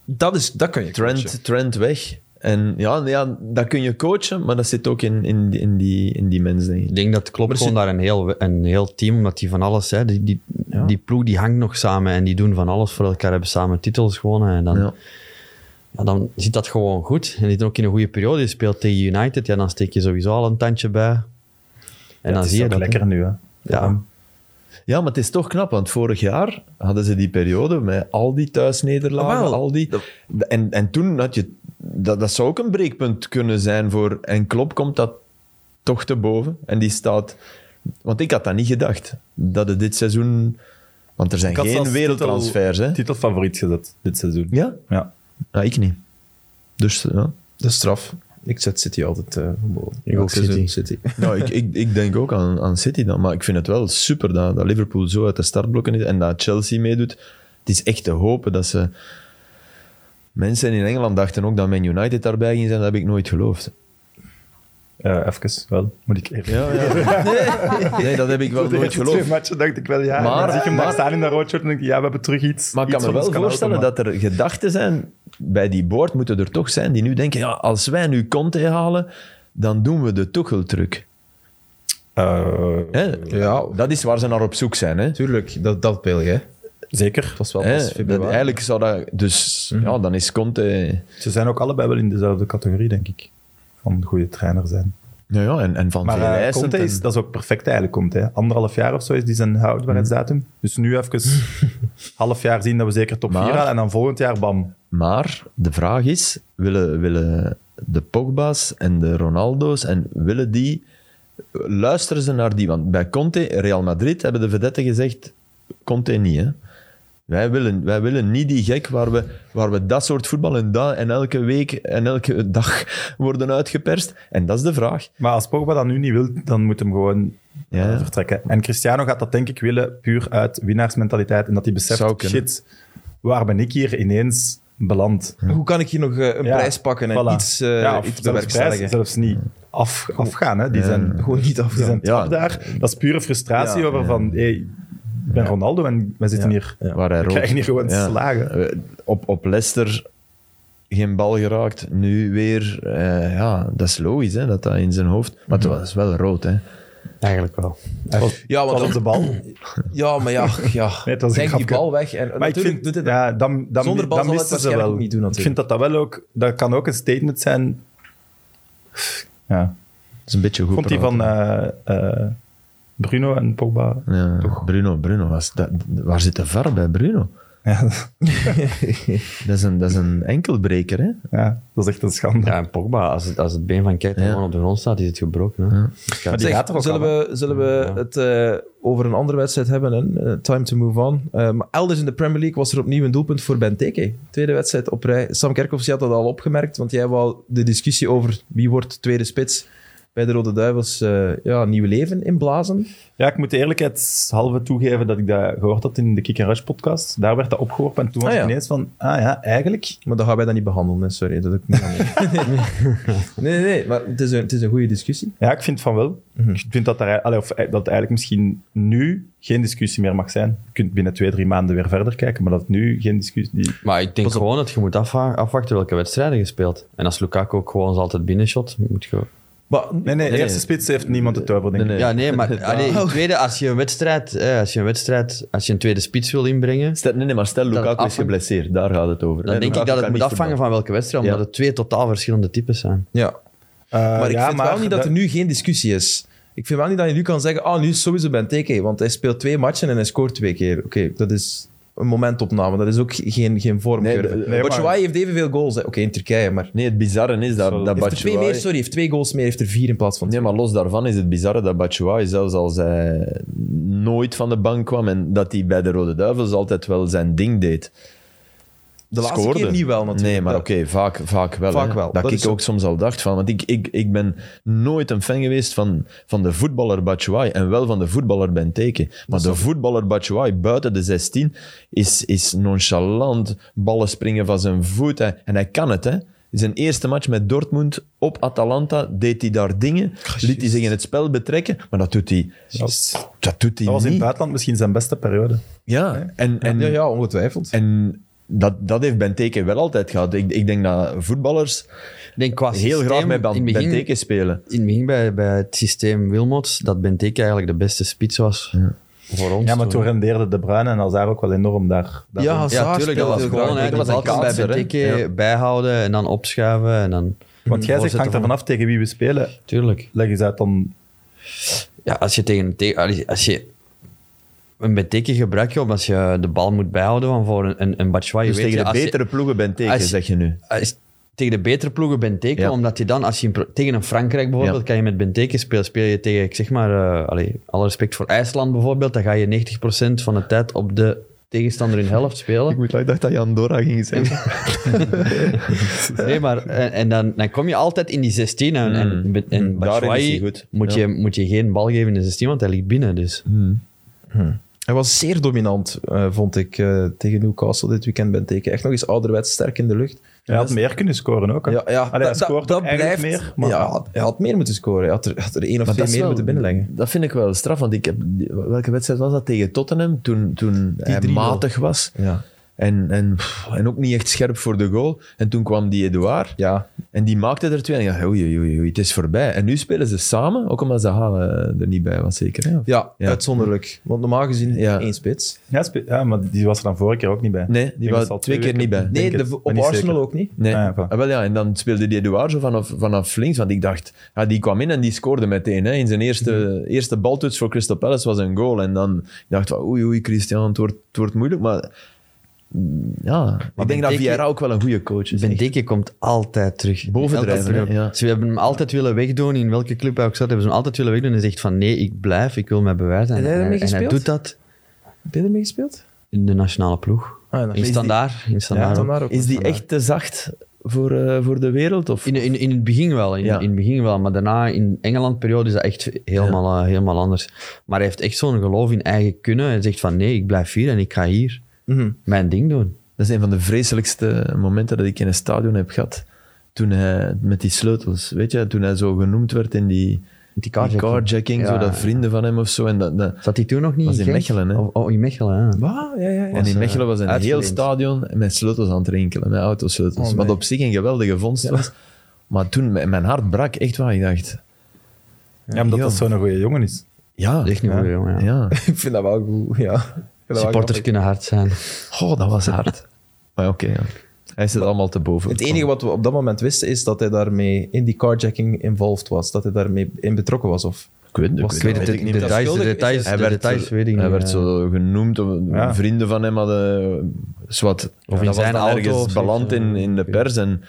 Speaker 1: Dat is... Dat kan je coachen.
Speaker 3: Trent, Trent weg. En ja, ja, dat kun je coachen, maar dat zit ook in, in, die- in, die, in die mens, denk
Speaker 4: Ik
Speaker 3: ik.
Speaker 4: denk dat Klopp
Speaker 1: Maar ze-
Speaker 4: gewoon daar een heel, een heel team, omdat die van alles... Hè, die, die, die ploeg die hangt nog samen en die doen van alles voor elkaar. Hebben samen titels gewonnen en dan...
Speaker 3: Ja.
Speaker 4: ja, dan zit dat gewoon goed. En dit ook in een goede periode. Je speelt tegen United, ja, dan steek je sowieso al een tandje bij. En
Speaker 2: Ja,
Speaker 4: dan
Speaker 2: het is
Speaker 4: zie je
Speaker 2: ook
Speaker 4: dat.
Speaker 2: lekker nu, hè.
Speaker 4: Ja.
Speaker 3: ja, maar het is toch knap, want vorig jaar hadden ze die periode met al die thuisnederlagen,
Speaker 1: Ah, wel.
Speaker 3: al die... En, en toen had je... Dat, dat zou ook een breekpunt kunnen zijn voor... En Klopp komt dat toch te boven. En die staat... Want ik had dat niet gedacht, dat het dit seizoen... Want er zijn
Speaker 2: Ik had
Speaker 3: geen
Speaker 2: zelfs
Speaker 3: wereldtransfers, hè?
Speaker 2: titel- Titelfavoriet gezet dit seizoen.
Speaker 3: Ja?
Speaker 2: Ja.
Speaker 3: ja? Ik niet. Dus ja...
Speaker 1: Dat is straf. Ik zet City altijd eh boven.
Speaker 4: Ik ook
Speaker 1: Elk seizoen
Speaker 4: City.
Speaker 1: City.
Speaker 3: Nou, ik, ik, ik denk ook aan, aan City dan. Maar ik vind het wel super dat, dat Liverpool zo uit de startblokken is en dat Chelsea meedoet. Het is echt te hopen dat ze... Mensen in Engeland dachten ook dat Man United daarbij ging zijn. Dat heb ik nooit geloofd.
Speaker 2: Eh, even, wel. Moet ik even...
Speaker 3: Ja, ja. Nee. nee, dat heb ik wel
Speaker 2: De
Speaker 3: nooit
Speaker 2: eerste
Speaker 3: geloofd.
Speaker 2: twee matchen dacht ik wel, ja.
Speaker 3: Maar-
Speaker 2: Maar, dan zie je hem daar
Speaker 3: maar-
Speaker 2: staan in dat rood shirt en denk ik, ja, we hebben terug iets.
Speaker 3: Maar ik
Speaker 2: iets
Speaker 3: kan me
Speaker 2: wat
Speaker 3: wel
Speaker 2: ons
Speaker 3: voorstellen
Speaker 2: helpen,
Speaker 3: dat er gedachten zijn bij die board moeten er toch zijn die nu denken, ja, als wij nu Conte halen, dan doen we de Tuchel-truc.
Speaker 2: Eh,
Speaker 3: Hè?
Speaker 1: Ja.
Speaker 3: Dat is waar ze naar op zoek zijn. Hè?
Speaker 1: Tuurlijk, dat, dat België. hè.
Speaker 2: zeker.
Speaker 1: Het was wel
Speaker 3: Hè?
Speaker 1: pas
Speaker 3: Dat,
Speaker 1: februari.
Speaker 3: eigenlijk zou dat... Dus ja, dan is Conte...
Speaker 2: Ze zijn ook allebei wel in dezelfde categorie, denk ik. Van goede trainer zijn.
Speaker 3: Ja, ja en, en van
Speaker 2: Maar
Speaker 3: veel
Speaker 2: eh,
Speaker 3: eisend
Speaker 2: Conte
Speaker 3: en-
Speaker 2: is, dat is ook perfect eigenlijk, Conte. Hè. Anderhalf jaar of zo is die zijn
Speaker 3: Hmm.
Speaker 2: houdbaarheidsdatum. Dus nu even half jaar zien dat we zeker top 4
Speaker 3: Maar-
Speaker 2: halen. En dan volgend jaar, bam.
Speaker 3: Maar de vraag is, willen, willen de Pogba's en de Ronaldo's en willen die... Luisteren ze naar die? Want bij Conte, Real Madrid, hebben de vedetten gezegd, Conte niet, hè? Wij willen, wij willen niet die gek waar we, waar we dat soort voetbal en, dat, en elke week en elke dag worden uitgeperst. En dat is de vraag.
Speaker 2: Maar als Pogba dat nu niet wil, dan moet hem gewoon eh,
Speaker 3: Ja.
Speaker 2: vertrekken. En Cristiano gaat dat denk ik willen, puur uit winnaarsmentaliteit. En dat hij beseft,
Speaker 3: Zou kunnen.
Speaker 2: shit, waar ben ik hier ineens beland?
Speaker 1: Hoe kan ik hier nog eh, een
Speaker 2: Ja,
Speaker 1: prijs pakken en
Speaker 2: voilà.
Speaker 1: iets, eh
Speaker 2: Ja, of
Speaker 1: iets
Speaker 2: zelfs, prijs,
Speaker 1: bewerkstelligen?
Speaker 2: zelfs niet af, afgaan. Hè. Die zijn
Speaker 1: Gewoon niet af.
Speaker 2: Die zijn
Speaker 3: Ja.
Speaker 2: trap daar. Dat is pure frustratie
Speaker 1: Ja,
Speaker 2: over van, hey, ik ben Ronaldo en wij zitten hier.
Speaker 3: Waar hij
Speaker 2: We
Speaker 3: rood-
Speaker 2: krijgen hier gewoon
Speaker 3: Ja.
Speaker 2: slagen.
Speaker 3: Eh, Op, op Leicester geen bal geraakt, nu weer. eh, ja, dat is logisch hè, dat dat in zijn hoofd. Maar het was wel rood. Hè.
Speaker 4: Eigenlijk wel.
Speaker 1: Ja,
Speaker 2: Pas
Speaker 1: want
Speaker 2: op de bal. Maar
Speaker 1: ja, maar ja, ja.
Speaker 2: Nee, het was een
Speaker 1: denk die
Speaker 2: grapje.
Speaker 1: bal weg. En
Speaker 2: ik
Speaker 1: natuurlijk
Speaker 2: vind,
Speaker 1: doet het
Speaker 2: ja, dan, dan,
Speaker 1: Zonder bal
Speaker 2: dan
Speaker 1: zal het
Speaker 2: misten ze
Speaker 1: waarschijnlijk
Speaker 2: wel.
Speaker 1: ook niet doen,
Speaker 2: ik
Speaker 1: natuurlijk.
Speaker 2: vind dat dat wel ook, dat kan ook een statement zijn. Ja.
Speaker 3: Dat is een beetje goed.
Speaker 2: Vond die
Speaker 3: praten.
Speaker 2: van eh, eh, Bruno en Pogba.
Speaker 3: Ja, Bruno, Bruno. Was dat, waar zit de var bij Bruno?
Speaker 2: Ja,
Speaker 3: Dat is een, dat is een enkelbreker. Hè?
Speaker 2: ja, dat is echt een schande.
Speaker 4: Ja, en Pogba, als het, als het been van Keita
Speaker 3: Ja.
Speaker 4: gewoon op de grond staat, is het gebroken. Hè?
Speaker 2: Maar die
Speaker 1: Zeg,
Speaker 2: gaat er ook
Speaker 1: zullen,
Speaker 2: al, hè?
Speaker 1: we, zullen we het eh, over een andere wedstrijd hebben? Hè? Eh, time to move on. Eh, maar elders in de Premier League was er opnieuw een doelpunt voor Benteke. Tweede wedstrijd op rij. Sam Kerkhoffs, je had dat al opgemerkt, want jij wou de discussie over wie wordt tweede spits bij de Rode Duivels eh, ja, nieuw leven inblazen.
Speaker 2: Ja, ik moet eerlijkheidshalve toegeven dat ik dat gehoord had in de Kick and Rush podcast. Daar werd dat opgeworpen en toen was
Speaker 1: Ah,
Speaker 2: ik
Speaker 1: ja.
Speaker 2: ineens van, ah ja, eigenlijk...
Speaker 1: Maar dat gaan wij dan niet behandelen, hè. sorry. Dat ik niet aan nee, nee, nee, maar het is een, het is een goede discussie.
Speaker 2: Ja, ik vind van wel. Ik vind dat, daar, allee, of, eh, dat eigenlijk misschien nu geen discussie meer mag zijn. Je kunt binnen twee, drie maanden weer verder kijken, maar dat nu geen discussie... Die,
Speaker 4: Maar ik denk gewoon dat je moet afwa- afwachten welke wedstrijden je speelt. En als Lukaku ook gewoon eens altijd binnenshot, moet je...
Speaker 1: Maar,
Speaker 2: nee, nee,
Speaker 3: Nee,
Speaker 2: eerste
Speaker 3: nee.
Speaker 2: spits heeft niemand het over, denk ik.
Speaker 3: Nee,
Speaker 4: Ja, nee, maar allee,
Speaker 1: Oh.
Speaker 4: tweede, als je een wedstrijd, eh, als je een wedstrijd, als je een tweede spits wil inbrengen,
Speaker 3: Stel, nee, nee, maar stel,
Speaker 4: het
Speaker 3: Lukaku is
Speaker 4: afhangt-
Speaker 3: geblesseerd. Daar gaat het over.
Speaker 4: dan
Speaker 3: Hè,
Speaker 4: denk ik
Speaker 3: Lukaku
Speaker 4: dat
Speaker 3: kan
Speaker 4: het moet
Speaker 3: niet
Speaker 4: afvangen van welke wedstrijd, omdat
Speaker 3: Ja.
Speaker 4: het twee totaal verschillende types zijn.
Speaker 1: ja.
Speaker 2: Eh,
Speaker 1: Maar ik
Speaker 2: ja,
Speaker 1: vind wel niet dat,
Speaker 2: dat-
Speaker 1: er nu geen discussie is. Ik vind wel niet dat je nu kan zeggen, ah, nu is sowieso Benteke, want hij speelt twee matchen en hij scoort twee keer. Oké, dat is een momentopname, dat is ook geen, geen vormcurve.
Speaker 3: Nee, de-
Speaker 2: nee,
Speaker 1: Batshuayi
Speaker 2: maar-
Speaker 1: heeft evenveel goals, hè. oké, in Turkije, maar...
Speaker 3: Nee, het bizarre is dat,
Speaker 2: Zo,
Speaker 3: dat
Speaker 1: Heeft er twee
Speaker 3: Batshuayi-
Speaker 1: meer, sorry, heeft twee goals meer, heeft er vier in plaats van
Speaker 3: Nee,
Speaker 1: twee.
Speaker 3: maar los daarvan is het bizarre dat Batshuayi, zelfs als hij nooit van de bank kwam en dat hij bij de Rode Duivels altijd wel zijn ding deed.
Speaker 1: De laatste keer niet wel, natuurlijk.
Speaker 3: Nee, maar
Speaker 1: Dat-
Speaker 3: oké, vaak, vaak wel.
Speaker 1: Vaak
Speaker 3: hè.
Speaker 1: wel,
Speaker 3: Dat,
Speaker 1: dat is
Speaker 3: ik
Speaker 1: zo.
Speaker 3: ook soms al dacht van, want ik, ik, ik ben nooit een fan geweest van, van de voetballer Batshuayi en wel van de voetballer Benteke. Maar de voetballer Batshuayi buiten de 16 is, is nonchalant, ballen springen van zijn voet hè. en hij kan het hè. Zijn eerste match met Dortmund op Atalanta deed hij daar dingen, liet hij zich in het spel betrekken, maar dat doet hij, dat doet hij
Speaker 2: dat was in het
Speaker 3: niet.
Speaker 2: buitenland misschien zijn beste periode.
Speaker 3: ja, en, en,
Speaker 1: ja, ja, ongetwijfeld.
Speaker 3: en dat, dat heeft Benteke wel altijd gehad. Ik, ik denk dat voetballers
Speaker 4: Ik denk qua
Speaker 3: heel
Speaker 4: systeem,
Speaker 3: graag met
Speaker 4: in het
Speaker 3: Ben-
Speaker 4: begin-
Speaker 3: Benteke spelen.
Speaker 4: In het begin bij, bij het systeem Wilmots, dat Benteke eigenlijk de beste spits was voor ons.
Speaker 2: Ja, maar toen rendeerde De Bruyne en Hazard ook wel enorm daar. daar
Speaker 1: Ja,
Speaker 4: Ja,
Speaker 1: Hazard
Speaker 4: tuurlijk, dat was
Speaker 1: speelde heel
Speaker 4: gewoon.
Speaker 1: graag.
Speaker 4: hè, Die
Speaker 3: Dat was een
Speaker 4: bal kan bij
Speaker 3: kaatser, hè.
Speaker 4: Benteke bijhouden en dan opschuiven en dan...
Speaker 2: Want jij zegt,
Speaker 4: Voorzitter
Speaker 2: hangt er
Speaker 4: van-
Speaker 2: vanaf tegen wie we spelen.
Speaker 4: Tuurlijk.
Speaker 2: Leg eens uit dan.
Speaker 4: Ja, als je tegen... tegen als je een Benteke gebruikt, joh, als je de bal moet bijhouden van voor een, een, een Batshuayi,
Speaker 3: Dus
Speaker 4: weet je,
Speaker 3: tegen de
Speaker 4: als je-
Speaker 3: betere ploegen Benteke,
Speaker 4: als je-
Speaker 3: zeg je nu.
Speaker 4: als- Eh, tegen de betere ploegen Benteke,
Speaker 3: Ja.
Speaker 4: omdat je dan, als je in pro- tegen een Frankrijk bijvoorbeeld,
Speaker 3: Ja.
Speaker 4: kan je met Benteke spelen. Speel je tegen, ik zeg maar, eh, allee, alle respect voor IJsland bijvoorbeeld, dan ga je 90% van de tijd op de tegenstander in helft spelen.
Speaker 3: moet ik dacht dat je Andorra ging zeggen.
Speaker 4: Nee, maar en, en dan, dan kom je altijd in die 16 en, en, en
Speaker 3: Mm. Daarin is
Speaker 4: Batshuayi
Speaker 3: hij goed.
Speaker 4: moet,
Speaker 3: Ja.
Speaker 4: je, moet je geen bal geven in de 16, want hij ligt binnen. Dus.
Speaker 1: Hij was zeer dominant, eh, vond ik, eh, tegen Newcastle dit weekend Benteke. Echt nog eens ouderwets, sterk in de lucht.
Speaker 2: Hij had meer kunnen scoren ook. hè.
Speaker 1: Ja, ja
Speaker 2: Allee, hij
Speaker 1: dat- dat-
Speaker 2: scoort
Speaker 1: dat
Speaker 2: eigenlijk
Speaker 1: blijft.
Speaker 2: meer. Maar
Speaker 1: ja, hij had meer moeten scoren. Hij had er, had er één of twee meer moeten binnenleggen.
Speaker 3: Dat vind ik wel straf, want ik heb, welke wedstrijd was dat tegen Tottenham? Toen, toen hij
Speaker 1: 3-0.
Speaker 3: matig was.
Speaker 1: Ja.
Speaker 3: En, en, pff, en ook niet echt scherp voor de goal. En toen kwam die Edouard.
Speaker 1: Ja,
Speaker 3: En die maakte er twee. En ik dacht, oei, oei, oei, oei, het is voorbij. En nu spelen ze samen, ook omdat Zaha eh, er niet bij was, zeker. hè? Of-
Speaker 1: ja,
Speaker 3: Ja.
Speaker 1: uitzonderlijk. Want normaal gezien
Speaker 3: Ja.
Speaker 1: één spits.
Speaker 2: Ja, spe- ja, maar die was er dan vorige keer ook niet bij.
Speaker 3: Nee,
Speaker 2: denk
Speaker 3: die
Speaker 2: dat ze al
Speaker 3: was twee
Speaker 2: twee
Speaker 3: keer niet bij.
Speaker 2: Denk
Speaker 1: Nee, de-
Speaker 2: het, maar
Speaker 1: op
Speaker 2: niet
Speaker 1: Arsenal
Speaker 2: zeker.
Speaker 1: ook niet.
Speaker 3: Nee.
Speaker 2: Ah, ja, voilà.
Speaker 3: Ah, wel, ja, en dan speelde die Eduard zo vanaf, vanaf links. Want ik dacht, ja, die kwam in en die scoorde meteen. Hè. In zijn eerste, eerste baltoets voor Crystal Palace was een goal. En dan ik dacht ik, oei, oei, Christian, het wordt, het wordt moeilijk. Maar mm, ja, ik denk dat
Speaker 4: Benteke-
Speaker 3: Vieira ook wel een goede coach is. echt.
Speaker 4: Benteke komt altijd terug.
Speaker 3: Bovendrijven,
Speaker 4: Altijd terug.
Speaker 3: hè, ja.
Speaker 4: Ze hebben hem altijd willen wegdoen, in welke club hij ook zat, hebben ze hem altijd willen wegdoen. En hij zegt van nee, ik blijf, ik wil mij bewijzen. En,
Speaker 1: Heb jij ermee
Speaker 4: en- en hij
Speaker 1: gespeeld?
Speaker 4: doet dat
Speaker 1: Heb je ermee gespeeld?
Speaker 4: in de nationale ploeg.
Speaker 1: Ah, ja,
Speaker 4: In
Speaker 1: is
Speaker 4: standaard. In
Speaker 1: die- Ja,
Speaker 4: standaard ook.
Speaker 1: Standaard ook.
Speaker 3: Is die echt te zacht voor, eh, voor de wereld? Of?
Speaker 4: In, in, in het begin wel, in,
Speaker 3: Ja.
Speaker 4: in het begin wel. Maar daarna, in Engeland-periode, is dat echt helemaal, eh, helemaal anders. Maar hij heeft echt zo'n geloof in eigen kunnen. Hij zegt van, nee, ik blijf hier en ik ga hier
Speaker 1: Mhm.
Speaker 4: mijn ding doen.
Speaker 3: Dat is een van de vreselijkste momenten dat ik in een stadion heb gehad. Toen hij met die sleutels, weet je, toen hij zo genoemd werd in die,
Speaker 4: Die
Speaker 3: die
Speaker 4: carjacking.
Speaker 3: carjacking,
Speaker 4: Ja,
Speaker 3: zo
Speaker 4: ja.
Speaker 3: dat vrienden van hem of zo. En dat, dat,
Speaker 4: Zat hij toen nog niet
Speaker 3: Was in
Speaker 4: Genk?
Speaker 3: Mechelen, hè?
Speaker 4: Oh, oh, in Mechelen, ja.
Speaker 1: Wauw, ja, ja, ja.
Speaker 3: En in Mechelen was een
Speaker 4: uitgeleend.
Speaker 3: heel stadion met sleutels aan het rinkelen, met autosleutels.
Speaker 1: Oh, nee.
Speaker 3: wat op zich een geweldige vondst was. Maar toen, mijn mijn hart brak echt waar. Ik dacht,
Speaker 2: Ja, omdat dat zo'n goede jongen is.
Speaker 3: ja,
Speaker 4: Echt niet
Speaker 2: Ja.
Speaker 4: meer, jongen. Ja.
Speaker 3: ja.
Speaker 1: Ik vind dat wel goed, ja. Ik vind dat wel
Speaker 4: Supporters
Speaker 1: grappig.
Speaker 4: kunnen hard zijn.
Speaker 3: Oh, dat was hard. Maar oké, ja. hij zit allemaal te boven.
Speaker 1: Het enige wat we op dat moment wisten is dat hij daarmee in die carjacking involved was. Dat hij daarmee in betrokken was. Of...
Speaker 3: Ik weet,
Speaker 1: was-
Speaker 4: Ik
Speaker 3: ik weet
Speaker 4: weet
Speaker 1: Ja, weet ik
Speaker 4: het, de
Speaker 1: niet. Dat
Speaker 4: details, de
Speaker 1: schuldig is
Speaker 4: details,
Speaker 1: het.
Speaker 3: Hij
Speaker 4: de
Speaker 3: werd,
Speaker 4: details
Speaker 3: zo,
Speaker 4: weet ik
Speaker 3: hij
Speaker 4: niet,
Speaker 3: werd
Speaker 4: ja.
Speaker 3: zo genoemd, of
Speaker 2: Ja.
Speaker 3: vrienden van hem hadden eh, zwart. Of
Speaker 4: in zijn auto of
Speaker 3: ergens
Speaker 4: zoiets,
Speaker 3: beland
Speaker 4: ja.
Speaker 3: in, in de pers. En,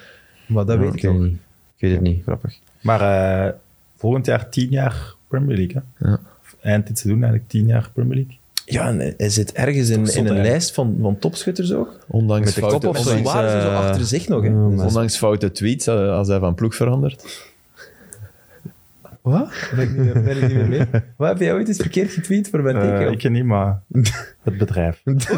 Speaker 1: Maar dat
Speaker 4: Ja,
Speaker 1: weet
Speaker 4: ik
Speaker 1: ik nog.
Speaker 4: niet. Ik weet het niet.
Speaker 1: Grappig.
Speaker 2: Maar eh, volgend jaar tien jaar Premier League. Hè?
Speaker 3: Ja.
Speaker 2: Eind dit seizoen eigenlijk tien jaar Premier League.
Speaker 1: Ja, en hij zit ergens in, in
Speaker 2: stond
Speaker 1: een
Speaker 2: hij.
Speaker 1: lijst van, van topschutters ook.
Speaker 3: ondanks
Speaker 1: Met de kop
Speaker 3: foute,
Speaker 1: op zijn
Speaker 3: ondanks,
Speaker 1: waar zijn zo
Speaker 3: eh,
Speaker 1: achter zich nog. Hè.
Speaker 4: ja, maar-
Speaker 3: ondanks foute tweets, eh, als hij van ploeg verandert.
Speaker 1: Wat? Ben ik, niet meer, ben ik niet meer mee? Wat, heb jij ooit eens verkeerd getweet voor mijn
Speaker 2: Eh,
Speaker 1: teken?
Speaker 2: ik ken niet, maar het bedrijf. Dat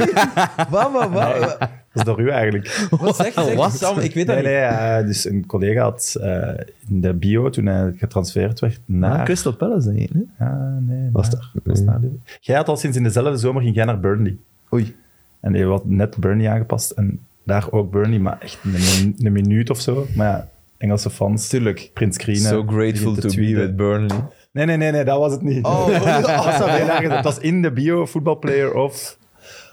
Speaker 1: Wat, wat, wat? Wat-
Speaker 2: is door u eigenlijk.
Speaker 1: Wat zeg je? Zeg, Sam, ik weet dat
Speaker 2: Nee,
Speaker 1: niet.
Speaker 2: nee, eh, dus een collega had eh, in de bio, toen hij getransfereerd werd,
Speaker 3: Ah,
Speaker 2: naar...
Speaker 3: Crystal Palace, denk ik. hè?
Speaker 2: Ah, nee,
Speaker 4: Was
Speaker 2: naar-
Speaker 4: dat-
Speaker 2: was
Speaker 4: nee.
Speaker 2: naar Liverpool. Jij had al sinds in dezelfde zomer, ging jij naar Burnley.
Speaker 1: Oei.
Speaker 2: En hij had net Burnley aangepast en daar ook Burnley, maar echt een, min- een minuut of zo. Maar ja, Engelse fans. Tuurlijk. Prins Green.
Speaker 3: So
Speaker 2: eh,
Speaker 3: grateful
Speaker 2: begint te
Speaker 3: to be
Speaker 2: tweeten.
Speaker 3: with Burnley.
Speaker 2: Nee, nee, nee, nee, dat was het niet.
Speaker 1: Oh, oh, oh.
Speaker 2: Dat was heel erg. Het was in de bio, voetbalplayer of...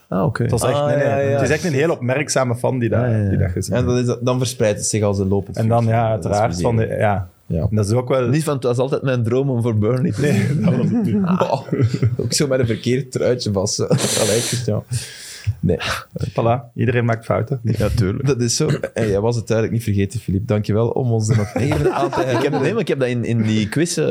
Speaker 3: Ah, oké.
Speaker 2: Het, was echt,
Speaker 1: Ah,
Speaker 2: nee, nee,
Speaker 1: ja, ja.
Speaker 2: het is echt een heel opmerkzame fan die dat,
Speaker 3: Ja, ja, ja.
Speaker 2: Die dat gezien
Speaker 1: En
Speaker 2: heeft.
Speaker 1: dat is, dan verspreidt het zich als een lopend
Speaker 2: En dan,
Speaker 1: vuur.
Speaker 2: ja,
Speaker 1: Dat is
Speaker 2: uiteraard, van de,
Speaker 1: miserie.
Speaker 2: ja.
Speaker 1: Ja.
Speaker 2: Dat is ook wel...
Speaker 3: Niet van, het was altijd mijn droom om voor Burnley te spelen.
Speaker 2: dat was het niet.
Speaker 1: Oh, ook zo met een verkeerd truitje vast. hè. Allee, Christian. Nee,
Speaker 2: Voilà, iedereen maakt fouten.
Speaker 3: Ja, tuurlijk.
Speaker 1: dat is zo. En jij was het duidelijk niet vergeten, Filip. Dankjewel om ons er nog even aan te
Speaker 3: Ik heb,
Speaker 1: herinneren.
Speaker 3: nee, maar ik heb dat in, in die quiz eh,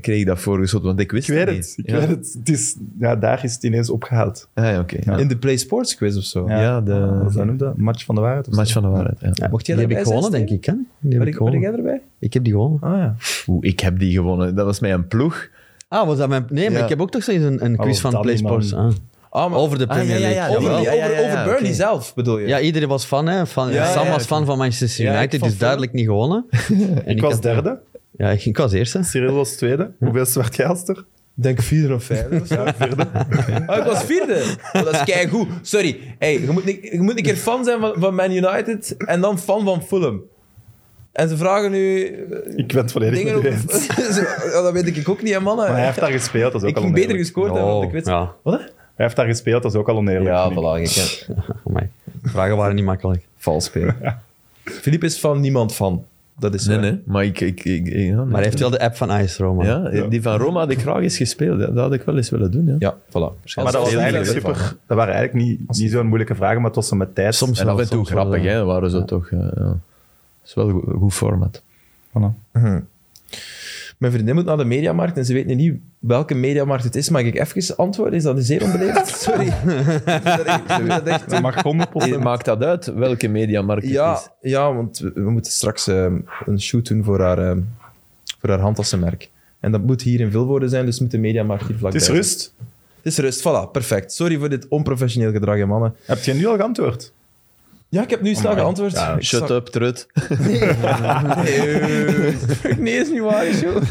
Speaker 3: kreeg ik dat voorgeschoten, want ik wist
Speaker 2: Ik weet
Speaker 3: het
Speaker 2: het,
Speaker 3: niet.
Speaker 2: ik
Speaker 3: ja.
Speaker 2: weet het. het is, ja, daar is het ineens opgehaald.
Speaker 3: Ah, ja, oké. Ja.
Speaker 1: In de Play Sports quiz of zo.
Speaker 3: Ja, de-
Speaker 2: Wat is dat noemd dat? Match van de waarheid? of zo?
Speaker 3: Match van de waarheid. Ja.
Speaker 1: Mocht jij
Speaker 4: die
Speaker 1: erbij
Speaker 4: heb ik
Speaker 1: zijn,
Speaker 4: gewonnen, denk
Speaker 1: Steven?
Speaker 4: ik. Hè? Die heb
Speaker 1: Ben,
Speaker 4: ik
Speaker 1: ik, ben
Speaker 4: gewonnen.
Speaker 1: jij erbij?
Speaker 4: Ik heb die gewonnen.
Speaker 1: Ah ja.
Speaker 3: Oeh, ik heb die gewonnen. Dat was met een ploeg.
Speaker 4: Ah, was dat mijn... Nee, maar
Speaker 3: Ja.
Speaker 4: ik heb ook toch zoiets een, een quiz
Speaker 2: Oh,
Speaker 4: van
Speaker 2: dat die
Speaker 4: PlaySports.
Speaker 2: man.
Speaker 4: Ah.
Speaker 1: Ah, maar-
Speaker 4: Over de Premier League.
Speaker 3: ja,
Speaker 1: over,
Speaker 3: jawel.
Speaker 1: over,
Speaker 3: Ja, ja, ja,
Speaker 1: over
Speaker 3: ja,
Speaker 1: Burnley
Speaker 3: oké.
Speaker 1: zelf, bedoel je?
Speaker 4: Ja, iedereen was fan, hè. Van,
Speaker 1: Ja,
Speaker 4: Sam
Speaker 1: ja,
Speaker 4: was
Speaker 1: ik-
Speaker 4: fan van Manchester
Speaker 1: Ja, ik
Speaker 4: United,
Speaker 1: van
Speaker 4: dus duidelijk niet gewonnen. en
Speaker 2: Ik was
Speaker 4: had-
Speaker 2: derde,
Speaker 4: Ja, ik, ik was eerste.
Speaker 2: Cyril was tweede. Hoeveel zwart jij als er?
Speaker 1: Ik denk vierde of vijfde of zo.
Speaker 2: Vierde.
Speaker 1: Ah, ik was vierde. Oh, dat is keigoed. Sorry. Hey, je, moet, niet- je moet een keer fan zijn van, van Man United en dan fan van Fulham. En ze vragen nu eh,
Speaker 2: Ik ben het volledig
Speaker 1: dingen
Speaker 2: met
Speaker 1: op...
Speaker 2: u eens.
Speaker 1: Ja, dat weet ik ook niet, hè, mannen.
Speaker 2: Maar hij heeft daar gespeeld, dat is
Speaker 1: ik
Speaker 2: ook al Oh.
Speaker 1: ging beter
Speaker 2: oneerlijk.
Speaker 1: gescoord hebben op de quiz.
Speaker 4: ja.
Speaker 1: Wat? hè?
Speaker 2: Hij heeft daar gespeeld, dat is ook al oneerlijk. vind ik.
Speaker 1: ik
Speaker 4: Oh, Amai. Vragen waren niet makkelijk.
Speaker 1: Vals spelen. Filip is van niemand van. Dat is
Speaker 3: Nee,
Speaker 1: waar.
Speaker 3: nee. Maar ik... ik, ik ik- ja, nee.
Speaker 4: Maar hij heeft wel de app van Ice Roma.
Speaker 3: Ja, die van Roma had ik graag eens gespeeld. Ja, Dat had ik wel eens willen doen, ja.
Speaker 1: Ja, voilà.
Speaker 2: Maar dat was
Speaker 3: Heel
Speaker 2: eigenlijk
Speaker 3: leuk,
Speaker 2: super. Dat waren eigenlijk niet, niet zo'n moeilijke vragen, maar het was zo met tijd.
Speaker 4: Soms
Speaker 3: En af en toe
Speaker 4: Soms wel,
Speaker 3: grappig,
Speaker 4: ja.
Speaker 3: hè. Waren ze toch... eh, ja. Het is wel een goed- goed format.
Speaker 2: Voilà.
Speaker 1: Mijn vriendin moet naar de mediamarkt en ze weet nu niet welke mediamarkt het is. Mag ik even antwoorden? Is dat een zeer onbeleefd? Sorry. Ik vind dat echt- ik vind dat echt
Speaker 2: Dat mag 100%.
Speaker 3: Eh, Maakt dat uit welke mediamarkt het is?
Speaker 1: Ja, ja want we, we moeten straks ehm, een shoot doen voor haar, ehm, voor haar handtassenmerk. En dat moet hier in Vilvoorde zijn, dus moet de mediamarkt hier vlakbij
Speaker 2: Het is
Speaker 1: zijn.
Speaker 2: rust.
Speaker 1: Het is rust, voilà, perfect. Sorry voor dit onprofessioneel gedrag, hè, mannen.
Speaker 2: Heb je nu al geantwoord?
Speaker 1: Ja, ik heb nu snel
Speaker 2: Amai.
Speaker 1: geantwoord.
Speaker 2: Ja,
Speaker 1: Ik
Speaker 3: Shut
Speaker 1: zag-
Speaker 3: up, trut.
Speaker 1: Nee, nee, is niet waar, joh.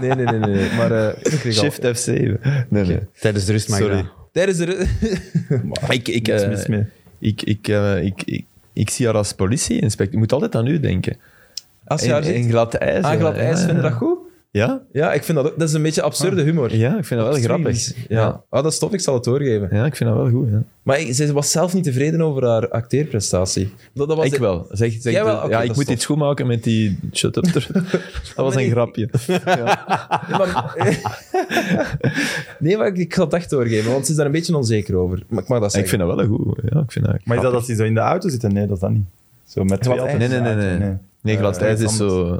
Speaker 1: Nee, nee, nee, nee. nee. Maar eh, ik kreeg al-
Speaker 3: Shift F7. Nee, nee.
Speaker 4: Tijdens de rust mag ik
Speaker 3: Sorry.
Speaker 4: dat.
Speaker 1: Tijdens de... ru-
Speaker 3: Maar ik, ik,
Speaker 2: Niks
Speaker 3: eh,
Speaker 2: mis mee.
Speaker 3: Ik, ik, eh, ik, ik, ik zie haar als politieinspecteur. Je moet altijd aan u denken.
Speaker 1: Als je
Speaker 3: En,
Speaker 1: daar zit,
Speaker 3: en glad ijs.
Speaker 1: aan
Speaker 3: ja.
Speaker 1: glad ijs,
Speaker 3: eh, Ja,
Speaker 1: vind je dat
Speaker 3: ja.
Speaker 1: goed?
Speaker 3: Ja?
Speaker 1: Ja, ik vind dat ook... Dat is een beetje absurde humor.
Speaker 3: Ja, ik vind dat wel grappig.
Speaker 1: Ja. Ah, dat is tof, ik zal het doorgeven.
Speaker 3: Ja, ik vind dat wel goed. Ja.
Speaker 1: Maar ik- ze was zelf niet tevreden over haar acteerprestatie. Dat, dat was
Speaker 3: Ik wel. Zeg, zeg
Speaker 1: Jij wel?
Speaker 3: de-
Speaker 1: Oké,
Speaker 3: ja,
Speaker 1: dat
Speaker 3: ik
Speaker 1: is
Speaker 3: moet
Speaker 1: tof.
Speaker 3: iets goedmaken met die shut-up. dat was een
Speaker 1: die-
Speaker 3: grapje.
Speaker 1: Nee, maar, nee, maar ik, ik zal het echt doorgeven, want ze is daar een beetje onzeker over. Maar ik mag dat
Speaker 3: Ik
Speaker 1: zeggen.
Speaker 3: vind dat wel een goed. Ja, ik vind dat
Speaker 2: Maar is dat als hij zo in de auto zit? Nee, dat is dat niet. Zo met twee
Speaker 1: Glad
Speaker 2: auto's
Speaker 3: Nee,
Speaker 2: in
Speaker 3: nee,
Speaker 2: de
Speaker 3: nee.
Speaker 2: auto,
Speaker 3: Nee, nee. glad
Speaker 2: Eh,
Speaker 3: ijs is
Speaker 2: anders.
Speaker 3: zo...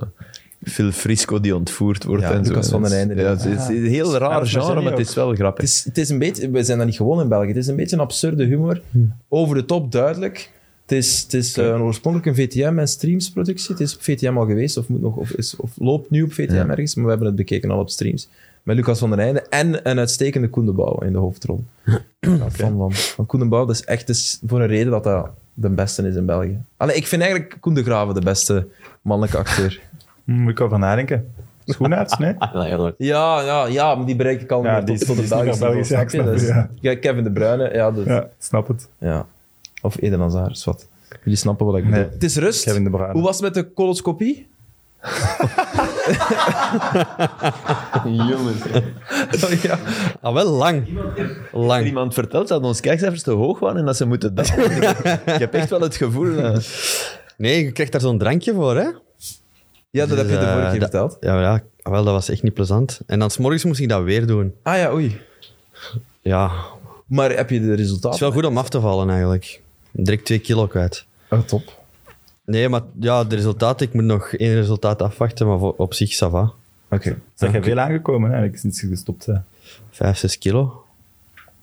Speaker 3: Phil Frisco die ontvoerd wordt
Speaker 1: Ja,
Speaker 3: en zo.
Speaker 1: Lucas van den Einde.
Speaker 3: Ja, het is het is een heel
Speaker 2: Ja,
Speaker 3: raar
Speaker 2: dat is maar
Speaker 3: genre, maar
Speaker 2: zo
Speaker 3: het
Speaker 2: niet
Speaker 3: is wel grappig.
Speaker 1: Het is, het is een beetje, we zijn dat niet gewoon in België. Het is een beetje een absurde humor.
Speaker 2: Hmm.
Speaker 1: Over de top, duidelijk. Het is, het is eh, oorspronkelijk een VTM en streams productie. Het is op VTM al geweest, of, moet nog, of, is, of loopt nu op VTM
Speaker 3: Ja.
Speaker 1: ergens. Maar we hebben het bekeken al op streams. Met Lucas van der Einde en een uitstekende Koen de Bouw in de hoofdrol. Ja, fan van. Want Koen de Bouw, dat is echt dat is voor een reden dat dat de beste is in België. Allee, ik vind eigenlijk Koen de Graven de beste mannelijke acteur.
Speaker 2: Hm, Moet ik over nadenken. Schoenarts, nee?
Speaker 1: Ja, ja, ja, maar die bereik ik al
Speaker 2: Ja,
Speaker 1: niet
Speaker 2: die
Speaker 1: meer
Speaker 2: is-
Speaker 1: tot, tot
Speaker 2: die
Speaker 1: de
Speaker 2: is niet
Speaker 1: Belgische
Speaker 2: meer
Speaker 1: niveau, snap
Speaker 2: Belgisch,
Speaker 1: je?
Speaker 2: ja, ik
Speaker 1: Dat is-
Speaker 2: snap
Speaker 1: Ja, Kevin De Bruyne, ja, dat-
Speaker 2: Ja, snap het.
Speaker 1: Ja. Of Eden Hazard, is wat. Jullie snappen wat ik bedoel.
Speaker 2: Nee.
Speaker 1: Het is rust.
Speaker 2: Kevin De Bruyne.
Speaker 1: Hoe was het met de coloscopie? Jongens. Oh, ja.
Speaker 4: Ah, wel lang.
Speaker 3: Er
Speaker 4: Lang.
Speaker 3: iemand vertelt dat onze kijkcijfers te hoog waren en dat ze moeten dat. ik heb echt wel het gevoel. dat-
Speaker 4: Nee, je krijgt daar zo'n drankje voor, hè?
Speaker 1: ja, dat heb je de vorige keer verteld.
Speaker 4: Ja, ja, ah, wel, dat was echt niet plezant. En dan 's morgens moest ik dat weer doen.
Speaker 1: Ah ja, oei.
Speaker 4: Ja, het
Speaker 1: Maar heb je de
Speaker 4: is
Speaker 1: resultaten?
Speaker 4: wel goed om af te vallen eigenlijk. Direct twee kilo kwijt.
Speaker 1: Oh, top.
Speaker 4: Nee, maar ja, de resultaten, ik moet nog één resultaat afwachten, maar voor- op zich, ça va.
Speaker 1: Oké.
Speaker 2: Zeg je veel aangekomen eigenlijk sinds je gestopt bent?
Speaker 4: Vijf, zes kilo,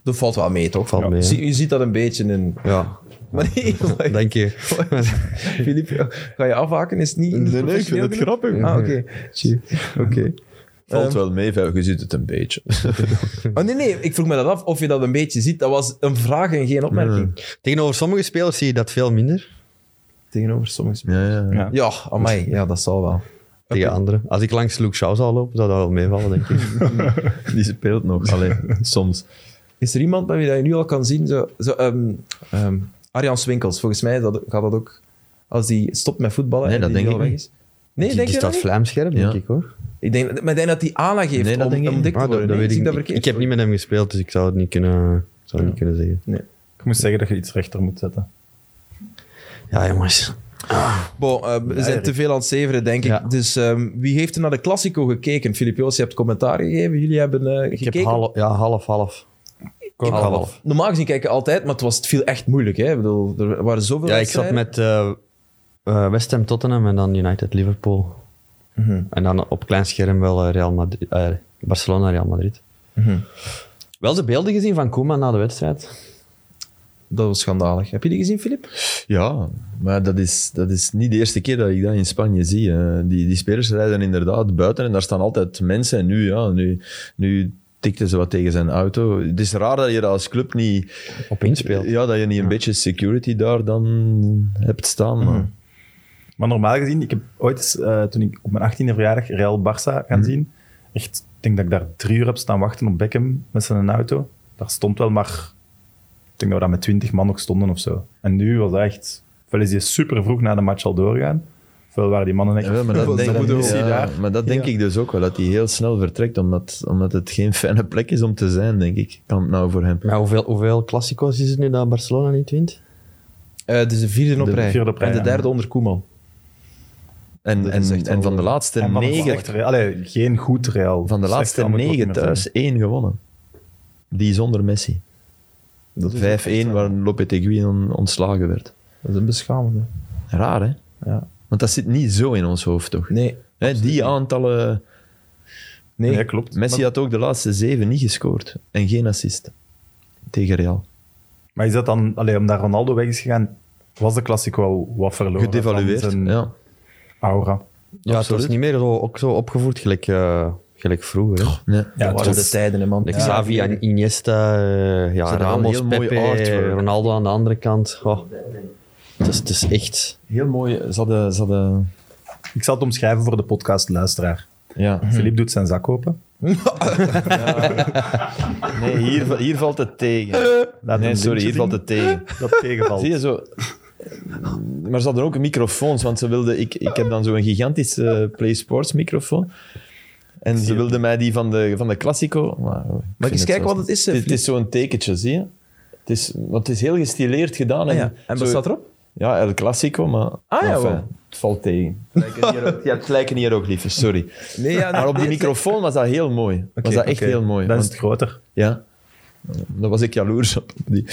Speaker 1: Dat valt wel mee, toch?
Speaker 4: valt mee. hè?
Speaker 1: Zie- je ziet dat een beetje in...
Speaker 4: Ja,
Speaker 1: Maar nee,
Speaker 4: dank je.
Speaker 1: Filip, oh, ga je afhaken? Is het niet...
Speaker 3: Nee, nee, ik vind het
Speaker 1: professioneel genoeg?
Speaker 3: grappig.
Speaker 1: Ah, oké. Tjie. Oké.
Speaker 3: Valt
Speaker 1: Ehm.
Speaker 3: wel mee, je ziet het een beetje.
Speaker 1: Oh, nee, nee, ik vroeg me dat af of je dat een beetje ziet. Dat was een vraag en geen opmerking.
Speaker 4: Tegenover sommige spelers zie je dat veel minder.
Speaker 1: Tegenover sommige spelers.
Speaker 3: Ja, ja.
Speaker 2: Ja.
Speaker 1: Ja, amai. Ja, dat zal wel.
Speaker 4: Tegen anderen. Als ik langs Luke Shaw zou lopen, zou dat wel meevallen, denk ik.
Speaker 3: Die speelt nog. Allee, soms.
Speaker 1: Is er iemand bij wie dat je nu al kan zien? Zo, zo, ehm, ehm, Arjan Swinkels, volgens mij dat, gaat dat ook... Als die stopt met voetballen
Speaker 3: Nee,
Speaker 1: en
Speaker 3: dat
Speaker 1: die nu
Speaker 3: denk
Speaker 1: al
Speaker 3: ik
Speaker 1: weg
Speaker 3: niet.
Speaker 1: is. Nee,
Speaker 4: die
Speaker 1: denk
Speaker 4: die
Speaker 1: je dat
Speaker 4: staat
Speaker 1: niet?
Speaker 4: vlamscherp, denk
Speaker 3: Ja.
Speaker 4: ik hoor. Ah,
Speaker 1: Ik denk, maar ik denk dat die aanleg heeft
Speaker 3: Nee, dat
Speaker 1: om,
Speaker 3: denk ik
Speaker 1: om dik te
Speaker 4: Maar
Speaker 1: worden. Nee, zie ik Ah, dat verkeerd?
Speaker 4: Ik heb niet met hem gespeeld, dus ik zou het niet kunnen, zou het niet kunnen zeggen.
Speaker 2: Ik moest zeggen dat je iets rechter moet zetten.
Speaker 4: Ja, jongens.
Speaker 1: Bon, eh, we zijn te veel aan het zeveren, denk ik.
Speaker 4: Ja.
Speaker 1: Dus ehm, wie heeft er naar de Classico gekeken? Filip Joos, je hebt commentaar gegeven. Jullie hebben eh,
Speaker 4: Ik
Speaker 1: gekeken.
Speaker 4: heb half, ja, half, half. half, half.
Speaker 1: Normaal gezien kijken altijd, maar het, was, het viel echt moeilijk. Hè? Ik bedoel, er waren zoveel
Speaker 4: Ja, ik zat
Speaker 1: wedstrijden.
Speaker 4: met eh, eh, West Ham Tottenham en dan United Liverpool. En dan op klein scherm wel eh, Real Madrid, eh, Barcelona Real Madrid. Wel de beelden gezien van Koeman na de wedstrijd.
Speaker 1: Dat was schandalig. Heb je die gezien, Filip?
Speaker 3: Ja, maar dat is, dat is niet de eerste keer dat ik dat in Spanje zie. hè. Die, die spelers rijden inderdaad buiten en daar staan altijd mensen. En nu, ja, nu, nu tikten ze wat tegen zijn auto. Het is raar dat je dat als club niet...
Speaker 4: Op inspeel.
Speaker 3: Ja, Mhm. dat je niet een beetje security daar dan hebt staan. Maar...
Speaker 2: Maar normaal gezien, ik heb ooit eens, eh, toen ik op mijn 18e verjaardag Real Barça
Speaker 3: Mhm.
Speaker 2: gaan zien, echt, ik denk dat ik daar drie uur heb staan wachten op Beckham met zijn auto. Daar stond wel maar, ik denk dat we daar met twintig man nog stonden of zo. En nu was dat echt, ofwel is die super vroeg na de match al doorgaan, ofwel waren die mannen echt...
Speaker 3: Ja, maar
Speaker 2: Ofwel
Speaker 3: dat denk,
Speaker 2: zijn
Speaker 3: ik,
Speaker 2: missie
Speaker 3: ja,
Speaker 2: daar.
Speaker 3: maar dat denk ik dus ook wel, dat hij heel snel vertrekt, omdat, omdat het geen fijne plek is om te zijn, denk ik. Kan het nou voor hem.
Speaker 4: Maar hoeveel, hoeveel klassico's is het nu dat Barcelona niet wint?
Speaker 1: Eh, dus de vierde op
Speaker 3: De
Speaker 1: rij.
Speaker 2: vierde op rij,
Speaker 1: en de
Speaker 2: ja.
Speaker 1: derde onder Koeman.
Speaker 3: En,
Speaker 1: Dat is
Speaker 3: en,
Speaker 1: echt wel-
Speaker 3: en van de laatste
Speaker 2: En van een
Speaker 3: negen,
Speaker 2: slecht Real- Allee, geen goed Real.
Speaker 3: van de
Speaker 2: Slecht
Speaker 3: laatste
Speaker 2: Real moet ik ook
Speaker 3: negen
Speaker 2: niet meer zeggen.
Speaker 3: thuis één gewonnen. Die zonder Messi. 5-1 waar Lopetegui on- ontslagen werd.
Speaker 1: Dat is een beschamende.
Speaker 3: Raar, hè?
Speaker 1: Ja.
Speaker 3: Want dat zit niet zo in ons hoofd, toch?
Speaker 1: Nee,
Speaker 3: Hè, die aantallen...
Speaker 1: nee.
Speaker 2: Nee, klopt.
Speaker 3: Messi had ook de laatste zeven niet gescoord. En geen assist. Tegen Real.
Speaker 2: Maar is dat dan, allee, omdat Ronaldo weg is gegaan, was de Classico al wat verloren?
Speaker 3: Gedevalueerd.
Speaker 2: van zijn
Speaker 3: Ja.
Speaker 2: aura.
Speaker 4: Ja, het was
Speaker 3: Absoluut.
Speaker 4: niet meer zo, ook zo opgevoerd gelijk, eh, gelijk vroeger. hè.
Speaker 3: Nee.
Speaker 2: Ja,
Speaker 1: dat
Speaker 2: het
Speaker 1: waren de
Speaker 2: was,
Speaker 1: tijden, hè, man.
Speaker 4: Like Xavi en Iniesta, eh, ja,
Speaker 3: hadden wel
Speaker 4: Ramos,
Speaker 3: heel mooi
Speaker 4: Pepe,
Speaker 3: artwork.
Speaker 4: Ronaldo aan de andere kant. Goh. Het, is, het is echt...
Speaker 3: Heel mooi. Ze hadden... Ze hadden
Speaker 2: ik zal het omschrijven voor de podcastluisteraar.
Speaker 3: ja.
Speaker 2: Philippe doet zijn zak open.
Speaker 3: Nee, hier, hier valt het tegen.
Speaker 2: Laat
Speaker 3: Nee,
Speaker 2: een
Speaker 3: sorry, hier
Speaker 2: lintje
Speaker 3: valt
Speaker 2: zien.
Speaker 3: het tegen.
Speaker 2: Dat tegenvalt.
Speaker 3: Zie je zo. Maar ze hadden ook microfoons, want ze wilden. Ik, ik heb dan zo'n gigantische eh, Play Sports microfoon. En ze wilden mij die van de, van de Classico. Maar, oh,
Speaker 1: Mag ik eens kijken wat het is? eh,
Speaker 3: Het, het
Speaker 1: Filip?
Speaker 3: is zo'n tekentje, zie je? Het is, want het is heel gestileerd gedaan.
Speaker 1: Ah, ja. En
Speaker 3: zo-
Speaker 1: wat staat erop?
Speaker 3: Ja, El Classico, maar.
Speaker 1: Ah, ja,
Speaker 3: enfin,
Speaker 1: wel.
Speaker 3: het valt tegen. Het lijken hier ook- ja, het lijken hier ook liever, sorry.
Speaker 1: Nee, ja,
Speaker 3: Maar op die
Speaker 1: nee,
Speaker 3: microfoon was dat heel mooi. was dat echt
Speaker 1: oké.
Speaker 3: heel mooi.
Speaker 2: Dan is
Speaker 3: want-
Speaker 2: het groter.
Speaker 3: ja. Daar was ik jaloers op. Die-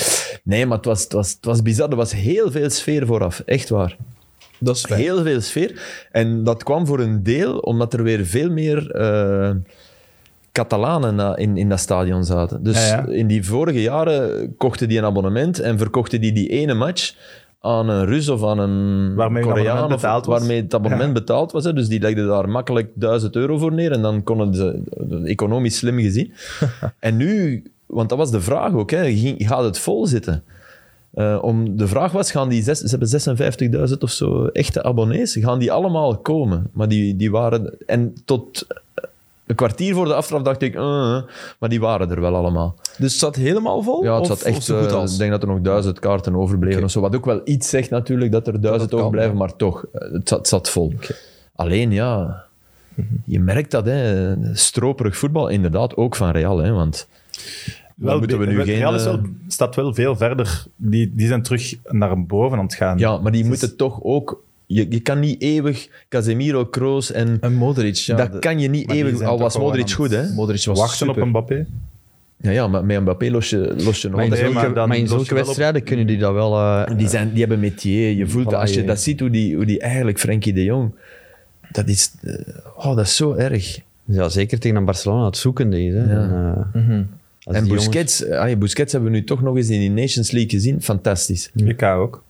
Speaker 3: Nee, maar het was, het, was, het was bizar. Er was heel veel sfeer vooraf. Echt waar.
Speaker 1: Dat is fijn.
Speaker 3: Heel veel sfeer. En dat kwam voor een deel omdat er weer veel meer eh, Catalanen na- in, in dat stadion zaten. Dus
Speaker 2: Ja, ja.
Speaker 3: in die vorige jaren kochten die een abonnement en verkochten die die ene match aan een Rus of aan een
Speaker 2: Waarmee hun
Speaker 3: Koreaan.
Speaker 2: abonnement
Speaker 3: of
Speaker 2: betaald was.
Speaker 3: Waarmee het abonnement betaald was. Hè. Dus die legden daar makkelijk 1000 euro voor neer en dan konden ze, economisch slim gezien. en nu, want dat was de vraag ook, hè, ging- gaat het vol zitten? Eh, om, de vraag was, gaan die zes, ze hebben 56.000 of zo echte abonnees, gaan die allemaal komen? Maar die, die waren... En tot een kwartier voor de aftrap dacht ik, eh, eh, maar die waren er wel allemaal.
Speaker 1: Dus het zat helemaal vol?
Speaker 3: Ja, het
Speaker 1: Of-
Speaker 3: zat
Speaker 1: of
Speaker 3: echt...
Speaker 1: zo goed
Speaker 3: eh,
Speaker 1: als?
Speaker 3: Ik denk dat er nog duizend kaarten overbleven
Speaker 1: Oké.
Speaker 3: of zo. Wat ook wel iets zegt natuurlijk, dat er duizend
Speaker 1: kan,
Speaker 3: overblijven, maar toch, eh, het zat, het zat vol. Alleen ja,
Speaker 2: Mhm.
Speaker 3: je merkt dat, hè, stroperig voetbal, inderdaad, ook van Real, hè, want...
Speaker 2: Wel,
Speaker 3: moeten we nu
Speaker 2: Real
Speaker 3: geen, eh,
Speaker 2: is wel, staat wel veel verder. Die, die zijn terug naar boven aan het gaan.
Speaker 3: Ja, maar die
Speaker 2: Het is-
Speaker 3: moeten toch ook... Je, je kan niet eeuwig Casemiro, Kroos en...
Speaker 1: En Modric, ja.
Speaker 3: dat
Speaker 1: de-
Speaker 3: kan je niet
Speaker 2: Maar die
Speaker 3: eeuwig...
Speaker 2: zijn
Speaker 3: Al
Speaker 2: toch
Speaker 3: was
Speaker 2: wel
Speaker 3: Modric
Speaker 2: aan
Speaker 3: goed, hè?
Speaker 2: het-
Speaker 1: Modric was
Speaker 2: wachten
Speaker 1: super.
Speaker 2: op een Mbappé.
Speaker 3: Ja, ja, maar met Mbappé los je, los je nog
Speaker 2: in
Speaker 3: altijd.
Speaker 2: Nee, maar
Speaker 4: maar,
Speaker 2: dan
Speaker 4: in
Speaker 2: los je
Speaker 4: zulke
Speaker 2: wel op-
Speaker 4: wedstrijden kunnen die dat wel... eh,
Speaker 3: Die, zijn, die hebben metier. Je voelt,
Speaker 4: Voilà,
Speaker 3: als je
Speaker 4: je-
Speaker 3: dat ziet, hoe die, hoe die eigenlijk, Frenkie de Jong... Dat is... eh, Oh, dat is zo erg.
Speaker 4: ja, zeker tegen een Barcelona, het zoekende is. Hè. En, eh, als
Speaker 3: en
Speaker 4: die
Speaker 3: Busquets, ah, ja, Busquets hebben we nu toch nog eens in die Nations League gezien. Fantastisch.
Speaker 2: WK ook.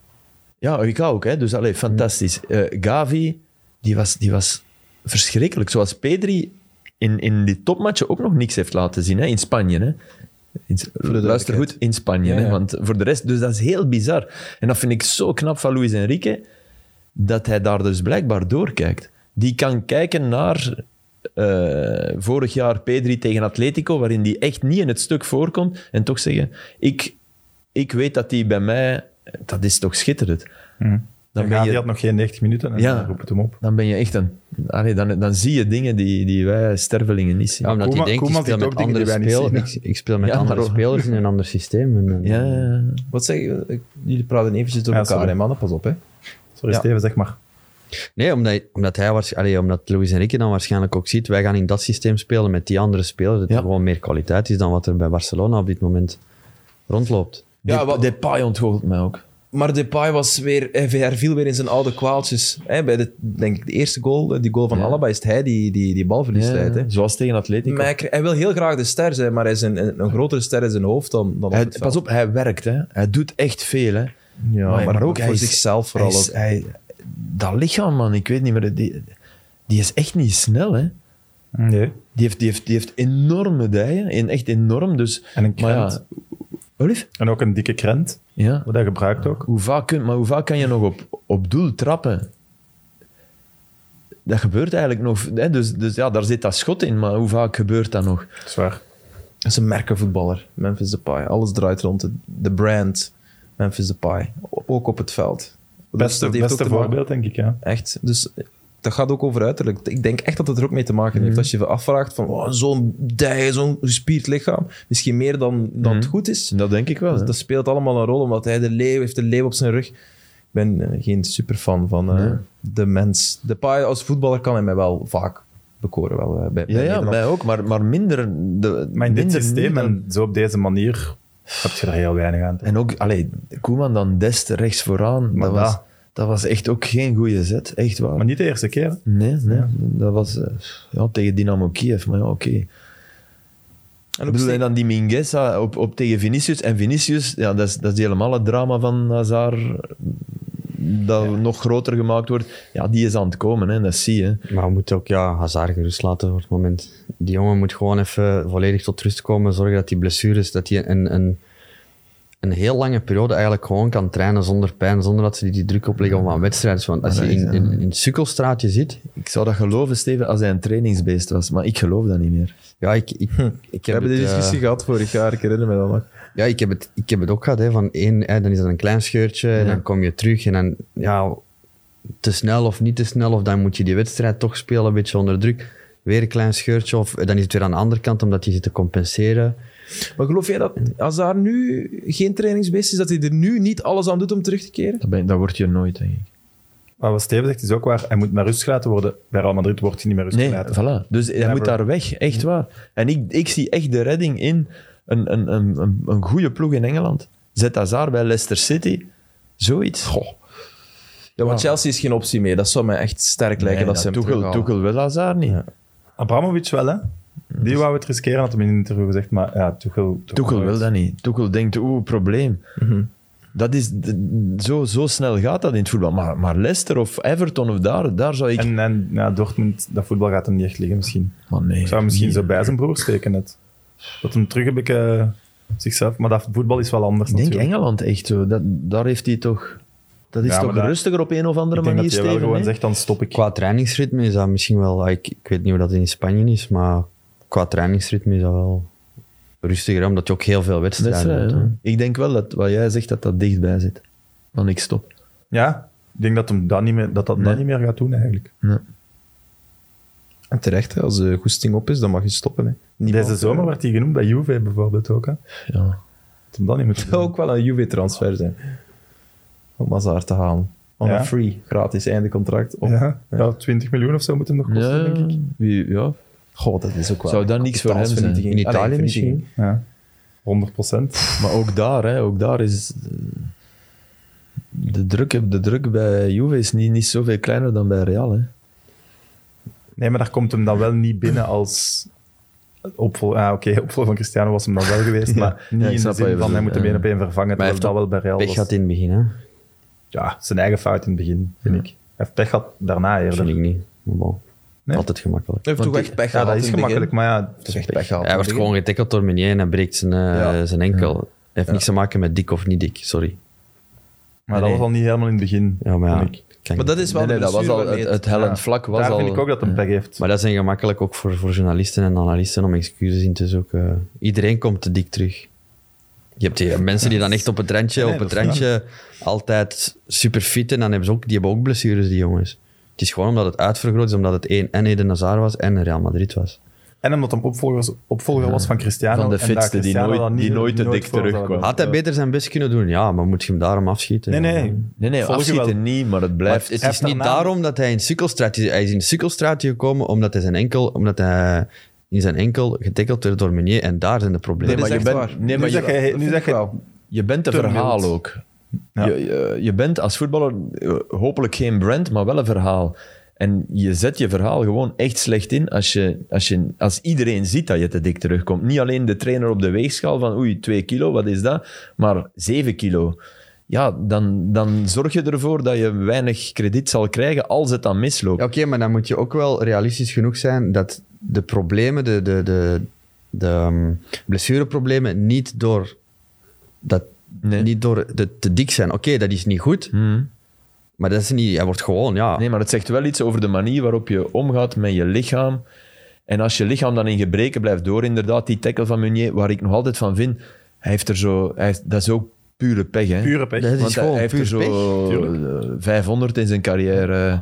Speaker 3: Ja, ik ook, hè. Dus allee, fantastisch.
Speaker 1: Mm.
Speaker 3: Eh, Gavi, die was, die was verschrikkelijk. Zoals Pedri in, in die topmatchen ook nog niks heeft laten zien, hè. In Spanje, hè. In, luister goed, in Spanje,
Speaker 1: Ja,
Speaker 3: hè.
Speaker 1: ja.
Speaker 3: Want voor de rest, dus dat is heel bizar. En dat vind ik zo knap van Luis Enrique, dat hij daar dus blijkbaar doorkijkt. Die kan kijken naar... eh, vorig jaar Pedri tegen Atletico, waarin die echt niet in het stuk voorkomt, en toch zeggen: Ik, ik weet dat die bij mij, dat is toch schitterend. Dan
Speaker 2: Dan
Speaker 3: ben,
Speaker 2: Die
Speaker 3: je,
Speaker 2: had nog geen 90 minuten en
Speaker 3: Ja.
Speaker 2: dan roept het hem op.
Speaker 3: dan ben je echt een... Allee, dan, dan zie je dingen die, die wij stervelingen niet zien.
Speaker 4: Ja, omdat
Speaker 2: Koeman-
Speaker 4: hij denkt,
Speaker 2: Koeman
Speaker 4: ik speel
Speaker 2: ziet
Speaker 4: met
Speaker 2: ook dingen die
Speaker 4: andere
Speaker 2: wij niet
Speaker 4: spelers.
Speaker 2: zien,
Speaker 4: Ik, ik speel met
Speaker 3: Ja,
Speaker 4: andere
Speaker 3: daarom.
Speaker 4: spelers in een ander systeem. En, eh, en-
Speaker 3: Ja, ja, ja.
Speaker 1: Wat zeg je? Ik- Jullie praten eventjes door
Speaker 2: Ja,
Speaker 1: elkaar,
Speaker 2: sorry.
Speaker 1: hè, mannen. Pas op, hè.
Speaker 2: Sorry
Speaker 1: Ja.
Speaker 2: Steven, zeg maar.
Speaker 4: Nee, omdat, hij- omdat, hij waarsch- allee, omdat Luis Enrique dan waarschijnlijk ook ziet, wij gaan in dat systeem spelen met die andere spelers. Dat
Speaker 3: Ja.
Speaker 4: er gewoon meer kwaliteit is dan wat er bij Barcelona op dit moment rondloopt.
Speaker 1: Ja,
Speaker 3: Dep-
Speaker 1: wat-
Speaker 3: Depay ontgoochelt mij ook.
Speaker 1: Maar Depay was weer, eh, hij herviel weer in zijn oude kwaaltjes. Hè, bij de, denk ik, de eerste goal, eh, die goal van
Speaker 3: Ja.
Speaker 1: Alaba, is het hij die, die, die bal verliest. leidt, hè.
Speaker 3: Zoals tegen Atletico.
Speaker 1: Maar hij, kri- hij wil heel graag de ster zijn, maar hij is een, een, een grotere ster in zijn hoofd dan, dan op
Speaker 3: Hij-
Speaker 1: het veld.
Speaker 3: pas op, hij werkt. Hè. Hij doet echt veel. Hè.
Speaker 1: Ja,
Speaker 2: Oh,
Speaker 1: maar, ook voor
Speaker 3: hij is-
Speaker 1: zichzelf
Speaker 3: hij
Speaker 1: vooral
Speaker 3: is-
Speaker 1: ook.
Speaker 3: hij- dat lichaam, man, ik weet niet meer. Die, die is echt niet snel. Hè.
Speaker 2: Nee.
Speaker 3: Die, heeft, die, heeft, die heeft enorme dijen. en Echt enorm. Dus,
Speaker 2: En een
Speaker 3: maar ja,
Speaker 2: krent.
Speaker 3: Olif?
Speaker 2: En ook een dikke krent,
Speaker 3: Ja.
Speaker 2: wat hij gebruikt ook.
Speaker 3: Hoe vaak kun, maar hoe vaak kan je nog op, op doel trappen? Dat gebeurt eigenlijk nog. Hè? Dus, dus ja, daar zit dat schot in, maar hoe vaak gebeurt dat nog?
Speaker 2: Zwaar.
Speaker 1: Dat is een merkenvoetballer, Memphis Depay. Alles draait rond de, de brand Memphis Depay. O- Ook op het veld. Dus
Speaker 2: Beste,
Speaker 1: dat heeft ook
Speaker 2: beste
Speaker 1: te maken-
Speaker 2: voorbeeld, denk ik. Ja.
Speaker 1: Echt. Dus dat gaat ook over uiterlijk. Ik denk echt dat het er ook mee te maken heeft. Als je je afvraagt van oh, zo'n dij, zo'n gespierd lichaam, misschien meer dan, dan het goed is.
Speaker 3: Dat denk ik wel. hè.
Speaker 1: Dat, dat speelt allemaal een rol, omdat hij de leeuw heeft, de leeuw op zijn rug. Ik ben eh, geen superfan van eh, de mens. De paai als voetballer kan hij mij wel vaak bekoren. Wel, eh, bij, bij
Speaker 3: ja, ja
Speaker 1: Nederland.
Speaker 3: mij ook, maar, maar minder. De,
Speaker 2: Maar in dit
Speaker 3: minder
Speaker 2: systeem
Speaker 3: nu dan-
Speaker 2: en zo op deze manier heb je er heel weinig aan.
Speaker 3: En ook, allee, Koeman dan Dest rechts vooraan.
Speaker 2: Maar
Speaker 3: Dat was,
Speaker 2: ja.
Speaker 3: dat was echt ook geen goede zet, echt waar.
Speaker 2: Maar niet de eerste keer. hè.
Speaker 3: Nee, nee, dat was eh, ja, tegen Dynamo Kiev, maar ja, oké.
Speaker 1: En
Speaker 3: Ik
Speaker 1: ook
Speaker 3: bedoel,
Speaker 1: steeds-
Speaker 3: en dan die Mingueza op, op tegen Vinicius. En Vinicius, ja, dat, is, dat is helemaal het drama van Hazard. Dat nog groter gemaakt wordt. Ja, die is aan het komen, hè, dat zie je.
Speaker 4: Maar we moeten ook ja, Hazard gerust laten voor het moment. Die jongen moet gewoon even volledig tot rust komen. Zorgen dat die blessures, dat hij een, een, een heel lange periode eigenlijk gewoon kan trainen zonder pijn, zonder dat ze die- die druk opleggen van wedstrijden. Want als je in, in, in het sukkelstraatje zit,
Speaker 3: Ik zou dat geloven, Steven, als hij een trainingsbeest was. Maar ik geloof dat niet meer.
Speaker 4: ja, ik, ik, ik
Speaker 1: We
Speaker 4: heb
Speaker 1: hebben
Speaker 4: het,
Speaker 1: die
Speaker 4: eh,
Speaker 1: discussie gehad vorig jaar, ik herinner me dat nog.
Speaker 4: Ja, ik heb het, ik heb het ook gehad. Hè, van één, hè, dan is dat een klein scheurtje en dan kom je terug. En dan ja, te snel of niet te snel, of dan moet je die wedstrijd toch spelen, een beetje onder druk. Weer een klein scheurtje, of eh, dan is het weer aan de andere kant omdat je zit te compenseren.
Speaker 1: Maar geloof jij dat als daar nu geen trainingsbeest is, dat hij er nu niet alles aan doet om terug te keren?
Speaker 3: Dat, ben, dat word je nooit, denk ik.
Speaker 2: Maar wat Steven zegt is ook waar. Hij moet naar rust gelaten worden. Bij Real Madrid wordt hij niet meer rust
Speaker 3: Nee,
Speaker 2: gelaten.
Speaker 3: voilà. Dus hij
Speaker 2: Never.
Speaker 3: moet daar weg, echt waar. En ik, ik zie echt de redding in een, een, een, een, een goede ploeg in Engeland. Zet Hazard bij Leicester City. Zoiets. Goh,
Speaker 1: Ja,
Speaker 2: Ah.
Speaker 1: want Chelsea is geen optie meer. Dat zou mij echt sterk lijken dat, ze hem
Speaker 3: Tuchel,
Speaker 1: terughalen.
Speaker 3: Tuchel wil Hazard niet.
Speaker 2: Abramovic wel, hè? Die wou het riskeren, had hem in een interview gezegd. Maar ja, Dus- Tuchel...
Speaker 3: Tuchel wil dat niet. Tuchel denkt, oeh, probleem.
Speaker 2: Mhm.
Speaker 3: Dat is, d- zo, zo snel gaat dat in het voetbal. Maar, maar Leicester of Everton of daar, daar zou ik...
Speaker 2: En, en ja, Dortmund, dat voetbal gaat hem niet echt liggen misschien.
Speaker 3: Maar nee,
Speaker 2: Ik zou hem misschien
Speaker 3: niet.
Speaker 2: zo bij zijn broer steken net. Dat hem terug heb ik eh, zichzelf... Maar dat voetbal is wel anders
Speaker 3: Ik denk
Speaker 2: natuurlijk.
Speaker 3: Engeland echt zo. Dat, daar heeft hij toch... Dat is
Speaker 2: Ja,
Speaker 3: toch
Speaker 2: maar dat-
Speaker 3: rustiger op een of andere
Speaker 2: Ik denk
Speaker 3: manier,
Speaker 2: dat hij wel
Speaker 3: Steven.
Speaker 2: gewoon
Speaker 3: hè?
Speaker 2: zegt, dan stop ik.
Speaker 4: Qua trainingsritme is dat misschien wel... ah, Ik, ik weet niet hoe dat in Spanje is, maar qua trainingsritme is dat wel rustiger, hè, omdat je ook heel veel
Speaker 3: Dat is
Speaker 4: wedstrijden
Speaker 3: waar,
Speaker 4: hebt.
Speaker 3: ja.
Speaker 4: hè.
Speaker 3: Ik denk wel dat wat jij zegt, dat dat dichtbij zit. Van ik stop.
Speaker 2: Ja, ik denk dat hem dat niet meer, dat, dat,
Speaker 3: Nee.
Speaker 2: dat niet meer gaat doen eigenlijk.
Speaker 1: En terecht, hè, als de goesting op is, dan mag je stoppen. Hè. Niemand-
Speaker 2: Deze zomer werd hij genoemd bij Juve bijvoorbeeld ook. Hè.
Speaker 3: Ja.
Speaker 2: Dat hem dat niet moet
Speaker 1: Het
Speaker 2: doen.
Speaker 1: zou ook wel een Juve-transfer zijn. Om Hazard te halen. On
Speaker 2: Ja.
Speaker 1: a free, gratis, einde contract. Op.
Speaker 2: Ja, ja, 20 miljoen of zo moet hem nog kosten,
Speaker 3: Ja,
Speaker 2: denk ik.
Speaker 3: wie, ja.
Speaker 1: Goh, dat is ook wel...
Speaker 3: Zou dat niks voor hem zijn?
Speaker 1: kapitaalsvernietiging.
Speaker 4: In Italië
Speaker 1: Allee, vernietiging.
Speaker 4: misschien?
Speaker 2: Ja, 100 procent.
Speaker 3: Maar ook daar, hè, ook daar is... eh, De druk, de druk bij Juve is niet, niet zoveel kleiner dan bij Real. Hè.
Speaker 2: Nee, maar daar komt hem dan wel niet binnen als opvolger. Ah, oké, opvolger van Cristiano was hem dan wel geweest, maar niet
Speaker 3: Ja, ik
Speaker 2: in de
Speaker 3: snap wat je
Speaker 2: zin van
Speaker 3: bedoelt,
Speaker 2: hij moet hem
Speaker 3: ja.
Speaker 2: één op één vervangen,
Speaker 4: hij
Speaker 2: terwijl dat wel bij Real
Speaker 4: Pech
Speaker 2: was.
Speaker 4: had in het begin, hè?
Speaker 2: Ja, zijn eigen fout in het begin, vind ik. Hij heeft pech gehad daarna
Speaker 4: Dat vind
Speaker 2: eerder.
Speaker 4: ik niet. Maar bon,
Speaker 2: Nee?
Speaker 4: Altijd gemakkelijk.
Speaker 1: Hij heeft
Speaker 3: Want
Speaker 1: toch
Speaker 3: die-
Speaker 1: echt pech
Speaker 2: Ja,
Speaker 1: gehad
Speaker 2: dat
Speaker 1: in
Speaker 2: is
Speaker 1: het begin.
Speaker 2: gemakkelijk, maar ja,
Speaker 1: Hij heeft echt pech gehad.
Speaker 4: Hij wordt gewoon getackeld door Meunier en hij breekt zijn, eh,
Speaker 1: Ja.
Speaker 4: zijn enkel. Hij heeft niks te maken met dik of niet dik, sorry.
Speaker 2: maar dat
Speaker 4: Nee.
Speaker 2: was al niet helemaal in het begin.
Speaker 4: Ja, maar ja,
Speaker 2: vind ik.
Speaker 1: Maar
Speaker 4: kan niet.
Speaker 1: dat is wel
Speaker 3: Nee, nee,
Speaker 1: de
Speaker 3: dat was al,
Speaker 1: blessure
Speaker 3: het,
Speaker 1: waarmee
Speaker 3: het hellend
Speaker 2: Ja,
Speaker 3: vlak was
Speaker 2: Daar
Speaker 3: al...
Speaker 2: vind ik ook dat hem pech heeft.
Speaker 4: maar dat zijn gemakkelijk ook voor, voor journalisten en analisten om excuses in te zoeken. Iedereen komt te dik terug. Je hebt hier mensen die dan echt op het randje,
Speaker 2: Nee,
Speaker 4: op het
Speaker 2: dat is
Speaker 4: randje altijd super fit en dan hebben ze ook, die hebben ook blessures, die jongens. Het is gewoon omdat het uitvergroot is, omdat het één en Eden Hazard was en Real Madrid was.
Speaker 2: En omdat hem opvolger, opvolger was van Cristiano.
Speaker 3: Van de
Speaker 2: en
Speaker 3: fitste
Speaker 2: daar
Speaker 3: die
Speaker 2: Cristiano
Speaker 3: nooit-
Speaker 2: dan niet-
Speaker 3: die nooit te dik
Speaker 2: voor zou
Speaker 3: terugkwam.
Speaker 2: hebben.
Speaker 4: Had hij beter zijn best kunnen doen? Ja, maar moet je hem daarom afschieten?
Speaker 2: Nee,
Speaker 4: Ja.
Speaker 2: nee.
Speaker 3: Nee, nee,
Speaker 2: Volg je wel.
Speaker 3: afschieten niet, maar het
Speaker 4: Maar
Speaker 3: blijft...
Speaker 4: het
Speaker 2: hij
Speaker 4: is
Speaker 2: heeft
Speaker 4: niet
Speaker 2: daarna-
Speaker 4: daarom dat hij in sukkelstraat is. Hij is in sukkelstraat gekomen omdat hij zijn enkel, omdat hij in zijn enkel getikkeld werd door Meunier en daar zijn de problemen.
Speaker 1: Dat
Speaker 3: maar
Speaker 1: is
Speaker 3: je
Speaker 1: echt
Speaker 3: bent-
Speaker 1: waar.
Speaker 3: nee, maar
Speaker 2: nu
Speaker 3: je-
Speaker 2: zeg je,
Speaker 1: Dat
Speaker 2: nu
Speaker 1: vind
Speaker 2: zeg
Speaker 1: ik
Speaker 2: je
Speaker 1: wel.
Speaker 3: Je bent een
Speaker 2: Te
Speaker 3: verhaal
Speaker 2: mild.
Speaker 3: ook.
Speaker 2: Ja.
Speaker 3: Je, je, je bent als voetballer eh, hopelijk geen brand, maar wel een verhaal. En je zet je verhaal gewoon echt slecht in als, je, als, je, als iedereen ziet dat je te dik terugkomt. Niet alleen de trainer op de weegschaal van oei, 2 kilo, wat is dat? Maar 7 kilo. Ja, dan, dan zorg je ervoor dat je weinig krediet zal krijgen als het dan misloopt.
Speaker 4: Ja, Oké, maar dan moet je ook wel realistisch genoeg zijn dat de problemen, de, de, de, de ehm, blessureproblemen, niet door, dat,
Speaker 3: Nee.
Speaker 4: niet door de, te dik zijn. Oké, dat is niet goed,
Speaker 3: Hmm.
Speaker 4: maar dat is niet, hij wordt gewoon, ja.
Speaker 3: Nee, maar het zegt wel iets over de manier waarop je omgaat met je lichaam. En als je lichaam dan in gebreken blijft door, inderdaad, die tackle van Meunier, waar ik nog altijd van vind, hij heeft er zo... Hij heeft, dat is ook pure pech, hè?
Speaker 2: pure pech.
Speaker 4: Dat is
Speaker 3: Want hij,
Speaker 4: gewoon
Speaker 3: hij heeft er
Speaker 4: puur
Speaker 3: zo eh, 500 in zijn carrière.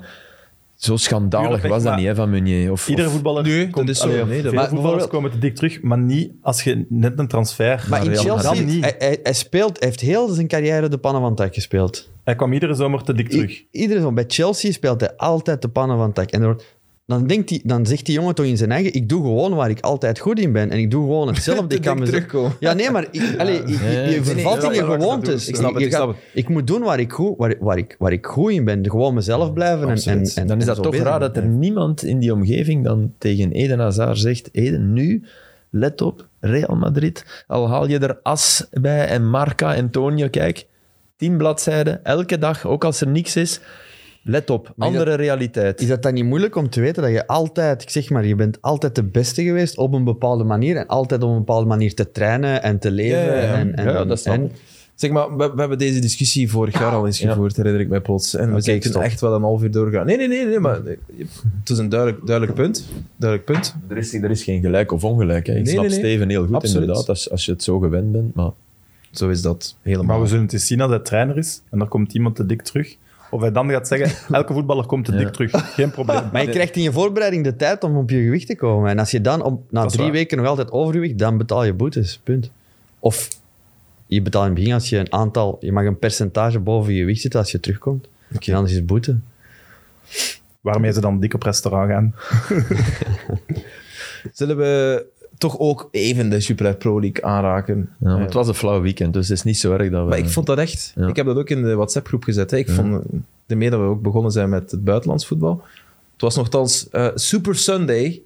Speaker 3: Zo
Speaker 2: Pure
Speaker 3: schandalig
Speaker 2: pech,
Speaker 3: was dat
Speaker 2: maar
Speaker 3: niet, hè, van Meunier. Of,
Speaker 2: Iedere
Speaker 3: of-
Speaker 2: voetballer
Speaker 1: Nee, dat
Speaker 2: komt,
Speaker 1: is zo.
Speaker 2: allee,
Speaker 1: Nee, dat-
Speaker 2: veel
Speaker 1: maar
Speaker 2: voetballers
Speaker 1: bijvoorbeeld-
Speaker 2: komen te dik terug, maar niet als je net een transfer...
Speaker 4: maar in
Speaker 3: Real
Speaker 4: Chelsea,
Speaker 2: Madrid- Dan niet.
Speaker 4: hij, hij, hij speelt, hij heeft heel zijn carrière de pannen van het dak gespeeld.
Speaker 2: Hij kwam iedere zomer te dik terug.
Speaker 4: I- iedere zomer. Bij Chelsea speelt hij altijd de pannen van het dak. En er wordt- dan, denkt die, dan zegt die jongen toch in zijn eigen... Ik doe gewoon waar ik altijd goed in ben. En ik doe gewoon hetzelfde.
Speaker 1: Te
Speaker 4: ik kan
Speaker 1: dik
Speaker 4: me zo-
Speaker 1: terugkomen.
Speaker 4: Ja, nee, maar ik, allee, ik- je-
Speaker 3: Nee, nee,
Speaker 4: je
Speaker 3: nee,
Speaker 4: vervalt
Speaker 1: nee,
Speaker 4: in
Speaker 1: ik
Speaker 4: je
Speaker 1: snap wat je
Speaker 4: gewoontes.
Speaker 1: bedoelt. Ik snap het,
Speaker 4: je
Speaker 1: ik
Speaker 4: gaat-
Speaker 1: snap het.
Speaker 4: ik moet doen waar ik goed, waar, waar ik, waar ik goed in ben. Gewoon mezelf blijven. En, en, en,
Speaker 3: dan is
Speaker 4: en
Speaker 3: dat
Speaker 4: zo
Speaker 3: toch
Speaker 4: bezig
Speaker 3: raar
Speaker 4: zijn.
Speaker 3: dat er niemand in die omgeving dan tegen Eden Hazard zegt... Eden, nu, let op, Real Madrid. Al haal je er As bij en Marca en Tonio, kijk. Tien bladzijden, elke dag, ook als er niks is. Let op,
Speaker 4: is
Speaker 3: andere
Speaker 4: dat-
Speaker 3: realiteit.
Speaker 4: Is dat dan niet moeilijk om te weten dat je altijd, ik zeg maar, je bent altijd de beste geweest op een bepaalde manier en altijd op een bepaalde manier te trainen en te leven?
Speaker 1: Ja, ja, ja.
Speaker 4: En, en,
Speaker 3: Ja, ja, dat snap
Speaker 4: en-
Speaker 3: ik.
Speaker 1: Zeg maar, we, we hebben deze discussie vorig jaar al eens
Speaker 3: Ja.
Speaker 1: gevoerd, herinner ik mij plots. En we zijn toen
Speaker 4: stop.
Speaker 1: echt wel een half uur doorgaan. Nee, nee, nee, nee maar eh, het is een duidelijk, duidelijk punt. Duidelijk punt.
Speaker 3: Er is, er is geen gelijk of ongelijk. Hè. Ik
Speaker 1: Nee,
Speaker 3: snap
Speaker 1: nee, nee.
Speaker 3: Steven heel goed,
Speaker 1: Absoluut.
Speaker 3: inderdaad, als, als je het zo gewend bent. Maar
Speaker 1: Zo is dat helemaal.
Speaker 2: Maar we zullen het eens zien als hij trainer is en er komt iemand te dik terug. Of hij dan gaat zeggen, elke voetballer komt te dik terug. Geen probleem.
Speaker 4: Maar je krijgt in je voorbereiding de tijd om op je gewicht te komen. En als je dan op, na
Speaker 2: Dat is
Speaker 4: drie
Speaker 2: waar.
Speaker 4: weken nog altijd overgewicht, dan betaal je boetes. Punt. Of je betaalt in het begin als je een aantal, je mag een percentage boven je gewicht zitten als je terugkomt. En anders is het boete.
Speaker 2: Waarmee ze dan dik op restaurant gaan.
Speaker 1: Zullen we toch ook even de Super League Pro League aanraken?
Speaker 3: ja, maar het was een flauw weekend, dus het is niet zo erg dat we...
Speaker 1: Maar ik vond dat echt.
Speaker 3: Ja.
Speaker 1: Ik heb dat ook in de WhatsApp-groep gezet. Hè. Ik vond, de meer dat we ook begonnen zijn met het buitenlands voetbal. Het was nogthans eh, Super Sunday.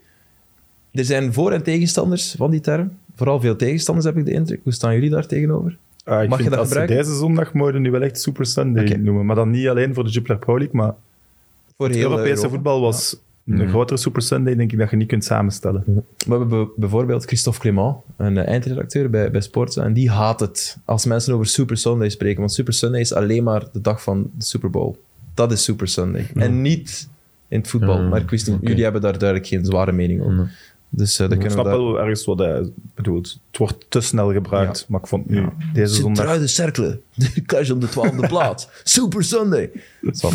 Speaker 1: Er zijn voor- en tegenstanders van die term. Vooral veel tegenstanders, heb ik de indruk. Hoe staan jullie daar tegenover?
Speaker 2: Eh, ik
Speaker 1: Mag je
Speaker 2: vind
Speaker 1: dat
Speaker 2: als ze
Speaker 1: gebruiken?
Speaker 2: deze zondag mogen nu wel echt Super Sunday noemen. Maar dan niet alleen voor de Jupiler Pro League, maar
Speaker 1: Voor
Speaker 2: het
Speaker 1: heel
Speaker 3: eh,
Speaker 2: Europese
Speaker 1: Europa.
Speaker 2: voetbal was
Speaker 3: Mhm.
Speaker 2: een grotere Super Sunday, denk ik, dat je niet kunt samenstellen.
Speaker 1: We hebben be- bijvoorbeeld Christophe Clément, een eh, eindredacteur bij, bij Sportza, en die haat het als mensen over Super Sunday spreken. Want Super Sunday is alleen maar de dag van de Super Bowl. Dat is Super Sunday. En niet in het voetbal.
Speaker 3: Ja,
Speaker 1: maar ik wist niet,
Speaker 3: oké.
Speaker 1: jullie hebben daar duidelijk geen zware mening over. Dus eh dat
Speaker 2: Ik
Speaker 1: kunnen
Speaker 2: snap
Speaker 1: we daar...
Speaker 2: wel ergens wat hij bedoelt. Het wordt te snel gebruikt, maar ik vond nu deze zondag...
Speaker 1: Centruide cirkelen. De clash om de twaalfde plaats. Super Sunday. Zwat.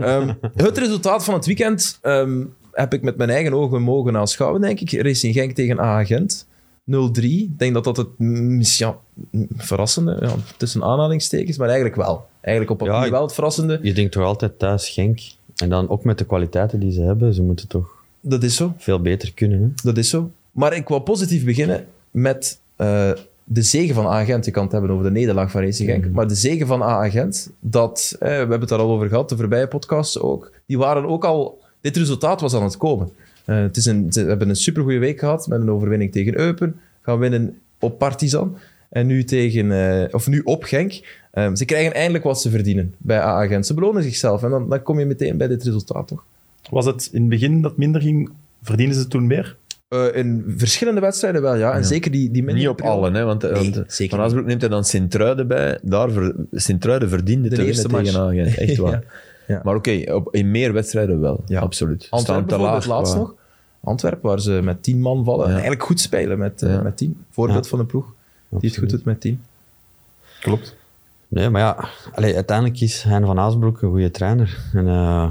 Speaker 1: Ehm, het resultaat van het weekend ehm, heb ik met mijn eigen ogen mogen aanschouwen, denk ik. Racing Genk tegen AA Gent. 0-3. Ik denk dat dat het mm, is, ja, mm, verrassende, ja, tussen aanhalingstekens, maar eigenlijk wel. Eigenlijk op
Speaker 4: Ja,
Speaker 1: papier
Speaker 4: ik-
Speaker 1: wel het verrassende.
Speaker 4: Je denkt toch altijd thuis Genk. En dan ook met de kwaliteiten die ze hebben, ze moeten toch
Speaker 1: Dat is zo.
Speaker 4: veel beter kunnen. Hè?
Speaker 1: Dat is zo. Maar ik wil positief beginnen met eh, de zegen van Agent. Ik kan het hebben over de nederlaag van Racing Genk. Maar de zegen van Agent, dat, eh, we hebben het daar al over gehad, de voorbije podcasts ook, die waren ook al... Dit resultaat was aan het komen. Eh, het is een, ze hebben een supergoeie week gehad met een overwinning tegen Eupen. Gaan winnen op Partizan. En nu, tegen, eh, of nu op Genk. Eh, ze krijgen eindelijk wat ze verdienen bij AA Gent. Ze belonen zichzelf. En dan, dan kom je meteen bij dit resultaat, toch?
Speaker 2: Was het in het begin dat minder ging, verdienen ze toen meer?
Speaker 1: Eh, in verschillende wedstrijden wel, ja. En zeker die, die
Speaker 3: Niet op
Speaker 1: alle.
Speaker 3: allen, hè, want,
Speaker 1: Nee,
Speaker 3: want
Speaker 1: zeker
Speaker 3: Van Asbroek neemt hij dan Sint-Truiden bij. Daar ver, Sint-Truiden verdiende
Speaker 1: De
Speaker 3: te
Speaker 1: eerste
Speaker 3: winnen tegen
Speaker 1: match.
Speaker 3: Agent. Echt waar.
Speaker 1: Ja. Ja.
Speaker 3: Maar oké, op- in meer wedstrijden wel.
Speaker 1: Ja.
Speaker 3: Absoluut.
Speaker 1: Antwerpen
Speaker 3: Staan te
Speaker 1: bijvoorbeeld
Speaker 3: laag.
Speaker 1: laatst
Speaker 3: qua-
Speaker 1: nog. Antwerpen, waar ze met tien man vallen.
Speaker 3: Ja.
Speaker 1: En eigenlijk goed spelen met, eh,
Speaker 3: Ja.
Speaker 1: met tien. Voorbeeld
Speaker 4: Ja.
Speaker 1: van een ploeg die het goed
Speaker 4: Absoluut.
Speaker 1: doet met tien.
Speaker 2: Klopt.
Speaker 4: Nee, maar ja, allee, uiteindelijk is Hein van Aasbroek een goede trainer. En, eh,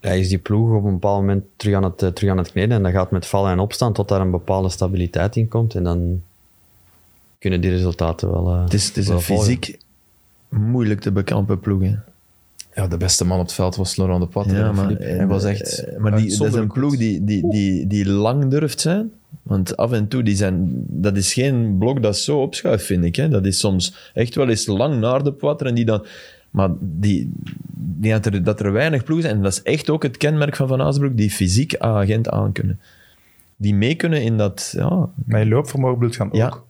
Speaker 4: hij is die ploeg op een bepaald moment terug aan het, eh, terug aan het kneden. En dat gaat met vallen en opstaan tot daar een bepaalde stabiliteit in komt. En dan kunnen die resultaten wel. eh,
Speaker 3: Het is, het is
Speaker 4: wel
Speaker 3: een
Speaker 4: volgen.
Speaker 3: fysiek moeilijk te bekampen ploeg. hè.
Speaker 1: Ja, de beste man op het veld was Laurent de Pat.
Speaker 3: Ja, maar,
Speaker 1: Hij was echt...
Speaker 3: eh, Maar die, dat is een
Speaker 1: uitzonderlijk
Speaker 3: ploeg
Speaker 1: goed.
Speaker 3: die, die, die, die lang durft zijn. Want af en toe, die zijn, dat is geen blok dat zo opschuift, vind ik. Hè. Dat is soms echt wel eens lang naar de poitre en die dan... Maar die, die dat, er, dat er weinig ploegen zijn, en dat is echt ook het kenmerk van Van Aasbroek, die fysiek agent aankunnen. Die mee kunnen in dat... Ja,
Speaker 2: Mijn loopvermogen bloedt gaan
Speaker 3: ja,
Speaker 2: ook.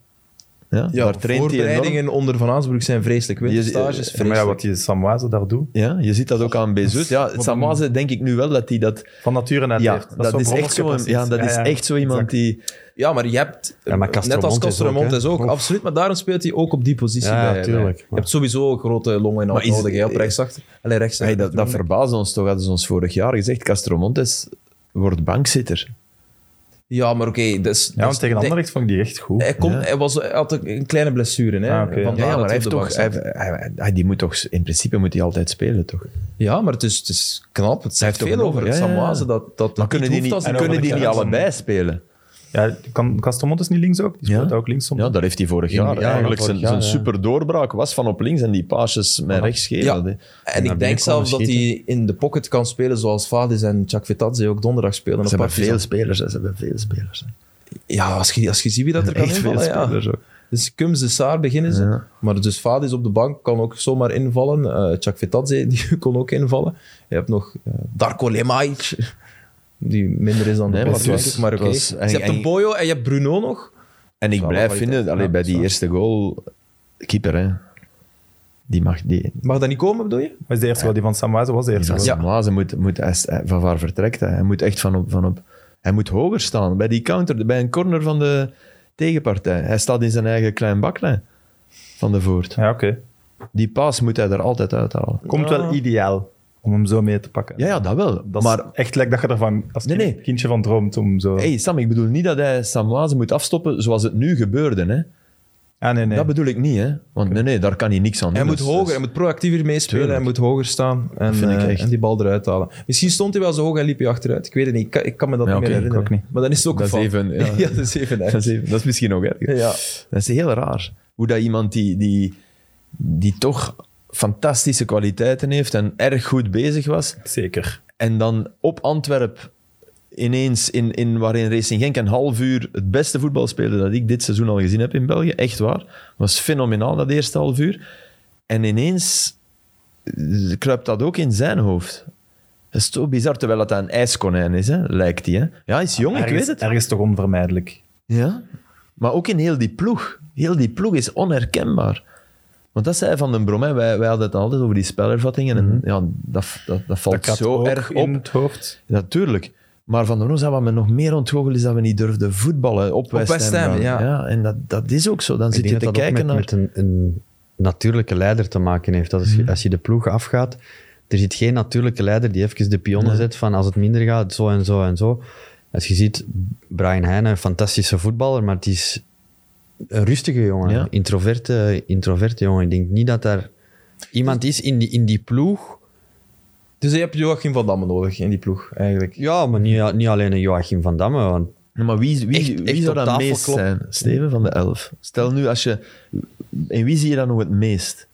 Speaker 3: ja,
Speaker 1: Ja,
Speaker 3: daar traint hij enorm.
Speaker 1: voorbereidingen onder Van Aansbroek zijn vreselijk.
Speaker 3: Die is-
Speaker 1: Winterstages,
Speaker 2: Ja,
Speaker 3: eh,
Speaker 2: maar ja,
Speaker 1: vreselijk.
Speaker 2: wat die Samwaze daar doet,
Speaker 3: Ja, je ziet dat ook aan Bezut. Ja,
Speaker 2: een-
Speaker 3: Samaze denk ik nu wel dat hij dat...
Speaker 2: van nature uit
Speaker 3: Ja,
Speaker 2: heeft.
Speaker 3: dat,
Speaker 2: zo'n
Speaker 3: is echt
Speaker 2: brommerke
Speaker 3: zo,
Speaker 2: precies.
Speaker 3: ja, dat
Speaker 2: Ja,
Speaker 3: is
Speaker 2: ja.
Speaker 3: echt zo iemand
Speaker 2: Exact.
Speaker 3: die...
Speaker 1: Ja, maar je hebt... eh,
Speaker 4: Ja, maar
Speaker 1: net als
Speaker 4: Castromont is ook,
Speaker 1: Castromont
Speaker 4: hè?
Speaker 1: is ook,
Speaker 4: Oef.
Speaker 1: absoluut. Maar daarom speelt hij ook op die positie
Speaker 4: Ja,
Speaker 1: bij.
Speaker 4: tuurlijk.
Speaker 1: Je hebt sowieso grote longen en hart
Speaker 3: Maar is- eh,
Speaker 1: nodig, hè, op rechtsachter. Allee, rechts.
Speaker 3: Hey, dat, dat verbaasde ons toch, hadden ze ons vorig jaar gezegd, Castromontes wordt bankzitter.
Speaker 1: Ja, maar oké. dus,
Speaker 2: Ja, want tegen
Speaker 1: de-
Speaker 2: Anderlecht vond ik die echt goed.
Speaker 1: Hij, komt,
Speaker 3: Ja.
Speaker 1: hij, was, hij had ook een kleine blessure. Hè?
Speaker 2: Ah,
Speaker 1: Vandaar
Speaker 2: oké.
Speaker 3: Ja,
Speaker 1: dat
Speaker 3: maar hij
Speaker 1: hij op
Speaker 3: heeft
Speaker 1: de
Speaker 3: toch,
Speaker 1: bank
Speaker 3: hij,
Speaker 1: zat.
Speaker 3: hij- hij- die moet toch, in principe moet hij altijd spelen, toch?
Speaker 1: Ja, maar het is, het is knap. Het zegt
Speaker 3: heeft
Speaker 1: veel
Speaker 3: toch
Speaker 1: over
Speaker 3: nog-
Speaker 1: het
Speaker 3: ja, ja, ja.
Speaker 1: Samoaze dat, dat
Speaker 3: Maar kunnen die
Speaker 1: hoeft
Speaker 3: niet,
Speaker 1: als hij
Speaker 2: en
Speaker 3: kunnen
Speaker 1: nog
Speaker 3: die
Speaker 1: een
Speaker 3: niet
Speaker 1: keer-
Speaker 2: Anderlecht,
Speaker 3: allebei spelen?
Speaker 2: Ja, kan Castromont is niet links ook? Die
Speaker 3: Ja.
Speaker 2: speelt ook links soms.
Speaker 3: Ja, dat heeft hij vorig jaar.
Speaker 2: ja,
Speaker 3: Eigenlijk
Speaker 4: vorig
Speaker 3: zijn,
Speaker 4: jaar,
Speaker 3: zijn
Speaker 4: ja.
Speaker 3: super doorbraak was van op links en die paasjes met rechts geven.
Speaker 1: Ja. En
Speaker 3: hè.
Speaker 4: naar
Speaker 1: ik
Speaker 4: binnen
Speaker 1: denk
Speaker 4: komen
Speaker 1: zelfs dat hij
Speaker 4: schieten.
Speaker 1: in de pocket kan spelen zoals Fadis en Chuck Vitadze ook donderdag spelen.
Speaker 3: Ze
Speaker 1: op
Speaker 3: hebben
Speaker 1: Partizan.
Speaker 3: veel spelers, hè. ze hebben veel spelers. hè.
Speaker 1: Ja, als je, als je ziet wie dat er kan
Speaker 3: Echt veel
Speaker 1: invallen. ja.
Speaker 3: spelers ook.
Speaker 1: Dus Kums de Saar beginnen ze.
Speaker 3: Ja.
Speaker 1: Maar dus Fadis op de bank kan ook zomaar invallen. Eh Chuck Vitadze die kon ook invallen. Je hebt nog eh, Darko Lemaic, die minder is dan
Speaker 3: Nee,
Speaker 1: de
Speaker 3: maar
Speaker 1: beste,
Speaker 3: het was-
Speaker 1: denk ik, maar
Speaker 3: het
Speaker 1: oké.
Speaker 3: was-
Speaker 1: Dus
Speaker 3: en-
Speaker 1: je hebt
Speaker 3: en-
Speaker 1: de Boyo en je hebt Bruno nog.
Speaker 3: En ik
Speaker 1: Wel
Speaker 3: blijf
Speaker 1: kwaliteit.
Speaker 3: vinden, allee,
Speaker 1: Ja,
Speaker 3: bij die
Speaker 1: zwaar.
Speaker 3: eerste goal, keeper, hè. Die mag, die,
Speaker 1: Mag dat niet komen, bedoel je?
Speaker 2: Was de eerste wel, die van Samwaze was de eerste
Speaker 3: Ja,
Speaker 2: wel.
Speaker 1: Ja.
Speaker 3: Mazen moet, moet hij is- hij- van waar vertrekt hij? Hij moet echt van op, van op... Hij moet hoger staan bij die counter, bij een corner van de tegenpartij. Hij staat in zijn eigen klein baklijn. van de Voort.
Speaker 2: Ja, oké.
Speaker 3: Die paas moet hij er altijd uithalen.
Speaker 2: Komt wel ideaal om hem zo mee te pakken.
Speaker 3: Ja, ja dat wel.
Speaker 2: Dat
Speaker 3: maar
Speaker 2: is echt lekker dat je ervan als
Speaker 3: Nee,
Speaker 2: kind-
Speaker 3: nee.
Speaker 2: kindje van droomt om zo...
Speaker 3: hey, Sam, ik bedoel niet dat hij Sam Lazen moet afstoppen zoals het nu gebeurde. Hè?
Speaker 2: Ah, nee, nee.
Speaker 3: Dat bedoel ik niet. Hè? Want nee, nee, daar kan hij niks aan doen.
Speaker 1: Hij moet
Speaker 3: Dus-
Speaker 1: hoger,
Speaker 3: dus-
Speaker 1: hij moet proactiever meespelen, hij
Speaker 3: Tuurlijk.
Speaker 1: moet hoger staan en,
Speaker 3: vind ik
Speaker 1: eh,
Speaker 3: echt.
Speaker 1: en die bal eruit halen. Misschien stond hij wel zo hoog en liep hij achteruit. Ik weet het niet, ik kan, ik kan me dat
Speaker 3: Ja,
Speaker 1: niet meer
Speaker 3: oké, ik
Speaker 1: herinneren.
Speaker 2: ook niet.
Speaker 1: Maar dan is het ook
Speaker 3: Dat
Speaker 1: een
Speaker 3: is
Speaker 1: fout.
Speaker 3: even, ja.
Speaker 1: ja, dat is even erg.
Speaker 3: Dat is, even- dat is misschien nog erger.
Speaker 1: Ja.
Speaker 3: Dat is heel raar. Hoe dat iemand die, die, die toch fantastische kwaliteiten heeft en erg goed bezig was,
Speaker 2: Zeker.
Speaker 3: en dan op Antwerp ineens, in, in, waarin Racing Genk een half uur het beste voetbal speelde dat ik dit seizoen al gezien heb in België, echt waar, was fenomenaal dat eerste half uur. En ineens eh, kruipt dat ook in zijn hoofd. Dat is zo bizar, terwijl dat een ijskonijn is, hè? lijkt hij. hè. Ja, hij is jong, ik
Speaker 2: Ergens-
Speaker 3: weet het.
Speaker 2: Ergens toch onvermijdelijk.
Speaker 3: Ja, maar ook in heel die ploeg. Heel die ploeg is onherkenbaar. Want dat zei Van den Brom, hè, wij, wij hadden het altijd over die spelervattingen. En
Speaker 4: Mhm.
Speaker 3: ja, dat, dat, dat valt
Speaker 2: gaat
Speaker 3: zo
Speaker 2: ook
Speaker 3: erg op.
Speaker 2: in het hoofd.
Speaker 3: Natuurlijk. Maar Van den Brom zei, wat me nog meer ontgoocheld is dat we niet durfden voetballen op West Ham.
Speaker 1: West Ham,
Speaker 3: dan.
Speaker 1: ja.
Speaker 3: En dat, dat is ook zo. Dan
Speaker 4: Ik
Speaker 3: zit je
Speaker 4: denk
Speaker 3: te
Speaker 4: dat dat ook met,
Speaker 3: kijken naar... Mhm.
Speaker 4: met een, een natuurlijke leider te maken heeft. Dat is, Als je de ploeg afgaat, er zit geen natuurlijke leider die even de pionnen zet van als het minder gaat, zo en zo en zo. Als je ziet, Brian Heijnen, een fantastische voetballer, maar het is een rustige jongen.
Speaker 3: Ja.
Speaker 4: Introverte, introverte jongen. Ik denk niet dat daar iemand
Speaker 3: Dus-
Speaker 4: is in die, in die ploeg...
Speaker 1: Dus je hebt Joachim van Damme nodig in die ploeg, eigenlijk.
Speaker 4: Ja, maar niet, niet alleen een Joachim van Damme, want
Speaker 3: Ja, Maar wie, wie,
Speaker 4: Echt-
Speaker 3: wie
Speaker 4: echt
Speaker 3: zou
Speaker 4: op
Speaker 3: dat
Speaker 4: tafel
Speaker 3: meest
Speaker 4: kloppen.
Speaker 3: zijn? Steven van de Elf. Stel nu, als je... En wie zie je dan nog het meest?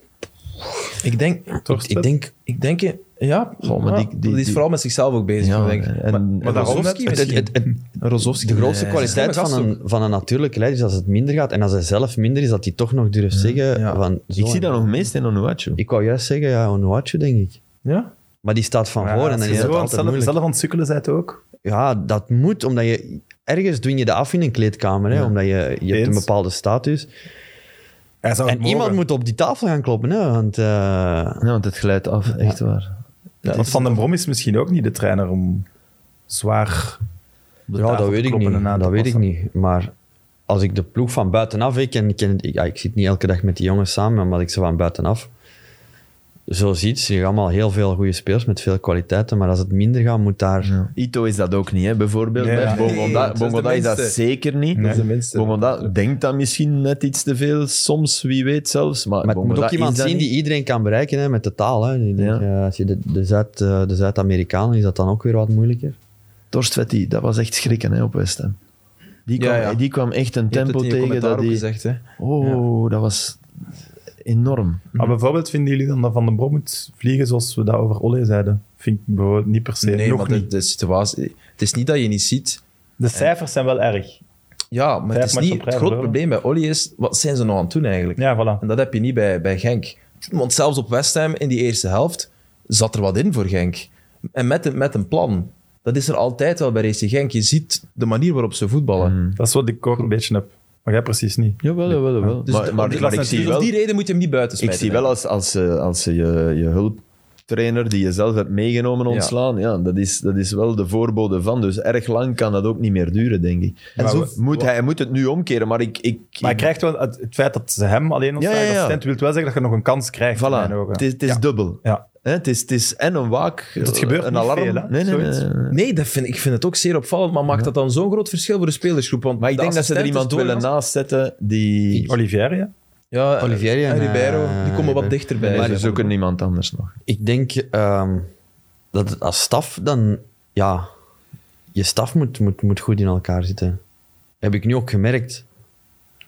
Speaker 1: Ik denk...
Speaker 2: Torsten?
Speaker 1: Ik denk... Ik denk ja,
Speaker 3: Goh, maar
Speaker 1: ja,
Speaker 3: die- die-
Speaker 1: die is
Speaker 3: die-
Speaker 1: vooral met zichzelf ook bezig.
Speaker 3: Ja,
Speaker 1: denk ik.
Speaker 3: en-
Speaker 1: maar
Speaker 3: en
Speaker 1: maar
Speaker 2: daarom
Speaker 1: Rozovski
Speaker 4: het, het,
Speaker 1: misschien.
Speaker 4: het, het,
Speaker 1: Rozovski.
Speaker 4: De grootste
Speaker 1: Nee,
Speaker 4: kwaliteit
Speaker 1: slimme
Speaker 4: van
Speaker 1: gast
Speaker 4: een, van een natuurlijke leider is als het minder gaat. En als hij zelf minder is, dat hij toch nog durft zeggen.
Speaker 1: ja.
Speaker 4: Van, zo
Speaker 3: Ik zie
Speaker 4: en-
Speaker 3: dat nog meest in Onuachu.
Speaker 4: Ik wou juist zeggen, ja, Onuachu, denk ik.
Speaker 1: ook. Ja?
Speaker 4: Maar die staat van voor en dan
Speaker 2: als je
Speaker 4: is dat
Speaker 2: zo aan
Speaker 4: altijd
Speaker 2: het zelf,
Speaker 4: moeilijk.
Speaker 2: zelf aan het sukkelen bent ook.
Speaker 4: Ja, dat moet, omdat je... Ergens dwing je dat af in een kleedkamer, hè, omdat je, je hebt
Speaker 2: Eens.
Speaker 4: een bepaalde status.
Speaker 2: Hij zou
Speaker 4: En
Speaker 2: het mogen.
Speaker 4: iemand moet op die tafel gaan kloppen, hè, want... eh,
Speaker 3: Ja, want het glijdt af, echt waar.
Speaker 2: Ja, want Van den Brom is misschien ook niet de trainer om zwaar... op de
Speaker 4: ja,
Speaker 2: tafel
Speaker 4: dat
Speaker 2: te
Speaker 4: weet ik
Speaker 2: kloppen
Speaker 4: niet.
Speaker 2: en aan te
Speaker 4: Dat weet ik
Speaker 2: passen.
Speaker 4: niet. Maar als ik de ploeg van buitenaf... Ik, ken, ken, ik, ja, ik zit niet elke dag met die jongens samen, maar ik ze van buitenaf zo ziet. Ze hebben allemaal heel veel goede spelers met veel kwaliteiten. Maar als het minder gaat, moet daar...
Speaker 3: Ito is dat ook niet, hè, bijvoorbeeld.
Speaker 2: Nee,
Speaker 3: hè.
Speaker 2: ja.
Speaker 1: Nee,
Speaker 3: Bongonda,
Speaker 1: dat is de
Speaker 3: Bongonda is dat
Speaker 1: minste.
Speaker 3: zeker niet.
Speaker 1: Dat is de minste.
Speaker 3: Bongonda denkt dat misschien net iets te veel, soms, wie weet zelfs. Maar,
Speaker 4: Maar het moet
Speaker 3: Bongonda
Speaker 4: ook iemand
Speaker 3: is dat
Speaker 4: zien die
Speaker 3: niet. iedereen...
Speaker 4: iedereen kan bereiken hè, met de taal. Hè. Ik denk,
Speaker 3: Ja.
Speaker 4: eh, als je de, de, Zuid, eh, de Zuid-Amerikanen is dat dan ook weer wat moeilijker.
Speaker 3: Torstvetti, dat was echt schrikken hè, op West Ham. Die
Speaker 1: Ja,
Speaker 3: kwam,
Speaker 1: ja.
Speaker 3: Die kwam echt een
Speaker 1: Je hebt
Speaker 3: tempo
Speaker 1: het in je
Speaker 3: tegen
Speaker 1: commentaar
Speaker 3: dat
Speaker 1: ook
Speaker 3: die...
Speaker 1: gezegd, hè.
Speaker 3: Oh, dat was enorm.
Speaker 2: Maar bijvoorbeeld vinden jullie dan dat Van den Brom moet vliegen zoals we dat over Olle zeiden? Vind ik bijvoorbeeld niet per se.
Speaker 1: Nee,
Speaker 2: Nog
Speaker 1: maar
Speaker 2: niet.
Speaker 1: de, de situatie... Het is niet dat je niet ziet.
Speaker 2: De cijfers zijn wel erg.
Speaker 1: Ja, maar het
Speaker 2: Vijf
Speaker 1: is
Speaker 2: matchen
Speaker 1: niet...
Speaker 2: op
Speaker 1: Het
Speaker 2: rij
Speaker 1: grote
Speaker 2: verloren.
Speaker 1: probleem bij Olly is... Wat zijn ze nog aan het doen, eigenlijk?
Speaker 2: Ja, voilà.
Speaker 1: En dat heb je niet bij, bij Genk. Want zelfs op West Ham in die eerste helft zat er wat in voor Genk. En met een, met een plan. Dat is er altijd wel bij Racing Genk. Je ziet de manier waarop ze voetballen.
Speaker 3: Mm.
Speaker 2: Mhm. Dat is wat ik ook een beetje heb. Maar jij precies niet.
Speaker 3: Jawel, jawel, jawel.
Speaker 1: Dus
Speaker 3: maar,
Speaker 1: de-
Speaker 3: maar,
Speaker 1: om die-
Speaker 3: maar ik
Speaker 1: dus
Speaker 3: zie
Speaker 1: om
Speaker 3: wel...
Speaker 1: die reden moet je hem niet buiten
Speaker 3: Ik
Speaker 1: spelen.
Speaker 3: zie wel als, als, eh, als ze je, je hulptrainer die je zelf hebt meegenomen ontslaan. Ja, dat, is, dat is wel de voorbode van. Dus erg lang kan dat ook niet meer duren, denk ik.
Speaker 2: En
Speaker 3: En
Speaker 2: zo-
Speaker 3: moet hij, hij moet het nu omkeren, maar ik... ik,
Speaker 2: Maar hij
Speaker 3: ik-
Speaker 2: krijgt wel het, het feit dat ze hem alleen ontstaan,
Speaker 3: Ja, ja, ja.
Speaker 2: dat assistent, wil wel zeggen dat je nog een kans krijgt. in
Speaker 3: voilà,
Speaker 2: mijn ogen.
Speaker 3: het is, het is
Speaker 2: Ja.
Speaker 3: dubbel.
Speaker 2: Ja.
Speaker 3: Hè, het, is, het is en een waak, eh,
Speaker 2: het gebeurt
Speaker 3: een
Speaker 2: niet
Speaker 3: alarm.
Speaker 2: veel, hè,
Speaker 3: nee, nee, nee,
Speaker 2: zoiets.
Speaker 3: nee.
Speaker 1: Nee, dat vind, ik vind het ook zeer opvallend. Maar maakt dat dan zo'n groot verschil voor de spelersgroep? Want
Speaker 3: Maar ik
Speaker 1: de
Speaker 3: denk dat ze er
Speaker 1: assistent
Speaker 3: iemand
Speaker 1: is
Speaker 3: willen
Speaker 1: doorgaans-
Speaker 3: naast zetten die...
Speaker 2: Olivier, ja.
Speaker 1: Ja, eh,
Speaker 4: Olivier en,
Speaker 1: en Ribeiro,
Speaker 4: eh,
Speaker 1: die komen
Speaker 4: Ribeiro.
Speaker 1: wat dichterbij.
Speaker 3: maar dus
Speaker 1: Zeg
Speaker 3: ze
Speaker 1: maar.
Speaker 3: zoeken niemand anders nog.
Speaker 4: Ik denk ehm, dat het als staf dan, ja, je staf moet, moet, moet goed in elkaar zitten. Heb ik nu ook gemerkt,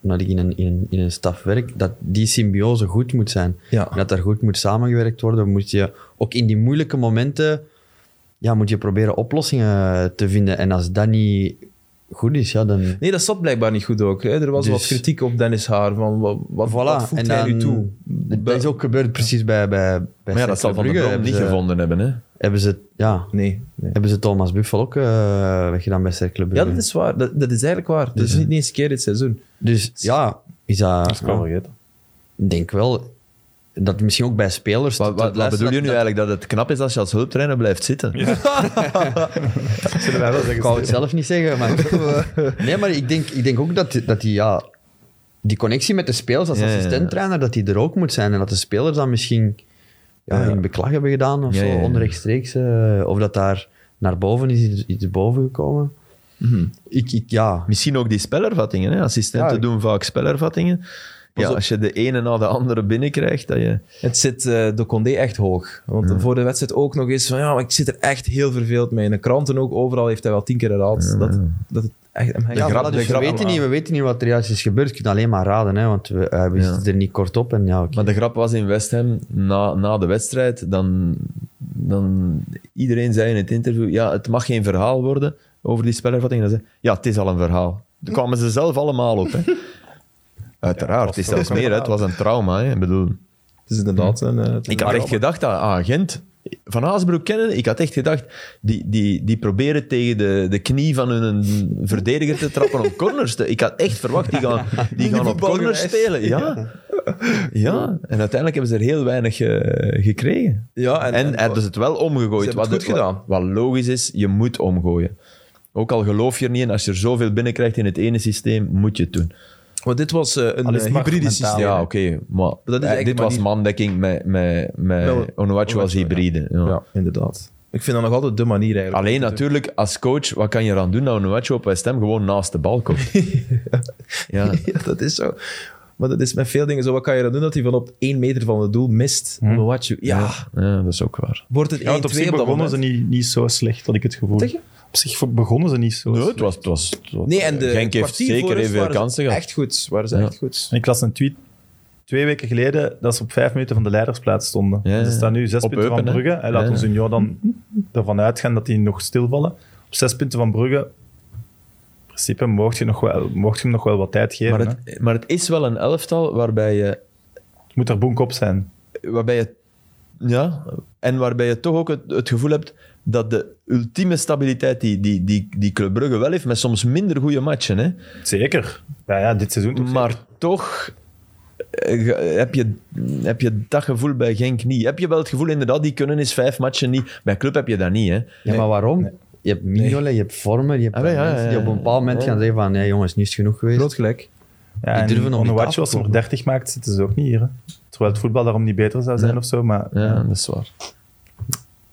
Speaker 4: omdat ik in een, in, een- in een staf werk, dat die symbiose goed moet zijn.
Speaker 1: Ja.
Speaker 4: En Dat daar goed moet samengewerkt worden. Moet je ook in die moeilijke momenten, ja, moet je proberen oplossingen te vinden. En als dat niet goed is, ja, dan...
Speaker 1: Nee, dat zat blijkbaar niet goed ook. Hè. Er was
Speaker 4: Dus-
Speaker 1: wat kritiek op Dennis Haar. Van wat, wat, wat
Speaker 4: Voilà,
Speaker 1: voegt
Speaker 4: en
Speaker 1: hij nu
Speaker 4: dan,
Speaker 1: toe?
Speaker 4: dat is ook gebeurd precies bij, bij, bij
Speaker 3: Maar ja, dat
Speaker 4: Cercle
Speaker 3: zal Van de
Speaker 4: Brugge.
Speaker 3: Brom niet
Speaker 2: eh,
Speaker 4: Hebben ze-
Speaker 3: gevonden hebben, hè.
Speaker 4: Hebben ze, ja,
Speaker 1: Nee, nee.
Speaker 4: hebben ze Thomas Buffel ook eh, weggedaan bij Cercle
Speaker 1: Ja,
Speaker 4: Brugge.
Speaker 1: dat is waar. Dat, dat is eigenlijk waar. Dat is niet eens een keer dit seizoen.
Speaker 4: Dus ja, is dat...
Speaker 2: Dat is wel vergeten.
Speaker 4: ik denk wel dat misschien ook bij spelers...
Speaker 3: Wat,
Speaker 4: dat-
Speaker 3: wat, wat
Speaker 4: dat-
Speaker 3: bedoel je nu
Speaker 4: dat-
Speaker 3: eigenlijk? Dat het knap is als je als hulptrainer blijft zitten?
Speaker 2: Zullen wij wel zeggen.
Speaker 4: Ik wou het zelf niet zeggen, maar... nee, maar ik denk, ik denk ook dat, dat die, ja... die connectie met de spelers als
Speaker 3: Ja, ja, ja.
Speaker 4: assistenttrainer, dat die er ook moet zijn. En dat de spelers dan misschien ja, een beklag hebben gedaan of
Speaker 3: Ja,
Speaker 4: zo,
Speaker 3: ja, ja.
Speaker 4: onrechtstreeks. eh, of dat daar naar boven is, iets, iets boven gekomen.
Speaker 3: Mhm.
Speaker 4: Ik, ik, ja.
Speaker 3: Misschien ook die spellervattingen. Hè? Assistenten
Speaker 2: Ja.
Speaker 3: doen vaak spellervattingen. Ja,
Speaker 1: op.
Speaker 3: als je de ene na de andere binnenkrijgt, dat je...
Speaker 1: Het zit eh, de Condé echt hoog. Want voor de wedstrijd ook nog eens van ja, maar ik zit er echt heel verveeld mee. In de kranten ook, overal heeft hij wel tien keer herhaald. dat, dat het echt hem
Speaker 4: Ja,
Speaker 1: hangt.
Speaker 4: voilà, dus we, weten niet, we weten niet wat er juist is gebeurd. Je kunt alleen maar raden, hè, want we, hij wist
Speaker 3: Ja.
Speaker 4: het er niet kort op. En ja, oké.
Speaker 3: Maar de grap was in West Ham, na, na de wedstrijd, dan, dan... Iedereen zei in het interview, ja, het mag geen verhaal worden over die spellervatting. Dan zei, ja, het is al een verhaal. Daar kwamen ze zelf allemaal op, hè. Uiteraard, het is
Speaker 2: het was
Speaker 3: zelfs
Speaker 2: ook een
Speaker 3: meer, hè. het was een trauma. Hè. Ik bedoel,
Speaker 1: Het is inderdaad een... eh, het is
Speaker 3: ik had
Speaker 1: een-
Speaker 3: echt gedacht dat ah, Gent, Van Haasbroek kennen, ik had echt gedacht, die, die, die proberen tegen de, de knie van hun verdediger te trappen op corners. te- ik had echt verwacht, die gaan, die gaan op corners spelen. Ja. ja, en uiteindelijk hebben ze er heel weinig eh, gekregen.
Speaker 1: Ja, en,
Speaker 3: En,
Speaker 1: en,
Speaker 3: hebben ze het wel omgegooid.
Speaker 1: hebben het
Speaker 3: wat,
Speaker 1: goed
Speaker 3: wat-
Speaker 1: gedaan.
Speaker 3: Wat, logisch is, je moet omgooien. Ook al geloof je er niet in, als je er zoveel binnenkrijgt in het ene systeem, moet je het doen.
Speaker 1: want dit was eh, een
Speaker 2: Al is
Speaker 1: eh,
Speaker 2: het maar
Speaker 1: hybride
Speaker 2: mentaal,
Speaker 1: systeem.
Speaker 3: Ja, oké. maar
Speaker 1: Dat is
Speaker 3: eh,
Speaker 1: eigenlijk
Speaker 3: dit
Speaker 1: maar
Speaker 3: was
Speaker 1: niet-
Speaker 3: mandekking met, met,
Speaker 1: Wel,
Speaker 3: met Onuachu als
Speaker 1: Onuachu, ja.
Speaker 3: hybride. Ja.
Speaker 1: Ja. inderdaad. Ik vind dat nog altijd de manier eigenlijk.
Speaker 3: Alleen natuurlijk, als coach, wat kan je eraan doen dat Onuachu op West Ham gewoon naast de bal komt? ja.
Speaker 1: Ja, dat is zo. Maar dat is met veel dingen zo. Wat kan je dan doen dat hij van op één meter van het doel mist? Onuachu. Ja,
Speaker 3: ja, dat is ook waar.
Speaker 1: wordt het 1-2
Speaker 2: Ja, want
Speaker 1: op
Speaker 2: op zich
Speaker 1: dat
Speaker 2: begonnen
Speaker 1: moment.
Speaker 2: ze niet, niet zo slecht, had ik het gevoel.
Speaker 1: Zeg je?
Speaker 2: Op zich begonnen ze niet zo
Speaker 3: Nee,
Speaker 2: slecht.
Speaker 3: het was... Het was het was-
Speaker 1: Nee, en de
Speaker 3: Genk heeft
Speaker 1: kwartier
Speaker 3: zeker
Speaker 1: voor rust
Speaker 3: even veel
Speaker 1: waren ze
Speaker 3: kansen gehad.
Speaker 1: Echt goed, waren ze
Speaker 3: Ja.
Speaker 1: echt goed.
Speaker 2: En ik las een tweet twee weken geleden dat ze op vijf minuten van de leidersplaats stonden.
Speaker 3: Ja, ja.
Speaker 2: Ze staan nu zes
Speaker 3: Op
Speaker 2: punten van
Speaker 3: Eupen, hè?
Speaker 2: Brugge. En laat
Speaker 3: Ja.
Speaker 2: ons een jaar dan ervan uitgaan dat die nog stilvallen. Op zes punten van Brugge, in principe, mocht je, nog wel, mocht je hem nog wel wat tijd geven.
Speaker 3: Maar
Speaker 2: hè. het...
Speaker 3: het, maar het is wel een elftal waarbij je...
Speaker 2: moet er boek op zijn.
Speaker 3: Waarbij je ja, en waarbij je toch ook het, het gevoel hebt dat de ultieme stabiliteit die, die, die, die Club Brugge wel heeft, met soms minder goede matchen, hè,
Speaker 2: Zeker. Ja, ja dit seizoen toch
Speaker 3: Maar toch eh, ge- heb je, heb je dat gevoel bij Genk niet. Heb je wel het gevoel inderdaad, die kunnen eens vijf matchen niet. Bij club heb je dat niet, hè.
Speaker 4: Ja, maar waarom? Je hebt Mignolet, je hebt Vormer, je hebt
Speaker 3: Ah, wel, ja,
Speaker 4: mensen
Speaker 3: ja, ja,
Speaker 4: die op een bepaald moment
Speaker 3: ja.
Speaker 4: gaan zeggen van nee jongens, nu is het genoeg geweest.
Speaker 1: Groot gelijk.
Speaker 2: Ja,
Speaker 4: Die
Speaker 2: en
Speaker 4: durven nog niet
Speaker 2: Onuachu, als ze er
Speaker 4: afkomen.
Speaker 2: 30 maakt, zitten ze ook niet hier. hè. Terwijl het voetbal daarom niet beter zou zijn
Speaker 3: Nee.
Speaker 2: of zo. Maar
Speaker 3: Ja, dus dat is waar.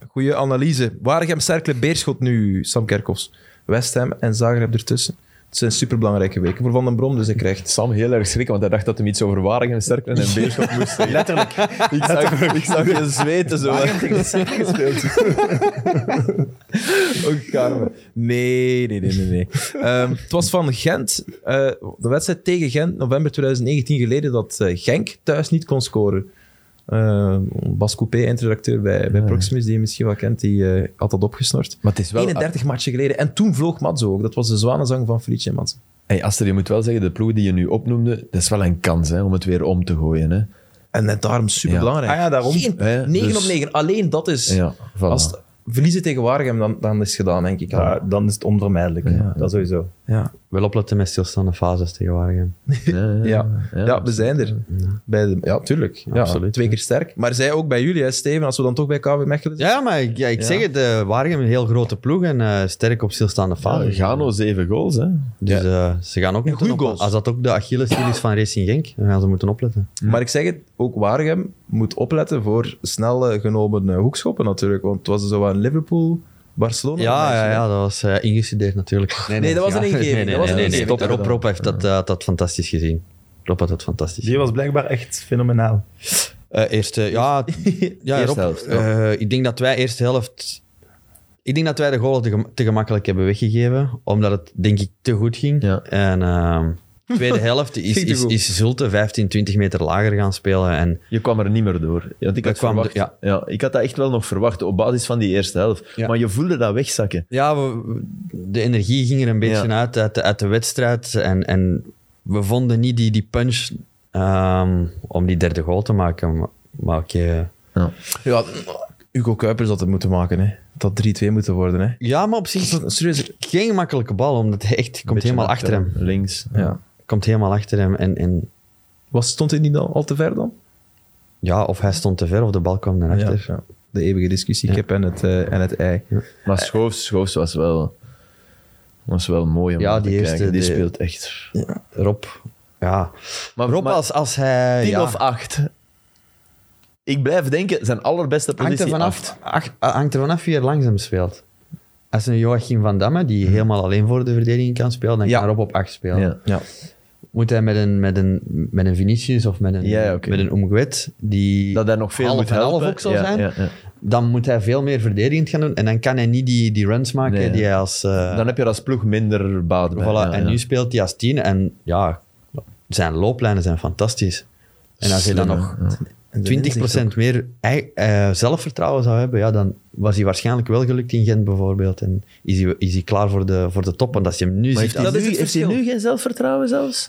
Speaker 1: Goeie analyse. Waregem, Cercle, Beerschot nu, Sam Kerkhoffs. West Ham en Zagreb ertussen. Het zijn superbelangrijke weken voor Van den Brom, dus ik krijg het.
Speaker 3: Sam heel erg schrikken, want hij dacht dat hem iets over Waregem, Sterklen en Beerschot moest zeggen. Letterlijk. Ik zag, ik zag je zweten zo.
Speaker 1: Ook Carmen. Oh, Nee, nee, nee, nee. nee. Ehm, het was van Gent, eh, de wedstrijd tegen Gent, november 2019 geleden, dat eh, Genk thuis niet kon scoren. Eh, Bas Coupé, eindredacteur bij, bij Proximus, die je misschien wel kent, die eh, had dat opgesnort.
Speaker 3: Maar het is wel... ah.
Speaker 1: 31 matchen geleden. En toen vloog Matzo ook. Dat was de zwanenzang van Frietje en Matzo.
Speaker 3: Ah, Hey, Aster, je moet wel zeggen, de ploeg die je nu opnoemde, dat is wel een kans hè, om het weer om te gooien. Hè.
Speaker 1: En net daarom superbelangrijk.
Speaker 2: Ja. Ah ja, daarom.
Speaker 1: Geen
Speaker 3: Hè,
Speaker 1: 9
Speaker 3: dus-
Speaker 1: op 9. Alleen dat is...
Speaker 3: Ja, voilà.
Speaker 1: Als het verliezen tegen Waregem, dan, dan is het gedaan, denk ik.
Speaker 2: ja, dan is het onvermijdelijk. Dat sowieso.
Speaker 1: Ja.
Speaker 4: Wel opletten met stilstaande fases tegen Waregem.
Speaker 3: Ja, ja,
Speaker 1: Ja. Ja, we zijn er. Bij de, ja, tuurlijk. Ja,
Speaker 4: Absoluut,
Speaker 1: Twee keer sterk. Maar zij ook bij jullie, hè, Steven, als we dan toch bij KW Mechelen zijn.
Speaker 4: Ja, maar ik, ja, ik zeg het, eh Waregem een heel grote ploeg en eh, sterk op stilstaande
Speaker 3: Ja,
Speaker 4: fases.
Speaker 3: Gano zeven goals. Hè.
Speaker 4: Dus eh, ze gaan ook moeten
Speaker 1: goede
Speaker 4: opletten.
Speaker 1: goals.
Speaker 4: Als dat ook de Achilleshiel is van Racing Genk, dan gaan ze moeten opletten.
Speaker 1: Maar ik zeg het, ook Waregem moet opletten voor snel eh, genomen eh, hoekschoppen natuurlijk. Want het was zo aan Liverpool, Barcelona.
Speaker 4: Ja, ja, ja, dat was eh, ingestudeerd natuurlijk.
Speaker 1: Nee, dat was een
Speaker 4: ja.
Speaker 1: ingeving,
Speaker 4: Nee, nee,
Speaker 1: dat was
Speaker 4: nee,
Speaker 1: een
Speaker 4: nee,
Speaker 1: ingeving.
Speaker 4: Rob- Rob, Rob heeft dat, eh, had dat fantastisch gezien. Rob had dat fantastisch
Speaker 2: Die was blijkbaar echt fenomenaal.
Speaker 4: Eh, eerste, ja, ja
Speaker 3: Eerste
Speaker 4: Rob,
Speaker 3: helft,
Speaker 4: eh, ik denk dat wij eerste helft... Ik denk dat wij de goal te, gem- te gemakkelijk hebben weggegeven, omdat het, denk ik, te goed ging.
Speaker 3: Ja.
Speaker 4: En ehm, tweede helft is,
Speaker 1: Ging te
Speaker 4: is,
Speaker 1: goed.
Speaker 4: is Zulte 15, 20 meter lager gaan spelen. En
Speaker 3: Je kwam er niet meer door. Want ik,
Speaker 4: Dat
Speaker 3: had
Speaker 4: kwam
Speaker 3: verwacht,
Speaker 4: er-
Speaker 3: ja. ik had dat echt wel nog verwacht op basis van die eerste helft.
Speaker 4: Ja.
Speaker 3: Maar je voelde dat wegzakken.
Speaker 4: ja, we- we- de energie ging er een beetje
Speaker 3: Ja.
Speaker 4: uit, uit de, uit de wedstrijd. En, en we vonden niet die, die punch ehm, om die derde goal te maken. Maar, maar oké.
Speaker 1: ja, Hugo Kuipers had het moeten maken. Hè. Het had 3-2 moeten worden. Hè.
Speaker 4: Ja, maar op zich
Speaker 1: Serieus.
Speaker 4: geen gemakkelijke bal, omdat hij echt komt
Speaker 3: Beetje
Speaker 4: helemaal
Speaker 3: naar-
Speaker 4: achter hem.
Speaker 3: Links.
Speaker 1: Ja.
Speaker 4: Komt helemaal achter hem en... en
Speaker 1: Was, stond hij niet al, al te ver dan?
Speaker 4: Ja, of hij stond te ver of de bal kwam naar achter.
Speaker 1: Ja, ja. De eeuwige discussie kip en, het, eh, en het ei.
Speaker 3: Maar
Speaker 4: Eh,
Speaker 3: Schoofs, Schoofs was wel... Was wel mooi om
Speaker 4: Ja,
Speaker 3: naar te
Speaker 4: die eerste-
Speaker 3: kijken. Die
Speaker 4: de-
Speaker 3: speelt echt...
Speaker 4: Rob, Ja.
Speaker 3: Maar,
Speaker 4: Rob,
Speaker 3: maar
Speaker 4: als, als hij...
Speaker 3: 10
Speaker 4: ja,
Speaker 3: of 8. Ik blijf denken, zijn allerbeste
Speaker 4: hangt er
Speaker 3: positie
Speaker 4: vanaf
Speaker 3: acht.
Speaker 4: ach- eh, hangt er vanaf wie er langzaam speelt. Als een Joachim van Damme, die helemaal alleen voor de verdediging kan spelen, dan
Speaker 1: Ja.
Speaker 4: kan Rob op 8 spelen.
Speaker 3: Mhm. Ja.
Speaker 1: Ja.
Speaker 4: Moet hij met een, met een, met een Vinicius of met een,
Speaker 3: Ja, ja, oké.
Speaker 4: met een Umguet, die
Speaker 3: Dat hij nog veel
Speaker 4: half
Speaker 3: moet
Speaker 4: en
Speaker 3: helpen.
Speaker 4: half ook zal
Speaker 3: Ja,
Speaker 4: zijn,
Speaker 3: ja, ja.
Speaker 4: dan moet hij veel meer verdedigend gaan doen. En dan kan hij niet die, die runs maken
Speaker 3: Nee, ja.
Speaker 4: die hij als... eh,
Speaker 3: Dan heb je er als ploeg minder baat bij.
Speaker 4: Voilà,
Speaker 3: Ja,
Speaker 4: en
Speaker 3: ja.
Speaker 4: nu speelt hij als tien en ja, zijn looplijnen zijn fantastisch. En als hij dan nog 20% meer ei- eh, zelfvertrouwen zou hebben, ja, dan was hij waarschijnlijk wel gelukt in Gent bijvoorbeeld. En is hij, is hij klaar voor de, voor de top. Want als je hem nu
Speaker 3: Maar
Speaker 4: ziet...
Speaker 3: heeft, hij
Speaker 1: Dat is
Speaker 3: nu,
Speaker 1: het
Speaker 3: heeft hij
Speaker 1: verschil.
Speaker 3: nu geen zelfvertrouwen zelfs?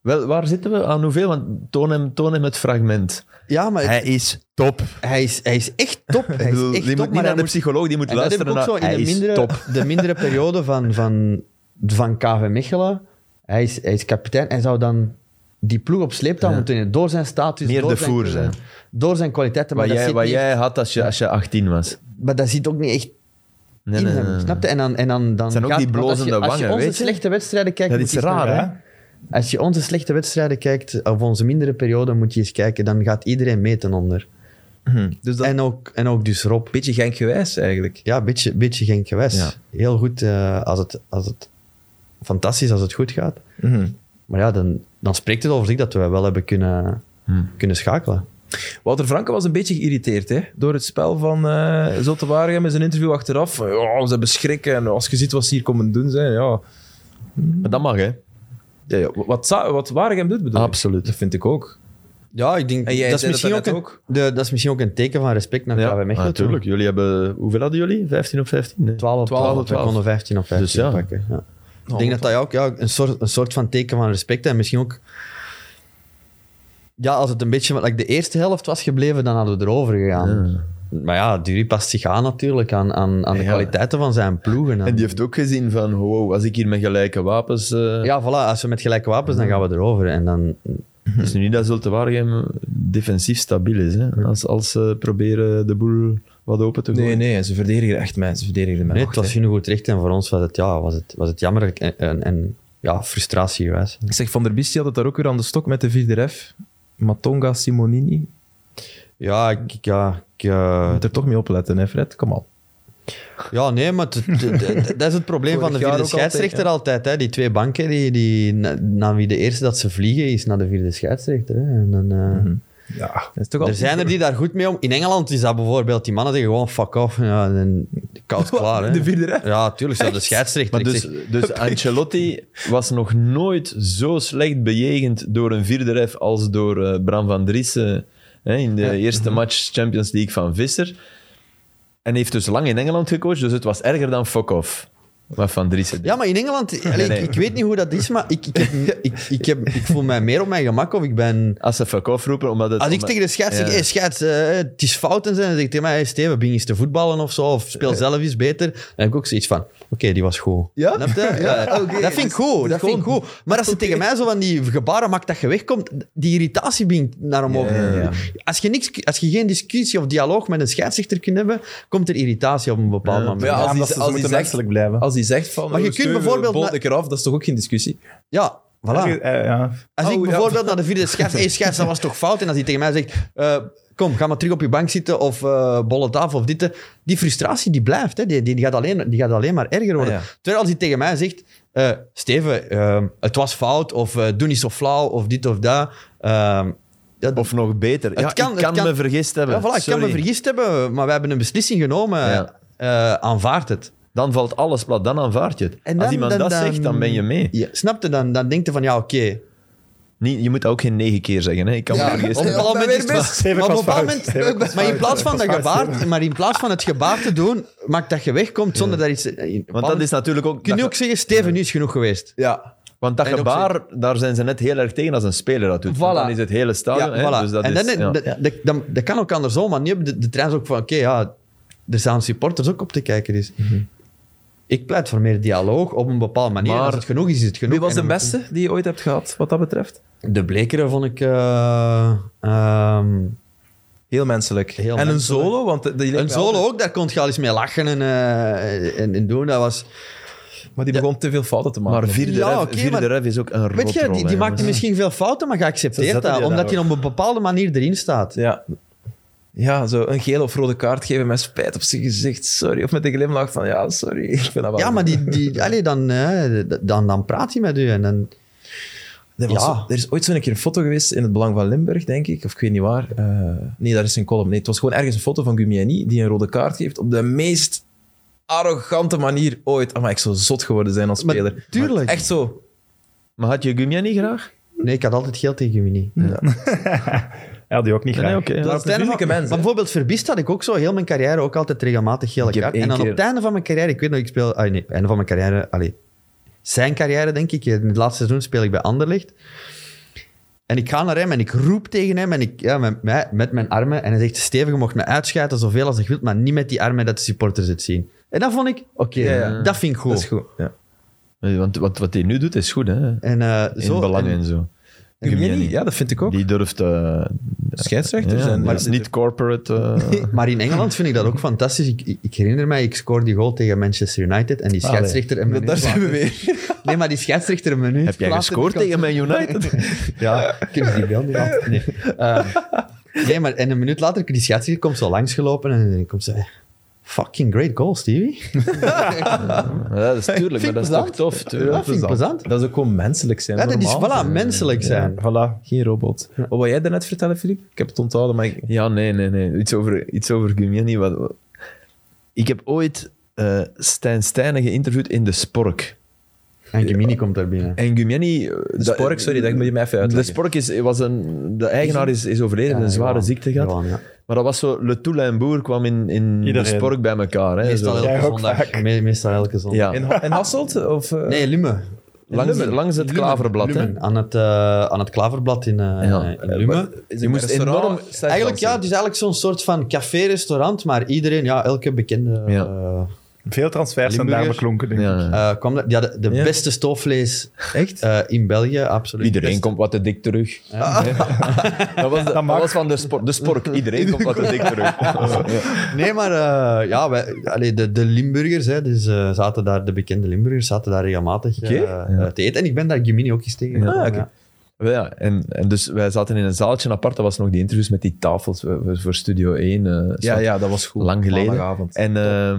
Speaker 3: Wel, waar zitten we? Aan hoeveel? Want toon hem, toon hem het fragment.
Speaker 4: Ja, maar het- hij,
Speaker 3: is top.
Speaker 4: is, hij is echt top. Hij is echt top,
Speaker 3: die moet niet
Speaker 4: maar hij
Speaker 3: naar de
Speaker 4: moet...
Speaker 3: psycholoog, die moet
Speaker 4: En dat heb ik
Speaker 3: luisteren
Speaker 4: ook
Speaker 3: naar...
Speaker 4: zo in
Speaker 3: hij
Speaker 4: de
Speaker 3: is
Speaker 4: mindere,
Speaker 3: top.
Speaker 4: de mindere periode van, van, van KV Mechelen. Hij is, hij is kapitein. Hij zou dan die ploeg op sleeptouw moeten nemen. Door zijn status,
Speaker 3: Meer
Speaker 4: door
Speaker 3: de
Speaker 4: zijn,
Speaker 3: voer
Speaker 4: kunnen,
Speaker 3: zijn.
Speaker 4: Door zijn kwaliteiten. Maar,
Speaker 3: Wat,
Speaker 4: dat
Speaker 3: jij,
Speaker 4: zit
Speaker 3: wat
Speaker 4: niet,
Speaker 3: jij had als je, als je 18 was.
Speaker 4: maar dat zit ook niet echt
Speaker 3: Nee,
Speaker 4: in
Speaker 3: nee,
Speaker 4: hem.
Speaker 3: nee, nee.
Speaker 4: Snap je? En dan, en dan, dan
Speaker 3: zijn ook die
Speaker 4: want
Speaker 3: blozende
Speaker 4: als je, Als je
Speaker 3: wangen,
Speaker 4: onze
Speaker 3: weet je?
Speaker 4: slechte wedstrijden kijkt...
Speaker 3: Dat
Speaker 4: moet
Speaker 3: is
Speaker 4: je eens
Speaker 3: raar,
Speaker 4: naar-
Speaker 3: hè?
Speaker 4: Als je onze slechte wedstrijden kijkt, of onze mindere periode, moet je eens kijken. Dan gaat iedereen meten onder.
Speaker 3: Mhm.
Speaker 1: Dus dat
Speaker 4: En, ook, en ook dus Rob.
Speaker 1: een beetje genkgewijs eigenlijk.
Speaker 4: Ja, een beetje, beetje geen gewijs.
Speaker 1: Ja.
Speaker 4: Heel goed eh, als, het, als het... Fantastisch als het goed gaat.
Speaker 1: Mhm.
Speaker 4: Maar ja, dan, dan spreekt het over zich dat we wel hebben kunnen,
Speaker 1: Hmm.
Speaker 4: kunnen schakelen.
Speaker 1: Wouter Franke was een beetje geïrriteerd hè? door het spel van eh Zotte Waregem in zijn interview achteraf. Van, Ja, ze hebben schrik en als je ziet wat ze hier komen doen zijn, ja.
Speaker 3: Maar dat mag, hè?
Speaker 1: ja, ja, wat, za- wat Waregem doet bedoel ik.
Speaker 3: Absoluut.
Speaker 1: Dat vind ik ook.
Speaker 4: Ja, ik denk...
Speaker 1: En jij
Speaker 4: dat, is
Speaker 1: zei dat
Speaker 4: misschien ook
Speaker 1: daarnet
Speaker 4: een,
Speaker 1: ook.
Speaker 4: De, dat is misschien ook een teken van respect naar KV Mechelen. toe.
Speaker 3: natuurlijk. Jullie hebben... Hoeveel hadden jullie? 15 op 15? Nee.
Speaker 4: 12 op 12,
Speaker 3: 12 op
Speaker 4: we
Speaker 3: 12.
Speaker 4: konden 15 op 15
Speaker 3: Dus ja.
Speaker 4: pakken. Ja. Ik denk dat dat ook ja, een, soort, een soort van teken van respect en misschien ook... Ja, als het een beetje like de eerste helft was gebleven, dan hadden we erover gegaan. Maar ja, Dury past zich aan natuurlijk aan, aan, aan de
Speaker 3: Ja.
Speaker 4: kwaliteiten van zijn ploegen.
Speaker 3: En die heeft ook gezien van, wow, als ik hier met gelijke wapens... eh,
Speaker 4: Ja, voilà, als we met gelijke wapens, dan gaan we erover. En dan...
Speaker 3: Het is nu niet dat Zulte Waregem defensief stabiel is. Hè? Als, als ze proberen de boel wat open te gooien.
Speaker 1: Nee, nee, ze verdedigen echt mij. Ze verdedigen mij.
Speaker 4: Nee, het
Speaker 1: echt,
Speaker 4: was
Speaker 1: hè.
Speaker 4: hun goed recht en voor ons was het, ja, was het, was het jammer en, en, en ja, frustratie geweest.
Speaker 1: Ik zeg, Van der Biest die had het daar ook weer aan de stok met de vierde ref. Matonga Simonini.
Speaker 4: Ja, ik... ik- Ja, ik eh,
Speaker 1: Je moet er toch mee opletten, hè Fred? Kom al.
Speaker 4: Ja, nee, maar het- het- het- dat is het probleem
Speaker 1: Vorig
Speaker 4: van de
Speaker 1: jaar
Speaker 4: vierde
Speaker 1: ook altijd,
Speaker 4: scheidsrechter altijd. hè. Die twee banken, die, die, na- naar wie de eerste dat ze vliegen is naar de vierde scheidsrechter. Hè. En dan, eh,
Speaker 1: Mhm.
Speaker 2: Ja,
Speaker 1: Dat is toch
Speaker 4: Er
Speaker 1: altijd-
Speaker 4: zijn er die daar goed mee om. In Engeland is dat bijvoorbeeld, die mannen zeggen gewoon fuck off. Ja, en koud klaar. Hè.
Speaker 1: De vierde ref?
Speaker 4: Ja, tuurlijk, zelfs de scheidsrechter.
Speaker 3: Maar
Speaker 4: Ik
Speaker 3: dus,
Speaker 4: zeg,
Speaker 3: dus Ancelotti was nog nooit zo slecht bejegend door een vierde ref als door eh, Bram van Driessen hè, in de
Speaker 4: Mhm.
Speaker 3: eerste match Champions League van Visser. En heeft dus lang in Engeland gecoacht, dus het was erger dan fuck-off. Wat van Driessen deed.
Speaker 4: ja, maar in Engeland, allee,
Speaker 3: nee.
Speaker 4: Ik, ik weet niet hoe dat is, maar ik, ik, heb, ik, ik, heb, ik voel mij meer op mijn gemak of ik ben...
Speaker 3: Als ze fuck-off roepen, omdat het...
Speaker 4: Als ik
Speaker 3: omdat-
Speaker 4: tegen de scheids zeg,
Speaker 3: Ja.
Speaker 4: hey, scheids, eh, het is fout en zo, dan zeg ik tegen mij, hey, Steven, begin eens te voetballen of zo, of speel zelf eens beter. Dan heb ik ook zoiets van, oké, die was goed.
Speaker 3: Ja?
Speaker 4: Snap je? Ja, Dat vind ik goed, dat vind ik goed. Maar als je tegen mij zo van die gebaren maakt dat je wegkomt, die irritatie begint naar omhoog. Als, je niks, als je geen discussie of dialoog met een scheidsrechter kunt hebben, komt er irritatie op een bepaald moment.
Speaker 1: Maar ja, als die-
Speaker 2: omdat ze- ze
Speaker 1: als die
Speaker 2: moeten
Speaker 1: zegt-
Speaker 2: menselijk blijven.
Speaker 1: Als hij zegt van...
Speaker 4: Maar je
Speaker 1: oh,
Speaker 4: kunt
Speaker 1: Steven,
Speaker 4: bijvoorbeeld
Speaker 1: bolt
Speaker 4: na-
Speaker 1: ik eraf, dat is toch ook geen discussie?
Speaker 4: Ja, voilà.
Speaker 2: Eh, ja.
Speaker 4: Als
Speaker 1: Oh,
Speaker 4: ik
Speaker 1: ja.
Speaker 4: bijvoorbeeld naar de vierde scheids... Hé, scheids, dat was toch fout? En als hij tegen mij zegt... eh, kom, ga maar terug op je bank zitten of eh bolle tafel of dit. eh, Die frustratie die blijft. Hè. Die, die, die gaat alleen, die gaat alleen maar erger worden.
Speaker 1: Ah, ja.
Speaker 4: Terwijl als hij tegen mij zegt... eh, Steven, eh, het was fout. Of eh, doe niet zo flauw. Of dit of dat. Ehm, ja,
Speaker 3: Of nog beter. Ja,
Speaker 4: Het kan-
Speaker 3: ik
Speaker 4: het
Speaker 3: kan,
Speaker 4: kan-
Speaker 3: me vergist hebben.
Speaker 4: ja, voilà, ik kan me
Speaker 3: Sorry.
Speaker 4: vergist hebben, maar we hebben een beslissing genomen.
Speaker 3: Ja.
Speaker 4: Eh, aanvaard het.
Speaker 3: Dan valt alles plat, dan aanvaard je het.
Speaker 4: En
Speaker 3: Als
Speaker 4: dan-
Speaker 3: iemand
Speaker 4: dan-
Speaker 3: dat
Speaker 4: dan-
Speaker 3: zegt, dan ben je mee.
Speaker 4: Ja. Snap je? Dan, dan denk je van, ja, oké.
Speaker 3: Niet, je moet ook geen negen keer zeggen. Hè. Ik kan me
Speaker 4: Ja,
Speaker 3: vergist
Speaker 4: op een
Speaker 3: hebben.
Speaker 4: bepaald moment is het mis.
Speaker 2: Steven, ik
Speaker 4: Maar op
Speaker 2: was
Speaker 4: een bepaald
Speaker 2: fout.
Speaker 4: moment-
Speaker 2: Steven, ik was
Speaker 4: maar in
Speaker 2: fout.
Speaker 4: plaats van
Speaker 2: Ik was
Speaker 4: dat
Speaker 2: fout,
Speaker 4: gebaar, maar in plaats van het gebaar te doen, maakt dat je wegkomt zonder dat iets.
Speaker 3: Want dat is natuurlijk ook...
Speaker 4: Kun
Speaker 3: dat
Speaker 4: je
Speaker 3: ge-
Speaker 4: ook zeggen, Steven, nu is genoeg geweest.
Speaker 1: Ja.
Speaker 3: want dat
Speaker 4: en ook
Speaker 3: gebaar, daar zijn ze net heel erg tegen als een speler dat doet. Want
Speaker 4: Voilà.
Speaker 3: Dan is het hele stadion. hè.
Speaker 4: voilà.
Speaker 3: Dus dat
Speaker 4: en dan,
Speaker 3: is, ja.
Speaker 4: dat- dat- dat- dat kan ook andersom, maar nu hebben de, de trends ook van, oké, ja, er staan supporters ook op te kijken. Dus
Speaker 3: Mhm.
Speaker 4: ik pleit voor meer dialoog op een bepaalde manier.
Speaker 3: Maar-
Speaker 4: Als het genoeg is, is het genoeg.
Speaker 1: Wie was
Speaker 4: En
Speaker 1: de
Speaker 4: dan-
Speaker 1: beste die je ooit hebt gehad, wat dat betreft?
Speaker 4: De blekere vond ik... eh, ehm,
Speaker 1: Heel menselijk.
Speaker 4: Heel
Speaker 1: en een
Speaker 4: menselijk.
Speaker 1: solo, want die lijkt
Speaker 4: Een
Speaker 1: mij
Speaker 4: solo
Speaker 1: altijd-
Speaker 4: ook, daar kon je al eens mee lachen en, eh, en, en doen. Dat was...
Speaker 1: Maar die begon te veel fouten te maken.
Speaker 3: Maar vierde,
Speaker 4: Ja,
Speaker 3: ref,
Speaker 4: oké,
Speaker 3: vierde
Speaker 4: maar-
Speaker 3: ref is ook een
Speaker 4: Weet je,
Speaker 3: rotrol,
Speaker 4: die,
Speaker 3: hè,
Speaker 4: die maakte
Speaker 3: jongens.
Speaker 4: misschien veel fouten, maar
Speaker 2: Ze
Speaker 4: geaccepteerd
Speaker 2: zetten
Speaker 4: dat,
Speaker 2: die
Speaker 4: omdat
Speaker 2: daar
Speaker 4: hij op een bepaalde manier erin staat.
Speaker 1: Ja. Ja, zo een geel of rode kaart geven met spijt op zijn gezicht. Sorry. Of met een glimlach van ja, sorry. Ik vind dat wel
Speaker 4: Ja, maar die, die, allee, dan, eh, d- dan, dan praat hij met u. En dan,
Speaker 1: Er, was
Speaker 4: Ja.
Speaker 1: zo- er is ooit zo'n keer een foto geweest in het Belang van Limburg, denk ik. Of ik weet niet waar. Eh, nee, daar is een column. Nee, het was gewoon ergens een foto van Gumiani die een rode kaart geeft op de meest arrogante manier ooit. Amai, ik zou zot geworden zijn als
Speaker 4: Maar
Speaker 1: speler. Maar
Speaker 4: tuurlijk.
Speaker 1: echt zo.
Speaker 3: Maar had je Gumia niet graag?
Speaker 4: nee, ik had altijd geld tegen u niet.
Speaker 2: Hij had die ook niet graag.
Speaker 3: Nee, oké.
Speaker 1: Dat is
Speaker 4: op het einde
Speaker 1: vriendelijke
Speaker 4: van-
Speaker 1: mensen, hè?
Speaker 4: Maar bijvoorbeeld Verbiest had ik ook zo heel mijn carrière ook altijd regelmatig gele
Speaker 1: Ik heb
Speaker 4: kaart.
Speaker 1: één
Speaker 4: En dan op
Speaker 1: keer-
Speaker 4: het einde van mijn carrière, ik weet nog, ik speel... Ah, nee, einde van mijn carrière, allee, zijn carrière denk ik. In het laatste seizoen speel ik bij Anderlecht. En ik ga naar hem en ik roep tegen hem en ik, ja, met, mij- met mijn armen. En hij zegt, Steven, je mocht me uitschijten zoveel als je wilt, maar niet met die armen dat de supporters het zien. En dat vond ik, oké,
Speaker 1: Ja, ja.
Speaker 4: dat vind ik goed.
Speaker 1: Dat is goed. Ja.
Speaker 3: Want wat, wat hij nu doet is goed, hè? In
Speaker 4: En, eh, zo,
Speaker 3: belang
Speaker 4: en-
Speaker 3: en zo.
Speaker 1: Gumiani,
Speaker 3: Gumiani.
Speaker 1: ja, dat vind ik ook.
Speaker 3: Die durft... eh
Speaker 1: Scheidsrechter
Speaker 3: ja,
Speaker 1: zijn.
Speaker 3: maar
Speaker 1: Ja.
Speaker 3: niet corporate... eh,
Speaker 4: Maar in Engeland vind ik dat ook fantastisch. Ik, ik, ik herinner mij, ik scoorde die goal tegen Manchester United en die scheidsrechter... en
Speaker 1: Daar zijn we weer.
Speaker 4: Nee, maar die scheidsrechter een minuut.
Speaker 3: Heb jij
Speaker 4: later-
Speaker 3: gescoord tegen Man United?
Speaker 4: Ja, kunnen ze die wel niet af? Nee. Ehm, nee, maar en een minuut later, die scheidsrechter komt zo langsgelopen en dan komt ze... Fucking great goal, Stevie.
Speaker 3: Ja, dat is tuurlijk, maar dat is toch
Speaker 4: plezant.
Speaker 3: tof. tuurlijk.
Speaker 4: Ja, vind ik plezant.
Speaker 1: Dat is ook gewoon menselijk zijn.
Speaker 4: Ja, dat is,
Speaker 1: normaal
Speaker 4: voilà,
Speaker 1: zijn.
Speaker 4: menselijk zijn.
Speaker 2: Voilà.
Speaker 1: Geen robot. Wat wil jij daarnet vertellen, Filip? Ik heb het onthouden, maar ik...
Speaker 3: Ja, nee, nee, nee. Iets over, iets over Gumiani. Wat, wat- Ik heb ooit eh Stijn Stijnen geïnterviewd in De Spork.
Speaker 4: En Gemini komt daar binnen.
Speaker 3: En Gumiani... eh,
Speaker 1: De
Speaker 3: dat-
Speaker 1: Spork, sorry, dat moet je mij even
Speaker 3: De
Speaker 1: uitleggen.
Speaker 3: Spork is, was een... De eigenaar is, is overleden,
Speaker 4: Ja,
Speaker 3: een zware
Speaker 4: Johan.
Speaker 3: ziekte gehad.
Speaker 4: Johan, ja.
Speaker 3: Maar dat was zo... Le Toule en Boer kwam in, in De
Speaker 2: Iedereen.
Speaker 3: Spork bij elkaar. Hè,
Speaker 4: Meestal
Speaker 3: zo.
Speaker 2: jij
Speaker 4: elke
Speaker 2: ook
Speaker 4: zondag.
Speaker 2: vaak.
Speaker 4: Me- meestal elke zondag.
Speaker 3: Ja,
Speaker 1: In, Ha- in Hasselt? Of, eh,
Speaker 4: Nee, Lume.
Speaker 3: langs, langs het klaverblad. hè.
Speaker 4: Lumen. Aan het, eh, aan het klaverblad in, eh
Speaker 3: Ja.
Speaker 4: in Lume.
Speaker 1: Is
Speaker 3: Je
Speaker 1: een
Speaker 3: moest
Speaker 1: restaurant-
Speaker 3: enorm...
Speaker 4: Eigenlijk, ja, het is eigenlijk zo'n soort van café-restaurant, maar iedereen, ja, elke bekende
Speaker 3: Ja.
Speaker 4: eh,
Speaker 2: Veel transfers zijn daar
Speaker 4: Limburgers.
Speaker 2: beklonken, denk ik.
Speaker 3: Ja.
Speaker 4: eh, kwam daar. Die hadden de
Speaker 1: Ja.
Speaker 4: beste stoofvlees
Speaker 1: Echt?
Speaker 4: eh, in België, absoluut. Dus-
Speaker 3: Iedereen
Speaker 4: Beste-
Speaker 3: komt wat te dik terug. dat was, de, dat
Speaker 2: mag.
Speaker 3: was van de, sport, de spork. Iedereen komt wat te dik terug.
Speaker 4: Nee, maar eh, ja, wij, allee, de, de Limburgers, hè, dus, eh, zaten daar, de bekende Limburgers, zaten daar regelmatig eh,
Speaker 1: Oké.
Speaker 4: eh, te eten. En ik ben daar Gemini ook eens tegen.
Speaker 1: Ah, oké.
Speaker 3: Wel Ja, en, en dus wij zaten in een zaaltje apart. Dat was nog die interviews met die tafels eh, voor, voor Studio 1. eh,
Speaker 1: Ja,
Speaker 3: zo
Speaker 1: ja, dat was goed.
Speaker 3: Lang geleden.
Speaker 1: Maandagavond.
Speaker 3: En, eh,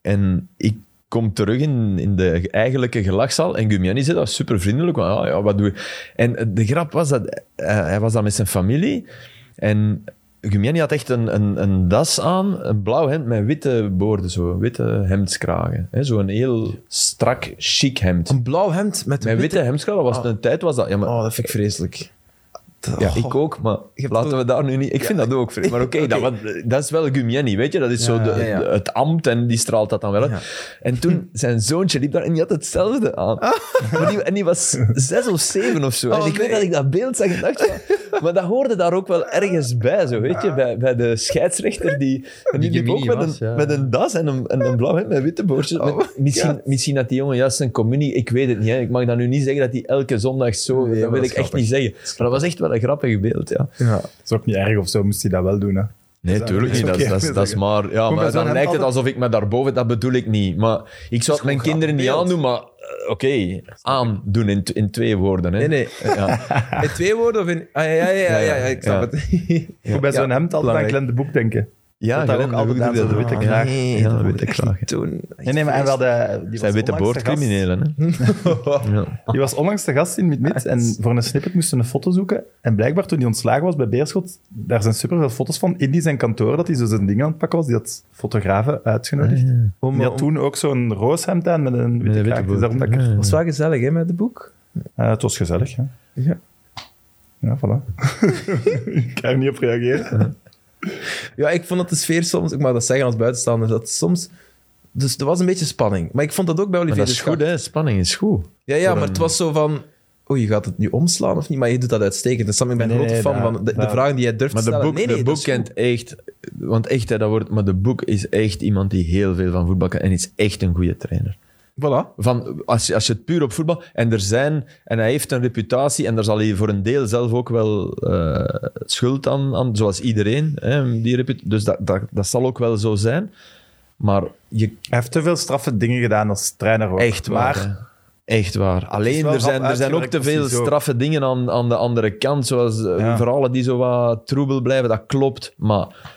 Speaker 3: en ik kom terug in, in de eigenlijke gelagzaal. En Gumiani zei dat super vriendelijk. Want, ah, ja, wat doe je? En eh, de grap was dat eh, hij was dan met zijn familie. En Gumiani had echt een, een, een das aan, een blauw hemd met witte boorden, zo, witte hemdskragen. Hè, zo een heel strak, chic hemd.
Speaker 1: Een blauw hemd met
Speaker 3: Met witte hemdskragen, dat was
Speaker 1: Ah.
Speaker 3: een tijd was dat. Ja, maar
Speaker 1: Oh, dat vind ik vreselijk. Dat-
Speaker 3: ja,
Speaker 1: oh.
Speaker 3: ik ook, maar
Speaker 1: hebt
Speaker 3: laten
Speaker 1: ook-
Speaker 3: we daar nu niet... Ik vind dat ook, vreemd. maar oké, dat, want dat is wel Gumieni, weet je? Dat is zo de,
Speaker 1: ja, ja.
Speaker 3: de- het ambt en die straalt dat dan wel uit.
Speaker 1: Ja.
Speaker 3: En toen, zijn zoontje liep daar en die had hetzelfde aan. Maar die, en die was zes of zeven of zo.
Speaker 1: Ah. Oh,
Speaker 3: en ik
Speaker 1: nee.
Speaker 3: weet dat ik dat beeld zag en dacht van... Maar dat hoorde daar ook wel ergens bij, zo, weet
Speaker 1: Ah.
Speaker 3: je? Bij, bij de scheidsrechter die... En die,
Speaker 4: Die
Speaker 3: liep ook
Speaker 4: Gumieni
Speaker 3: met,
Speaker 4: was,
Speaker 3: een,
Speaker 4: ja.
Speaker 3: met een das en een, en een blauw hemd met witte boordjes. Met- misschien, misschien had die jongen juist een communie... Ik weet het niet, hè. Ik mag dat nu niet zeggen dat hij elke zondag zo...
Speaker 1: Nee,
Speaker 3: dat
Speaker 1: maar
Speaker 3: wil
Speaker 1: dat
Speaker 3: ik
Speaker 1: is
Speaker 3: echt
Speaker 1: grappig.
Speaker 3: niet zeggen. Maar dat was echt wel een grappig beeld, ja.
Speaker 1: Ja.
Speaker 2: Dat is ook niet erg of zo, moest hij dat wel doen. Hè.
Speaker 3: Nee,
Speaker 2: Dat is
Speaker 3: tuurlijk niet. Dat, is-
Speaker 2: eigenlijk
Speaker 3: dat, is- dat is
Speaker 2: oké.
Speaker 3: maar... Ja,
Speaker 2: Moet
Speaker 3: maar
Speaker 2: dat
Speaker 3: dan
Speaker 2: dan
Speaker 3: lijkt het
Speaker 2: altijd-
Speaker 3: alsof ik me daarboven... Dat bedoel ik niet. Maar ik zou het mijn kinderen niet
Speaker 1: beeld.
Speaker 3: aandoen, maar... eh, Oké, aandoen in, t- in twee woorden. Hè.
Speaker 1: Nee, nee.
Speaker 3: Ja.
Speaker 1: In twee woorden of in... Ah, ja, ja, ja, ja, ja, ik snap
Speaker 3: Ja.
Speaker 1: het.
Speaker 2: Goed, bij zo'n hemd altijd aan
Speaker 1: belangrijk.
Speaker 2: Glenn de Boek denken.
Speaker 3: Ja,
Speaker 2: Dat daar
Speaker 3: Glenn,
Speaker 2: ook altijd
Speaker 3: doe
Speaker 2: aan
Speaker 3: dat,
Speaker 2: zo'n
Speaker 3: dat
Speaker 2: witte
Speaker 3: weet ik
Speaker 2: kraag.
Speaker 3: graag.
Speaker 1: Nee,
Speaker 3: Ja,
Speaker 1: dat
Speaker 3: dat
Speaker 1: wil
Speaker 3: weet ik graag.
Speaker 1: Toen...
Speaker 2: Nee, nee, maar en wel de... Die
Speaker 3: Zijn
Speaker 2: was
Speaker 3: witte
Speaker 2: onlangs te gast-
Speaker 3: boordcriminelen. hè. Ja.
Speaker 2: Die was onlangs de gast in Mid-Mid en voor een snippet moesten we een foto zoeken. En blijkbaar toen hij ontslagen was bij Beerschot, daar zijn superveel foto's van in die zijn kantoor, dat hij zo zijn ding aan het pakken was. Die had fotografen uitgenodigd.
Speaker 1: Om,
Speaker 2: Die had
Speaker 1: om,
Speaker 2: toen ook zo'n rooshemd aan Ah, met een witte
Speaker 3: een witte
Speaker 2: kraag. Dus
Speaker 3: boord.
Speaker 2: daarom dat ik er-
Speaker 3: Ja.
Speaker 1: was wel gezellig, hè, met de boek?
Speaker 2: Eh, het was gezellig, hè.
Speaker 1: Ja.
Speaker 2: Ja, voilà. ik kan er niet op reageren.
Speaker 1: Ja, ik vond dat de sfeer soms... Ik mag dat zeggen als buitenstaander, dat soms... Dus er was een beetje spanning. Maar ik vond dat ook bij
Speaker 3: Maar
Speaker 1: Olivier
Speaker 3: dat
Speaker 1: de
Speaker 3: is
Speaker 1: Schacht.
Speaker 3: goed, hè. Spanning is goed.
Speaker 1: Ja, ja,
Speaker 3: Voor
Speaker 1: maar
Speaker 3: een-
Speaker 1: het was zo van... Oei, gaat het nu omslaan of niet? Maar je doet dat uitstekend. Dus Sam, ik ben een
Speaker 2: Nee,
Speaker 1: grote
Speaker 2: nee,
Speaker 1: fan
Speaker 2: daar-
Speaker 1: van de, de
Speaker 2: daar-
Speaker 1: vragen die jij durft
Speaker 3: Maar
Speaker 1: te
Speaker 3: de
Speaker 1: stellen.
Speaker 3: boek, de boek kent echt... Want echt, hè, dat wordt, maar de boek is echt iemand die heel veel van voetbal kan en is echt een goede trainer.
Speaker 1: Voilà.
Speaker 3: Van, als, je, als je het puur op voetbal... En er zijn... En hij heeft een reputatie en daar zal hij voor een deel zelf ook wel eh, schuld aan, aan... Zoals iedereen, hè, die reputa- Dus dat, dat, dat zal ook wel zo zijn. Maar je,
Speaker 2: Hij heeft te veel straffe dingen gedaan als trainer. Ook.
Speaker 3: echt waar.
Speaker 2: Maar
Speaker 3: hè. Echt waar. Alleen,
Speaker 2: wel
Speaker 3: er zijn,
Speaker 2: rap
Speaker 3: er zijn ook
Speaker 2: uitgewerkt,
Speaker 3: te veel
Speaker 2: precies ook.
Speaker 3: straffe dingen aan, aan de andere kant. Zoals eh,
Speaker 2: Ja.
Speaker 3: verhalen die zo wat troebel blijven, dat klopt. Maar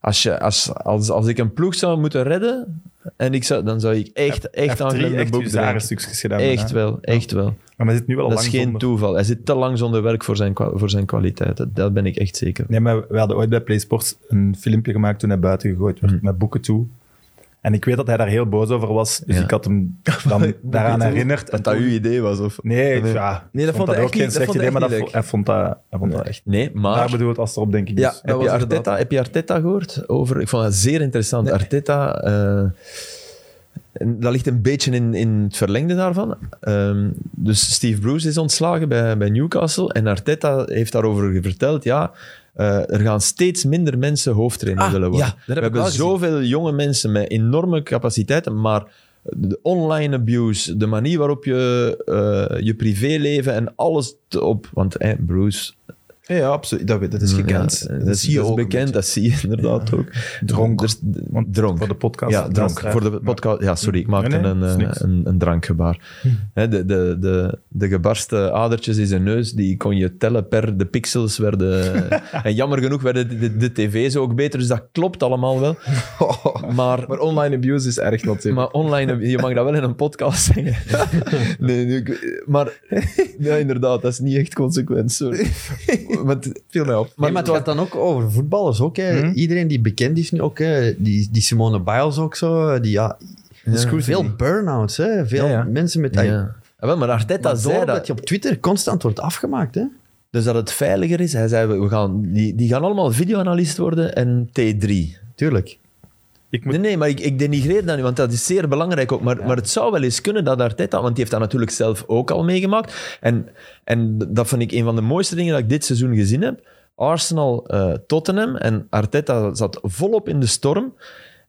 Speaker 3: als, je, als, als, als ik een ploeg zou moeten redden, en ik zou, dan zou ik echt,
Speaker 2: hij
Speaker 3: echt
Speaker 2: heeft
Speaker 3: aan
Speaker 2: drie
Speaker 3: Glenn de
Speaker 2: echt
Speaker 3: Boek denken.
Speaker 2: huzarenstukjes gedaan.
Speaker 3: Echt
Speaker 2: hè.
Speaker 3: wel, echt wel.
Speaker 2: Maar hij zit nu wel al
Speaker 3: Dat is
Speaker 2: lang
Speaker 3: geen
Speaker 2: zonder.
Speaker 3: toeval. Hij zit te lang zonder werk voor zijn, kwa- voor zijn kwaliteiten. Dat ben ik echt zeker.
Speaker 2: Nee, maar we hadden ooit bij PlaySports een filmpje gemaakt toen hij buiten gegooid werd,
Speaker 3: Hmm.
Speaker 2: met boeken toe. En ik weet dat hij daar heel boos over was, dus
Speaker 3: Ja.
Speaker 2: ik had hem dan daaraan herinnerd. En toen-
Speaker 3: idee was? Of...
Speaker 2: Nee, ik- ja,
Speaker 1: Nee, dat vond hij
Speaker 2: ook
Speaker 1: echt niet-
Speaker 2: geen
Speaker 1: dat
Speaker 2: slecht
Speaker 1: vond hij
Speaker 2: idee,
Speaker 1: echt
Speaker 2: maar dat,
Speaker 1: niet
Speaker 2: vo- hij vond dat, hij vond dat echt...
Speaker 3: Nee,
Speaker 2: Daar
Speaker 3: maar... nou,
Speaker 2: bedoel het als erop, denk ik.
Speaker 1: Ja,
Speaker 2: dus.
Speaker 1: dat
Speaker 3: Heb je,
Speaker 1: was inderdaad-
Speaker 3: Arteta, heb je Arteta gehoord? Over, ik vond dat zeer interessant. Arteta, eh, en dat ligt een beetje in, in het verlengde daarvan. Ehm, dus Steve Bruce is ontslagen bij, bij Newcastle en Arteta heeft daarover verteld, ja, eh, er gaan steeds minder mensen hoofdtrainer
Speaker 1: Ah,
Speaker 3: willen
Speaker 1: ja,
Speaker 3: worden.
Speaker 1: dat heb
Speaker 3: We
Speaker 1: ik
Speaker 3: hebben
Speaker 1: wel gezien.
Speaker 3: zoveel jonge mensen met enorme capaciteiten, maar de online abuse, de manier waarop je eh, je privéleven en alles te- op... Want eh, Bruce
Speaker 1: Ja, ja, absoluut. Dat, weet- dat is gekend.
Speaker 3: ja, eh,
Speaker 1: dat, zie je
Speaker 3: dat dus
Speaker 1: ook. een
Speaker 3: bekend, dat zie je inderdaad ook.
Speaker 2: Dronk.
Speaker 3: Er is-
Speaker 2: Want
Speaker 3: dronk.
Speaker 2: Voor de podcast.
Speaker 3: ja, dronk.
Speaker 2: luisteraar.
Speaker 3: Voor de podcast. Ja, sorry, ik maakte
Speaker 2: Nee, nee, dat is
Speaker 3: een, eh,
Speaker 2: niks. Hm.
Speaker 3: een, een drankgebaar. Hè, de, de, de, de gebarste adertjes in zijn neus, die kon je tellen per de pixels. Werden, en jammer genoeg werden de, de, de tv's ook beter, dus dat klopt allemaal wel.
Speaker 1: beetje.
Speaker 3: Maar
Speaker 1: maar online abuse is erg natuurlijk.
Speaker 3: maar online, eh, je mag dat wel in een podcast zeggen. nee, nu, ik- maar ja, inderdaad, dat is niet echt consequent. Sorry. Want, viel mij op.
Speaker 4: Maar, nee, maar het gaat dan ook over voetballers ook. Hè. Iedereen die bekend is nu ook. Hè. Die, die Simone Biles ook zo. Die, ja,
Speaker 3: Ja.
Speaker 4: veel burn-outs. Hè. Veel
Speaker 1: Ja, ja.
Speaker 4: mensen met...
Speaker 3: Ja. Ah, wel, maar Arteta
Speaker 4: Maar
Speaker 3: zei
Speaker 4: door
Speaker 3: dat.
Speaker 4: dat je op Twitter constant wordt afgemaakt. Hè.
Speaker 3: Dus dat het veiliger is. Hij zei, we- we gaan, die, die gaan allemaal videoanalist worden en T3.
Speaker 4: Tuurlijk.
Speaker 2: Ik moet
Speaker 3: Nee, nee, maar ik, ik denigreer dat nu, want dat is zeer belangrijk ook. Maar, maar het zou wel eens kunnen dat Arteta, want die heeft dat natuurlijk zelf ook al meegemaakt. En, en dat vond ik een van de mooiste dingen dat ik dit seizoen gezien heb. Arsenal, eh, Tottenham en Arteta zat volop in de storm.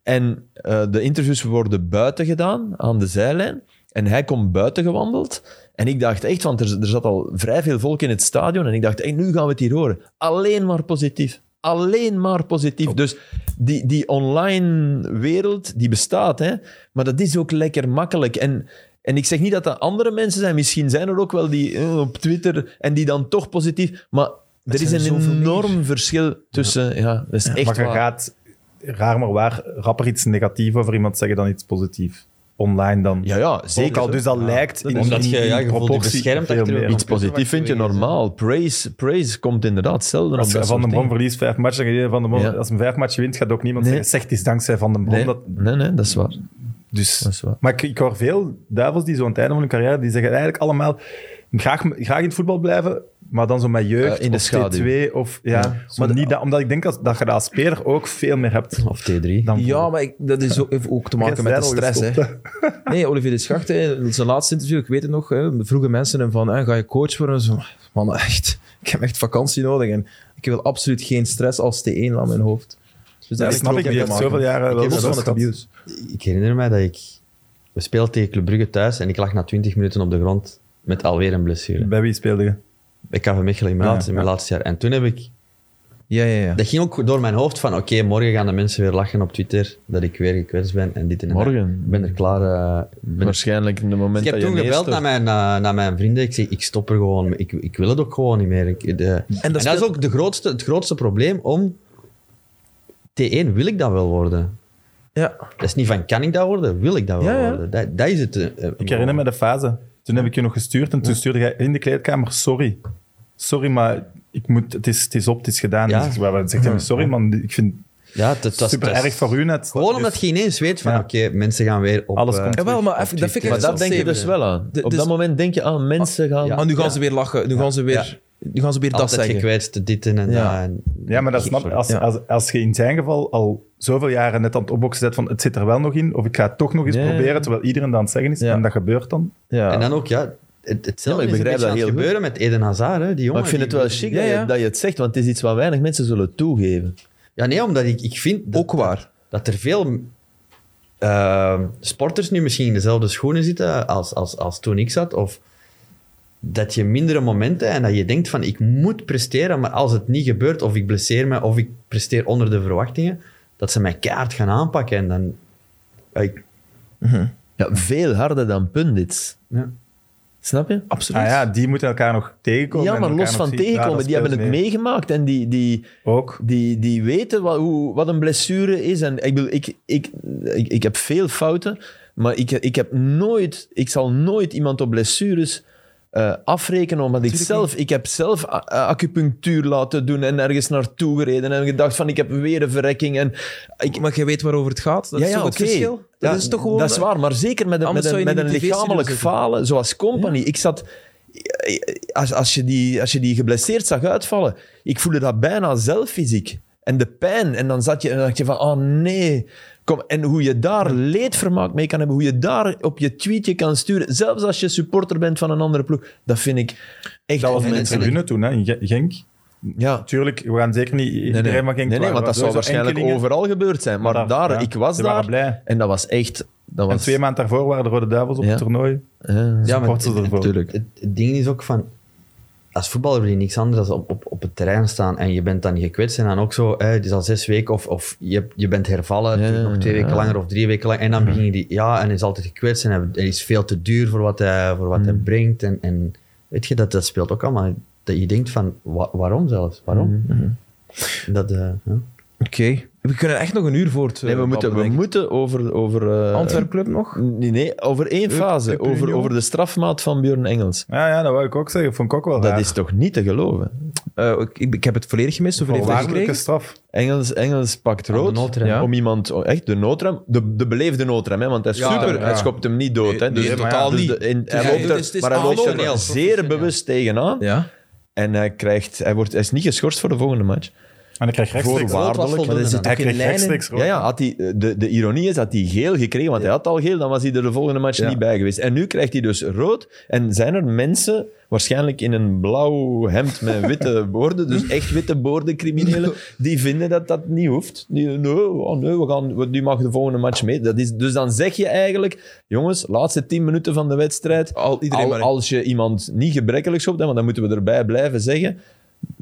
Speaker 3: En eh, de interviews worden buiten gedaan, aan de zijlijn. En hij komt buiten gewandeld. En ik dacht echt, want er, er zat al vrij veel volk in het stadion. En ik dacht, hey, nu gaan we het hier horen. Alleen maar positief. Alleen maar positief.
Speaker 2: Oh.
Speaker 3: Dus die, die online wereld, die bestaat. Hè? Maar dat is ook lekker makkelijk. En, en ik zeg niet dat dat andere mensen zijn. Misschien zijn er ook wel die eh, op Twitter en die dan toch positief. Maar er is
Speaker 1: zijn
Speaker 3: een
Speaker 1: er zoveel
Speaker 3: enorm verschil tussen... Ja, dat is echt
Speaker 2: maar je
Speaker 3: waar.
Speaker 2: gaat, raar maar waar, rapper iets negatiefs over iemand zeggen dan iets positiefs. Online dan.
Speaker 3: Ja, ja,
Speaker 2: Ook
Speaker 3: zeker.
Speaker 2: al dus dat lijkt in,
Speaker 5: Omdat
Speaker 2: in-
Speaker 5: je- ja,
Speaker 2: in
Speaker 5: je voelt je
Speaker 2: proportie
Speaker 5: beschermd
Speaker 2: veel
Speaker 5: achter je
Speaker 2: meer.
Speaker 5: rug.
Speaker 3: Iets positief vind je normaal. Praise, praise komt inderdaad zelden op
Speaker 2: Als
Speaker 3: dat
Speaker 2: je Van den
Speaker 3: soort
Speaker 2: Brom
Speaker 3: dingen.
Speaker 2: verliest vijf matchen, dan ga je van den Brom,
Speaker 3: Ja.
Speaker 2: als een vijf matchen wint, gaat ook niemand
Speaker 3: Nee.
Speaker 2: zeggen, zegt iets dankzij Van den Brom.
Speaker 3: Nee,
Speaker 2: Dat,
Speaker 3: nee, nee, dat is waar.
Speaker 2: dus,
Speaker 3: Dat is waar.
Speaker 2: Maar ik, ik hoor veel duivels die zo aan het einde van hun carrière, die zeggen eigenlijk allemaal, graag, graag in het voetbal blijven, maar dan zo met jeugd
Speaker 3: Eh, in de
Speaker 2: of
Speaker 3: schaduw.
Speaker 2: T2. Of, ja,
Speaker 3: Ja.
Speaker 2: zo niet dat, omdat ik denk dat, dat je daar als speler ook veel meer hebt.
Speaker 4: Of T3.
Speaker 2: Dan
Speaker 1: Ja, maar ik, dat is ook, heeft ook te maken met de stress. Hè. Nee, Olivier de Schacht, hè, in zijn laatste interview, ik weet het nog, hè, vroegen mensen hem van, hè, ga je coach worden? Zo, man, echt, ik heb echt vakantie nodig en ik wil absoluut geen stress als T1 aan mijn hoofd. Dus
Speaker 2: Dat
Speaker 1: heeft
Speaker 2: snap
Speaker 1: er
Speaker 2: ik,
Speaker 1: ook
Speaker 2: die
Speaker 1: mee
Speaker 2: heeft
Speaker 1: te
Speaker 2: zoveel
Speaker 1: maken.
Speaker 2: jaren wel
Speaker 1: Los van
Speaker 2: stress
Speaker 1: het
Speaker 2: gehad.
Speaker 1: abuse.
Speaker 4: Ik herinner mij dat ik... We speelden tegen Club Brugge thuis en ik lag na 20 minuten op de grond met alweer een blessure.
Speaker 2: Bij wie speelde je?
Speaker 4: Bij KV Mechelen in mijn,
Speaker 2: Ah,
Speaker 4: laatste, in mijn laatste jaar. En toen heb ik...
Speaker 1: Ja, ja, ja.
Speaker 4: Dat ging ook door mijn hoofd van, oké, morgen gaan de mensen weer lachen op Twitter dat ik weer gekwetst ben en dit en dat.
Speaker 3: Morgen?
Speaker 4: Ik ben er klaar... eh, ben er-
Speaker 3: Waarschijnlijk in het moment
Speaker 4: Ik heb
Speaker 3: dat je
Speaker 4: toen gebeld
Speaker 3: neerstort.
Speaker 4: naar mijn, eh, naar mijn vrienden. Ik zei, ik stop er gewoon. Ik, ik wil het ook gewoon niet meer. Ik, de- en dat,
Speaker 1: speelt-
Speaker 4: is ook de grootste, het grootste probleem om... T1 wil ik dat wel worden.
Speaker 1: ja.
Speaker 4: Dat is niet van, kan ik dat worden? Wil ik dat wel
Speaker 1: Ja, ja.
Speaker 4: worden? Dat, dat is het. eh,
Speaker 2: Ik herinner me de fase. Toen heb ik je nog gestuurd en toen stuurde jij in de kleedkamer: Sorry. Sorry, maar ik moet, het, is, het is op, het is gedaan.
Speaker 4: Ja.
Speaker 2: Dus ik wou- zegt hij, Sorry, man. Ik vind
Speaker 4: Ja, het- het
Speaker 2: het
Speaker 4: was-
Speaker 2: super
Speaker 4: het was-
Speaker 2: erg voor u net.
Speaker 4: Gewoon
Speaker 2: Dus
Speaker 4: omdat je ineens weet van,
Speaker 2: Ja.
Speaker 4: oké, mensen gaan weer op...
Speaker 2: Alles
Speaker 4: eh,
Speaker 2: komt-
Speaker 1: Jawel, maar even, dat vind ik
Speaker 3: Maar
Speaker 1: echt
Speaker 3: dat denk je dus wel aan.
Speaker 1: De-
Speaker 3: Op
Speaker 1: dus-
Speaker 3: dat moment denk je aan mensen gaan...
Speaker 1: Ah, nu gaan ze weer lachen, nu gaan ze weer, nu gaan ze weer dat
Speaker 4: altijd
Speaker 1: zeggen.
Speaker 4: gekwetst, dit en dat.
Speaker 1: Ja.
Speaker 4: En,
Speaker 2: Ja, maar dat snap als,
Speaker 1: Ja.
Speaker 2: als, als je in zijn geval al zoveel jaren net aan het opboksen zet van het zit er wel nog in, of ik ga het toch nog eens
Speaker 3: Ja.
Speaker 2: proberen, terwijl iedereen dat aan het zeggen is,
Speaker 1: Ja.
Speaker 2: en dat gebeurt dan.
Speaker 1: Ja.
Speaker 4: en dan ook, ja... Het, hetzelfde
Speaker 3: Ja,
Speaker 4: ik
Speaker 3: ik
Speaker 4: begrijp
Speaker 3: begrijp
Speaker 4: is een beetje aan
Speaker 3: dat
Speaker 4: het
Speaker 3: heel goed.
Speaker 4: gebeuren met Eden Hazard. Hè, die jongen,
Speaker 3: Maar ik vind het
Speaker 4: die-
Speaker 3: wel chic
Speaker 1: Ja,
Speaker 3: dat je-
Speaker 1: ja.
Speaker 3: dat je het zegt, want het is iets wat weinig mensen zullen toegeven.
Speaker 4: Ja, nee, omdat ik, ik vind... dat-
Speaker 1: Ook waar.
Speaker 4: dat er veel ehm, sporters nu misschien in dezelfde schoenen zitten als, als, als toen ik zat. Of dat je mindere momenten en dat je denkt van ik moet presteren, maar als het niet gebeurt of ik blesseer me of ik presteer onder de verwachtingen, dat ze mij kaart gaan aanpakken en dan... Ja, ik-
Speaker 3: Ja, veel harder dan Pundits.
Speaker 4: Ja.
Speaker 3: Snap je?
Speaker 1: Absoluut.
Speaker 2: Ah ja, die moeten elkaar nog tegenkomen.
Speaker 3: Ja,
Speaker 2: en
Speaker 3: maar
Speaker 2: elkaar
Speaker 3: los
Speaker 2: nog
Speaker 3: van
Speaker 2: zien. Ja,
Speaker 3: tegenkomen,
Speaker 2: dat
Speaker 3: die hebben het
Speaker 2: speelt
Speaker 3: meegemaakt en die, die,
Speaker 2: mee. Ook.
Speaker 3: die, die weten wat, hoe, wat een blessure is. En ik, bedoel, ik, ik, ik, ik heb veel fouten, maar ik, ik, heb nooit, ik zal nooit iemand op blessures eh, afrekenen. Omdat ik zelf, ik heb zelf a- a- acupunctuur laten doen en ergens naartoe gereden en gedacht van ik heb weer een verrekking. En ik,
Speaker 1: Maar jij weet waarover het gaat. Dat is toch het
Speaker 3: oké.
Speaker 1: verschil? Dat
Speaker 3: Ja,
Speaker 1: is toch gewoon...
Speaker 3: Dat is waar, maar zeker met een,
Speaker 1: Anders
Speaker 3: met
Speaker 1: zou
Speaker 3: een,
Speaker 1: je
Speaker 3: met
Speaker 1: niet
Speaker 3: een
Speaker 1: in de TV-studio
Speaker 3: lichamelijk
Speaker 1: zitten.
Speaker 3: falen, zoals Company. Ik zat... Als, als, je die, als je die geblesseerd zag uitvallen, ik voelde dat bijna zelf fysiek. En de pijn. En dan zat je en dan dacht je van, oh nee. Kom, en hoe je daar leedvermaak mee kan hebben, hoe je daar op je tweetje kan sturen, zelfs als je supporter bent van een andere ploeg, dat vind ik echt...
Speaker 2: Dat was
Speaker 3: en-
Speaker 2: in de
Speaker 3: en-
Speaker 2: tribune toen, hè, in Ge- Genk.
Speaker 3: ja.
Speaker 2: Tuurlijk, we gaan zeker niet
Speaker 3: Nee,
Speaker 2: iedereen
Speaker 3: nee.
Speaker 2: maar
Speaker 3: nee,
Speaker 2: Genk
Speaker 3: nee, want dat zou waarschijnlijk overal gebeurd zijn. Maar
Speaker 2: Maar
Speaker 3: daar,
Speaker 2: daar- ja,
Speaker 3: ik was
Speaker 2: ze waren
Speaker 3: daar
Speaker 2: blij.
Speaker 3: en dat was echt... Dat was,
Speaker 2: En twee maanden daarvoor waren de Rode Duivels op
Speaker 3: Ja.
Speaker 2: het toernooi. Dus
Speaker 3: Ja.
Speaker 1: Ja, maar...
Speaker 2: Supporters ervoor.
Speaker 3: Natuurlijk.
Speaker 4: het, het ding is ook van... Als voetballer wil je niks anders dan op, op, op het terrein staan en je bent dan gekwetst en dan ook zo, hè, het is al zes weken of, of je, je bent hervallen,
Speaker 3: Ja, ja,
Speaker 4: nog twee
Speaker 3: ja.
Speaker 4: weken langer of drie weken langer en dan begin je die, ja, en hij is altijd gekwetst en hij, hij is veel te duur voor wat hij, voor wat hij brengt en, en weet je, dat, dat speelt ook allemaal. Dat je denkt van, wa- waarom zelfs? Waarom? Dat, eh, ja.
Speaker 1: Oké. We kunnen echt nog een uur voort... eh,
Speaker 3: Nee, we moeten, we
Speaker 1: babbelen, denk
Speaker 3: moeten over... over eh,
Speaker 1: ik. Antwerpclub nog?
Speaker 3: Nee, nee, over één fase.
Speaker 2: Club
Speaker 3: Over,
Speaker 2: Union.
Speaker 3: over de strafmaat van Björn Engels.
Speaker 2: Ja, ja, dat wou ik ook zeggen. Vond ik ook wel
Speaker 3: Dat
Speaker 2: raar.
Speaker 3: is toch niet te geloven?
Speaker 1: Eh, ik, ik heb het volledig gemist. Hoeveel heeft hij
Speaker 2: Voorwaardelijke
Speaker 1: gekregen?
Speaker 2: straf.
Speaker 3: Engels, Engels pakt
Speaker 4: de
Speaker 3: rood
Speaker 4: noodrem.
Speaker 1: Ja.
Speaker 3: om iemand... oh, echt, de noodrem. De, de beleefde noodrem, hè, want hij,
Speaker 1: Ja,
Speaker 3: schopt, hem,
Speaker 1: ja.
Speaker 3: hij schopt hem niet dood.
Speaker 1: Nee,
Speaker 3: Hè, dus
Speaker 1: nee,
Speaker 3: dus
Speaker 1: totaal
Speaker 3: de-
Speaker 1: niet.
Speaker 3: de- en- hij
Speaker 1: Ja,
Speaker 3: loopt
Speaker 1: het
Speaker 3: er-
Speaker 1: is- het is
Speaker 3: maar hij loopt
Speaker 1: aanlopen.
Speaker 3: er zeer bewust tegenaan.
Speaker 1: Ja.
Speaker 3: En hij, krijgt, hij, wordt, hij is niet geschorst voor de volgende match.
Speaker 2: En dan krijg je rechtstreeks
Speaker 3: Voorwaardelijk,
Speaker 1: Rood was voldoende
Speaker 4: maar dat is
Speaker 1: dan.
Speaker 2: Hij
Speaker 1: Ook in
Speaker 2: kreeg
Speaker 1: lijnen.
Speaker 2: rechtstreeks rood.
Speaker 3: Ja, ja had hij, eh, de, de ironie is dat hij geel gekregen, want hij had al geel, dan was hij er de volgende match
Speaker 1: Ja.
Speaker 3: niet bij geweest. En nu krijgt hij dus rood. En zijn er mensen, waarschijnlijk in een blauw hemd met witte boorden, dus echt witte boorden criminelen, die vinden dat dat niet hoeft. Die, nee, oh nee we gaan, we, die mag de volgende match mee. Dat is, dus dan zeg je eigenlijk, jongens, laatste tien minuten van de wedstrijd,
Speaker 1: Al, iedereen
Speaker 3: al-
Speaker 1: maar...
Speaker 3: als je iemand niet gebrekkelijk schopt, hè, want dan moeten we erbij blijven zeggen,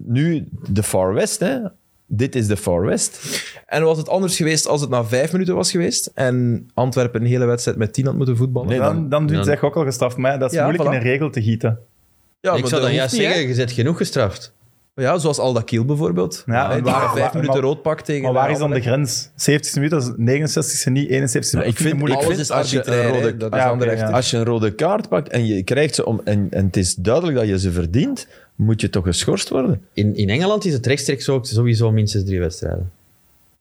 Speaker 3: nu de Far West, hè. Dit is de Far West.
Speaker 1: En was het anders geweest als het na vijf minuten was geweest en Antwerpen een hele wedstrijd met tien had moeten voetballen?
Speaker 3: Nee,
Speaker 2: dan, dan doet
Speaker 4: dan-
Speaker 2: zich ook al gestraft. Maar dat is
Speaker 1: Ja,
Speaker 2: moeilijk
Speaker 1: voilà.
Speaker 2: in een regel te gieten.
Speaker 1: ja, maar
Speaker 4: ik zou
Speaker 1: dat
Speaker 4: dan
Speaker 1: hoeft
Speaker 4: juist
Speaker 1: niet, hè?
Speaker 4: zeggen, je bent genoeg gestraft.
Speaker 1: Ja, zoals Alda Kiel bijvoorbeeld.
Speaker 2: Ja,
Speaker 1: Ja,
Speaker 2: en
Speaker 1: die
Speaker 2: waar-
Speaker 1: na vijf
Speaker 2: waar-
Speaker 1: minuten
Speaker 2: maar-
Speaker 1: rood pak tegen...
Speaker 2: Maar waar is dan de
Speaker 1: Anderlecht.
Speaker 2: grens? 70 minuten, dat is 69 en niet 71
Speaker 3: Ja, ik
Speaker 2: Dat vind
Speaker 3: vind-
Speaker 2: moeilijk.
Speaker 3: ik
Speaker 1: Alles
Speaker 3: vind
Speaker 1: is
Speaker 3: als je een
Speaker 1: arbitrair,
Speaker 3: rode-
Speaker 1: hè. dat is
Speaker 2: Ja, oké,
Speaker 1: Anderlecht.
Speaker 2: ja.
Speaker 3: Als je een rode kaart pakt en je krijgt ze om, en, en het is duidelijk dat je ze verdient, moet je toch geschorst worden?
Speaker 4: In, in Engeland is het rechtstreeks ook sowieso minstens drie wedstrijden.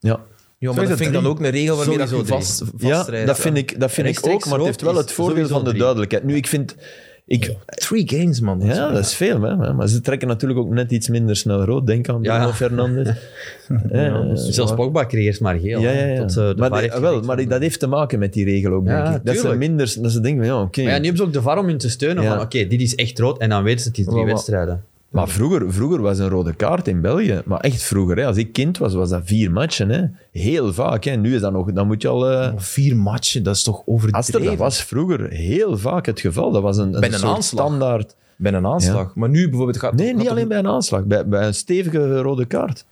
Speaker 3: Ja,
Speaker 1: Ja,
Speaker 2: Zo
Speaker 1: maar
Speaker 2: is
Speaker 1: dat
Speaker 2: het
Speaker 1: vind ik dan
Speaker 2: drie.
Speaker 1: ook een regel waarmee dat je
Speaker 4: Sowieso
Speaker 1: vast,
Speaker 3: ja
Speaker 1: vastrijdt.
Speaker 3: dat vind ik, dat vind ik
Speaker 4: Rechtstreeks
Speaker 3: ook, maar het heeft wel
Speaker 4: rood
Speaker 3: het
Speaker 4: is
Speaker 3: voordeel
Speaker 4: sowieso
Speaker 3: van de
Speaker 4: drie.
Speaker 3: duidelijkheid. Nu, ik vind... Ik,
Speaker 1: Three games, man.
Speaker 3: ja, dat is veel, hè, maar ze trekken natuurlijk ook net iets minder snel rood. Denk aan
Speaker 4: Ja.
Speaker 3: Bruno Fernandes. Eh, Ja,
Speaker 4: Dus Zelfs Pogba kreeg eerst maar geel.
Speaker 3: ja,
Speaker 4: hè,
Speaker 3: ja, ja.
Speaker 4: tot, eh, de
Speaker 3: maar,
Speaker 4: VAR
Speaker 3: die-
Speaker 4: heeft
Speaker 3: wel,
Speaker 4: gezegd
Speaker 3: maar die-
Speaker 4: van-
Speaker 3: dat heeft te maken met die regel ook, denk
Speaker 4: Ja,
Speaker 3: ik. Dat ze,
Speaker 4: tuurlijk.
Speaker 3: minder, dat ze denken, van, ja, oké.
Speaker 4: Maar ja, nu hebben ze ook de VAR om hun te steunen.
Speaker 3: Ja.
Speaker 4: Van oké, dit is echt rood. En dan weten ze het is drie
Speaker 1: Wel, wel.
Speaker 4: wedstrijden.
Speaker 3: Maar vroeger, vroeger was een rode kaart in België. Maar echt vroeger, hè. als ik kind was, was dat vier matchen. Hè. Heel vaak. Hè. Nu is dat nog, dan moet je al. eh,
Speaker 1: Vier matchen, dat is toch overdreven?
Speaker 3: Aster, dat was vroeger heel vaak het geval. Dat was een, een,
Speaker 1: Bij een
Speaker 3: soort
Speaker 1: aanslag.
Speaker 3: standaard.
Speaker 1: Bij een aanslag. Maar nu bijvoorbeeld gaat...
Speaker 3: Nee, niet
Speaker 1: gaat-
Speaker 3: alleen bij een aanslag. Bij, bij een stevige rode kaart.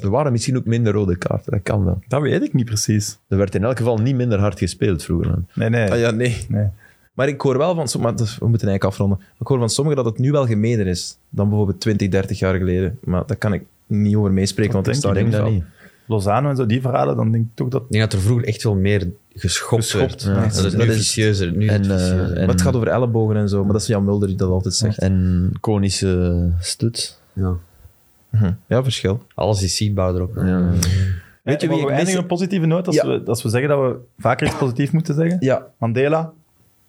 Speaker 3: Er waren misschien ook minder rode kaarten. Dat kan wel.
Speaker 2: Dat weet ik niet precies.
Speaker 3: Er werd in elk geval niet minder hard gespeeld vroeger. dan.
Speaker 2: Nee, nee.
Speaker 1: Ah, ja, nee.
Speaker 2: nee.
Speaker 1: Maar ik hoor wel van... som- Maar dat is- we moeten eigenlijk afronden. Maar Ik hoor van sommigen dat het nu wel gemeener is dan bijvoorbeeld 20, 30 jaar geleden. Maar daar kan ik niet over meespreken,
Speaker 2: Dat
Speaker 1: want ik sta
Speaker 2: denk
Speaker 3: Ik
Speaker 1: er
Speaker 3: denk
Speaker 1: niet
Speaker 3: dat
Speaker 1: van.
Speaker 3: niet.
Speaker 2: Lozano en zo, die verhalen, dan denk ik toch dat...
Speaker 4: Ik denk dat er vroeger echt veel meer geschopt,
Speaker 2: Geschopt, ja.
Speaker 4: werd. Dat is
Speaker 1: Dat
Speaker 4: nu
Speaker 1: is-
Speaker 4: vicieuzer. Nu is
Speaker 3: En,
Speaker 4: het
Speaker 3: eh,
Speaker 4: vicieuzer.
Speaker 3: en-
Speaker 1: Dus, Maar het gaat over ellebogen en zo, maar dat is Jan Mulder die dat altijd zegt.
Speaker 3: En konische stuts.
Speaker 4: Ja.
Speaker 1: Mhm. Ja, verschil.
Speaker 4: Alles is zichtbaarder ook. wel.
Speaker 3: Ja.
Speaker 2: Weet
Speaker 3: je wie ik
Speaker 2: Eh, we
Speaker 3: mis-
Speaker 2: eindigen op een positieve noot als,
Speaker 1: Ja.
Speaker 2: we, als we zeggen dat we vaker iets positiefs moeten zeggen?
Speaker 1: Ja,
Speaker 2: Mandela,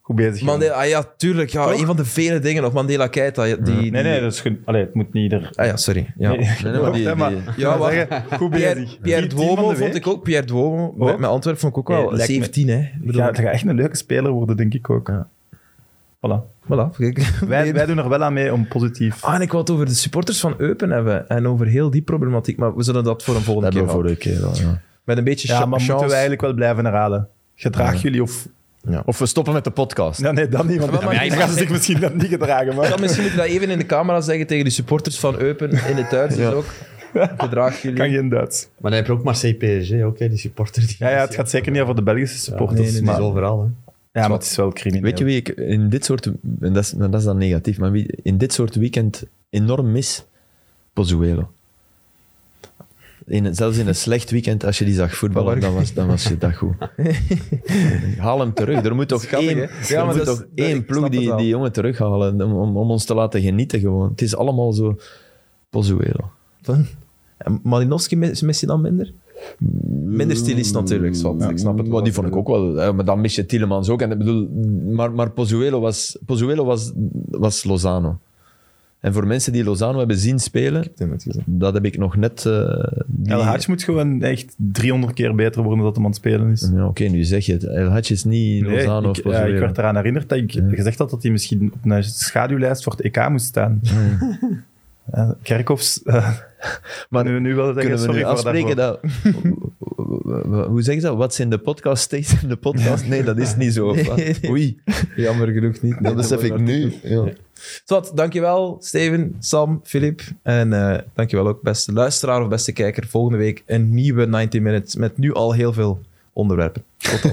Speaker 2: goed bezig. jongen.
Speaker 1: Mandela, ah ja, tuurlijk. Ja,
Speaker 2: Toch?
Speaker 1: een van de vele dingen nog. Mandela Keita. Die, die,
Speaker 2: Nee, nee, dat is goed. Allee, het moet niet ieder...
Speaker 1: Ah ja, sorry. Ja.
Speaker 2: Nee,
Speaker 3: nee, maar die-
Speaker 2: hè, maar
Speaker 3: die-
Speaker 2: ik
Speaker 1: Ja,
Speaker 2: wou
Speaker 1: wacht.
Speaker 2: zeggen, goed
Speaker 1: Pierre,
Speaker 2: bezig.
Speaker 1: Pierre
Speaker 2: Team van de
Speaker 1: Duomo vond
Speaker 2: week.
Speaker 1: ik ook. Pierre Duomo met,
Speaker 2: Ook?
Speaker 1: met Antwerpen vond ik ook wel.
Speaker 2: Nee, lijkt me-
Speaker 1: 17, hè. Ik bedoel,
Speaker 2: Ja, dat gaat echt een leuke speler worden, denk ik ook. Voilà.
Speaker 1: Voilà, kijk.
Speaker 2: Wij, wij doen er wel aan mee om positief...
Speaker 1: Ah, en ik wil het over de supporters van Eupen hebben. En over heel die problematiek. Maar we zullen dat voor een volgende
Speaker 3: Dat
Speaker 1: keer
Speaker 3: hebben we
Speaker 1: houden.
Speaker 3: vorige keer al. Ja.
Speaker 1: Met een beetje
Speaker 2: Ja,
Speaker 1: cha-
Speaker 2: maar
Speaker 1: chance.
Speaker 2: moeten we eigenlijk wel blijven herhalen. Gedraag jullie of...
Speaker 3: Of we stoppen met de podcast.
Speaker 2: Ja, nee, dat niet, want
Speaker 1: maar
Speaker 2: dan
Speaker 1: ik-
Speaker 2: gaan ze zich misschien dan niet gedragen. Maar...
Speaker 1: Dan misschien moet je dat even in de camera zeggen tegen de supporters van Eupen in het Duits dus ook. Bedraagt jullie.
Speaker 2: kan geen Duits.
Speaker 4: Maar dan heb je ook Marseille PSG, ook, hè, die supporter. Die
Speaker 2: Ja, ja, het gaat zeker niet over de Belgische supporters.
Speaker 1: nee, nee, nee.
Speaker 2: maar,
Speaker 4: Het is overal, hè.
Speaker 2: ja, maar het is wel crimineel.
Speaker 3: Weet je wie ik in dit soort... En dat is, en dat is dan negatief, maar wie in dit soort weekend enorm mis? Pozuelo. In, zelfs in een slecht weekend, als je die zag voetballen, dan was, dan was je dat goed. Haal hem terug. Er moet toch
Speaker 1: Schattig,
Speaker 3: één,
Speaker 1: hè? Ja,
Speaker 3: er
Speaker 1: maar
Speaker 3: moet
Speaker 1: dat is-
Speaker 3: toch
Speaker 1: dat- ik
Speaker 3: één
Speaker 1: snap
Speaker 3: ploeg
Speaker 1: het
Speaker 3: die,
Speaker 1: wel.
Speaker 3: die jongen terughalen om, om, om ons te laten genieten gewoon. Het is allemaal zo... Pozuelo.
Speaker 1: Van- En Malinowski mis, mis je dan minder? Minder stilist natuurlijk, Swat. Ik snap het wel.
Speaker 3: Maar die vond ik ook wel. hè, Maar dan mis je Tielemans ook. En ik bedoel, maar maar Pozuelo, was, Pozuelo was, was Lozano. En voor mensen die Lozano hebben zien spelen,
Speaker 1: Ik heb het gezien.
Speaker 3: dat heb ik nog net... eh, die-
Speaker 2: El Hadj moet gewoon echt 300 keer beter worden dan dat hem aan het spelen is.
Speaker 3: Ja, Oké, nu zeg je het. El Hadj is niet
Speaker 2: Nee,
Speaker 3: Lozano of
Speaker 2: ik, ja, ik
Speaker 3: Pozuelo.
Speaker 2: werd eraan herinnerd dat ik gezegd had dat hij misschien op een schaduwlijst voor het EK moest staan. Eh, Kerkhoffs, eh,
Speaker 3: maar
Speaker 2: nu, nu wel zeggen,
Speaker 3: kunnen we
Speaker 2: sorry
Speaker 3: nu
Speaker 2: voor
Speaker 3: afspreken
Speaker 2: daarvoor.
Speaker 3: dat... Hoe zeg je dat? Wat in de podcast steeds in de podcast? Nee, dat is niet zo. of wat?
Speaker 1: Nee.
Speaker 3: Oei,
Speaker 1: Jammer genoeg niet.
Speaker 3: dat besef ik nu. Ja.
Speaker 1: Zwat, dankjewel Steven, Sam, Filip. En eh dankjewel ook beste luisteraar of beste kijker. Volgende week een nieuwe 90 Minutes met nu al heel veel onderwerpen.
Speaker 3: Tot dan.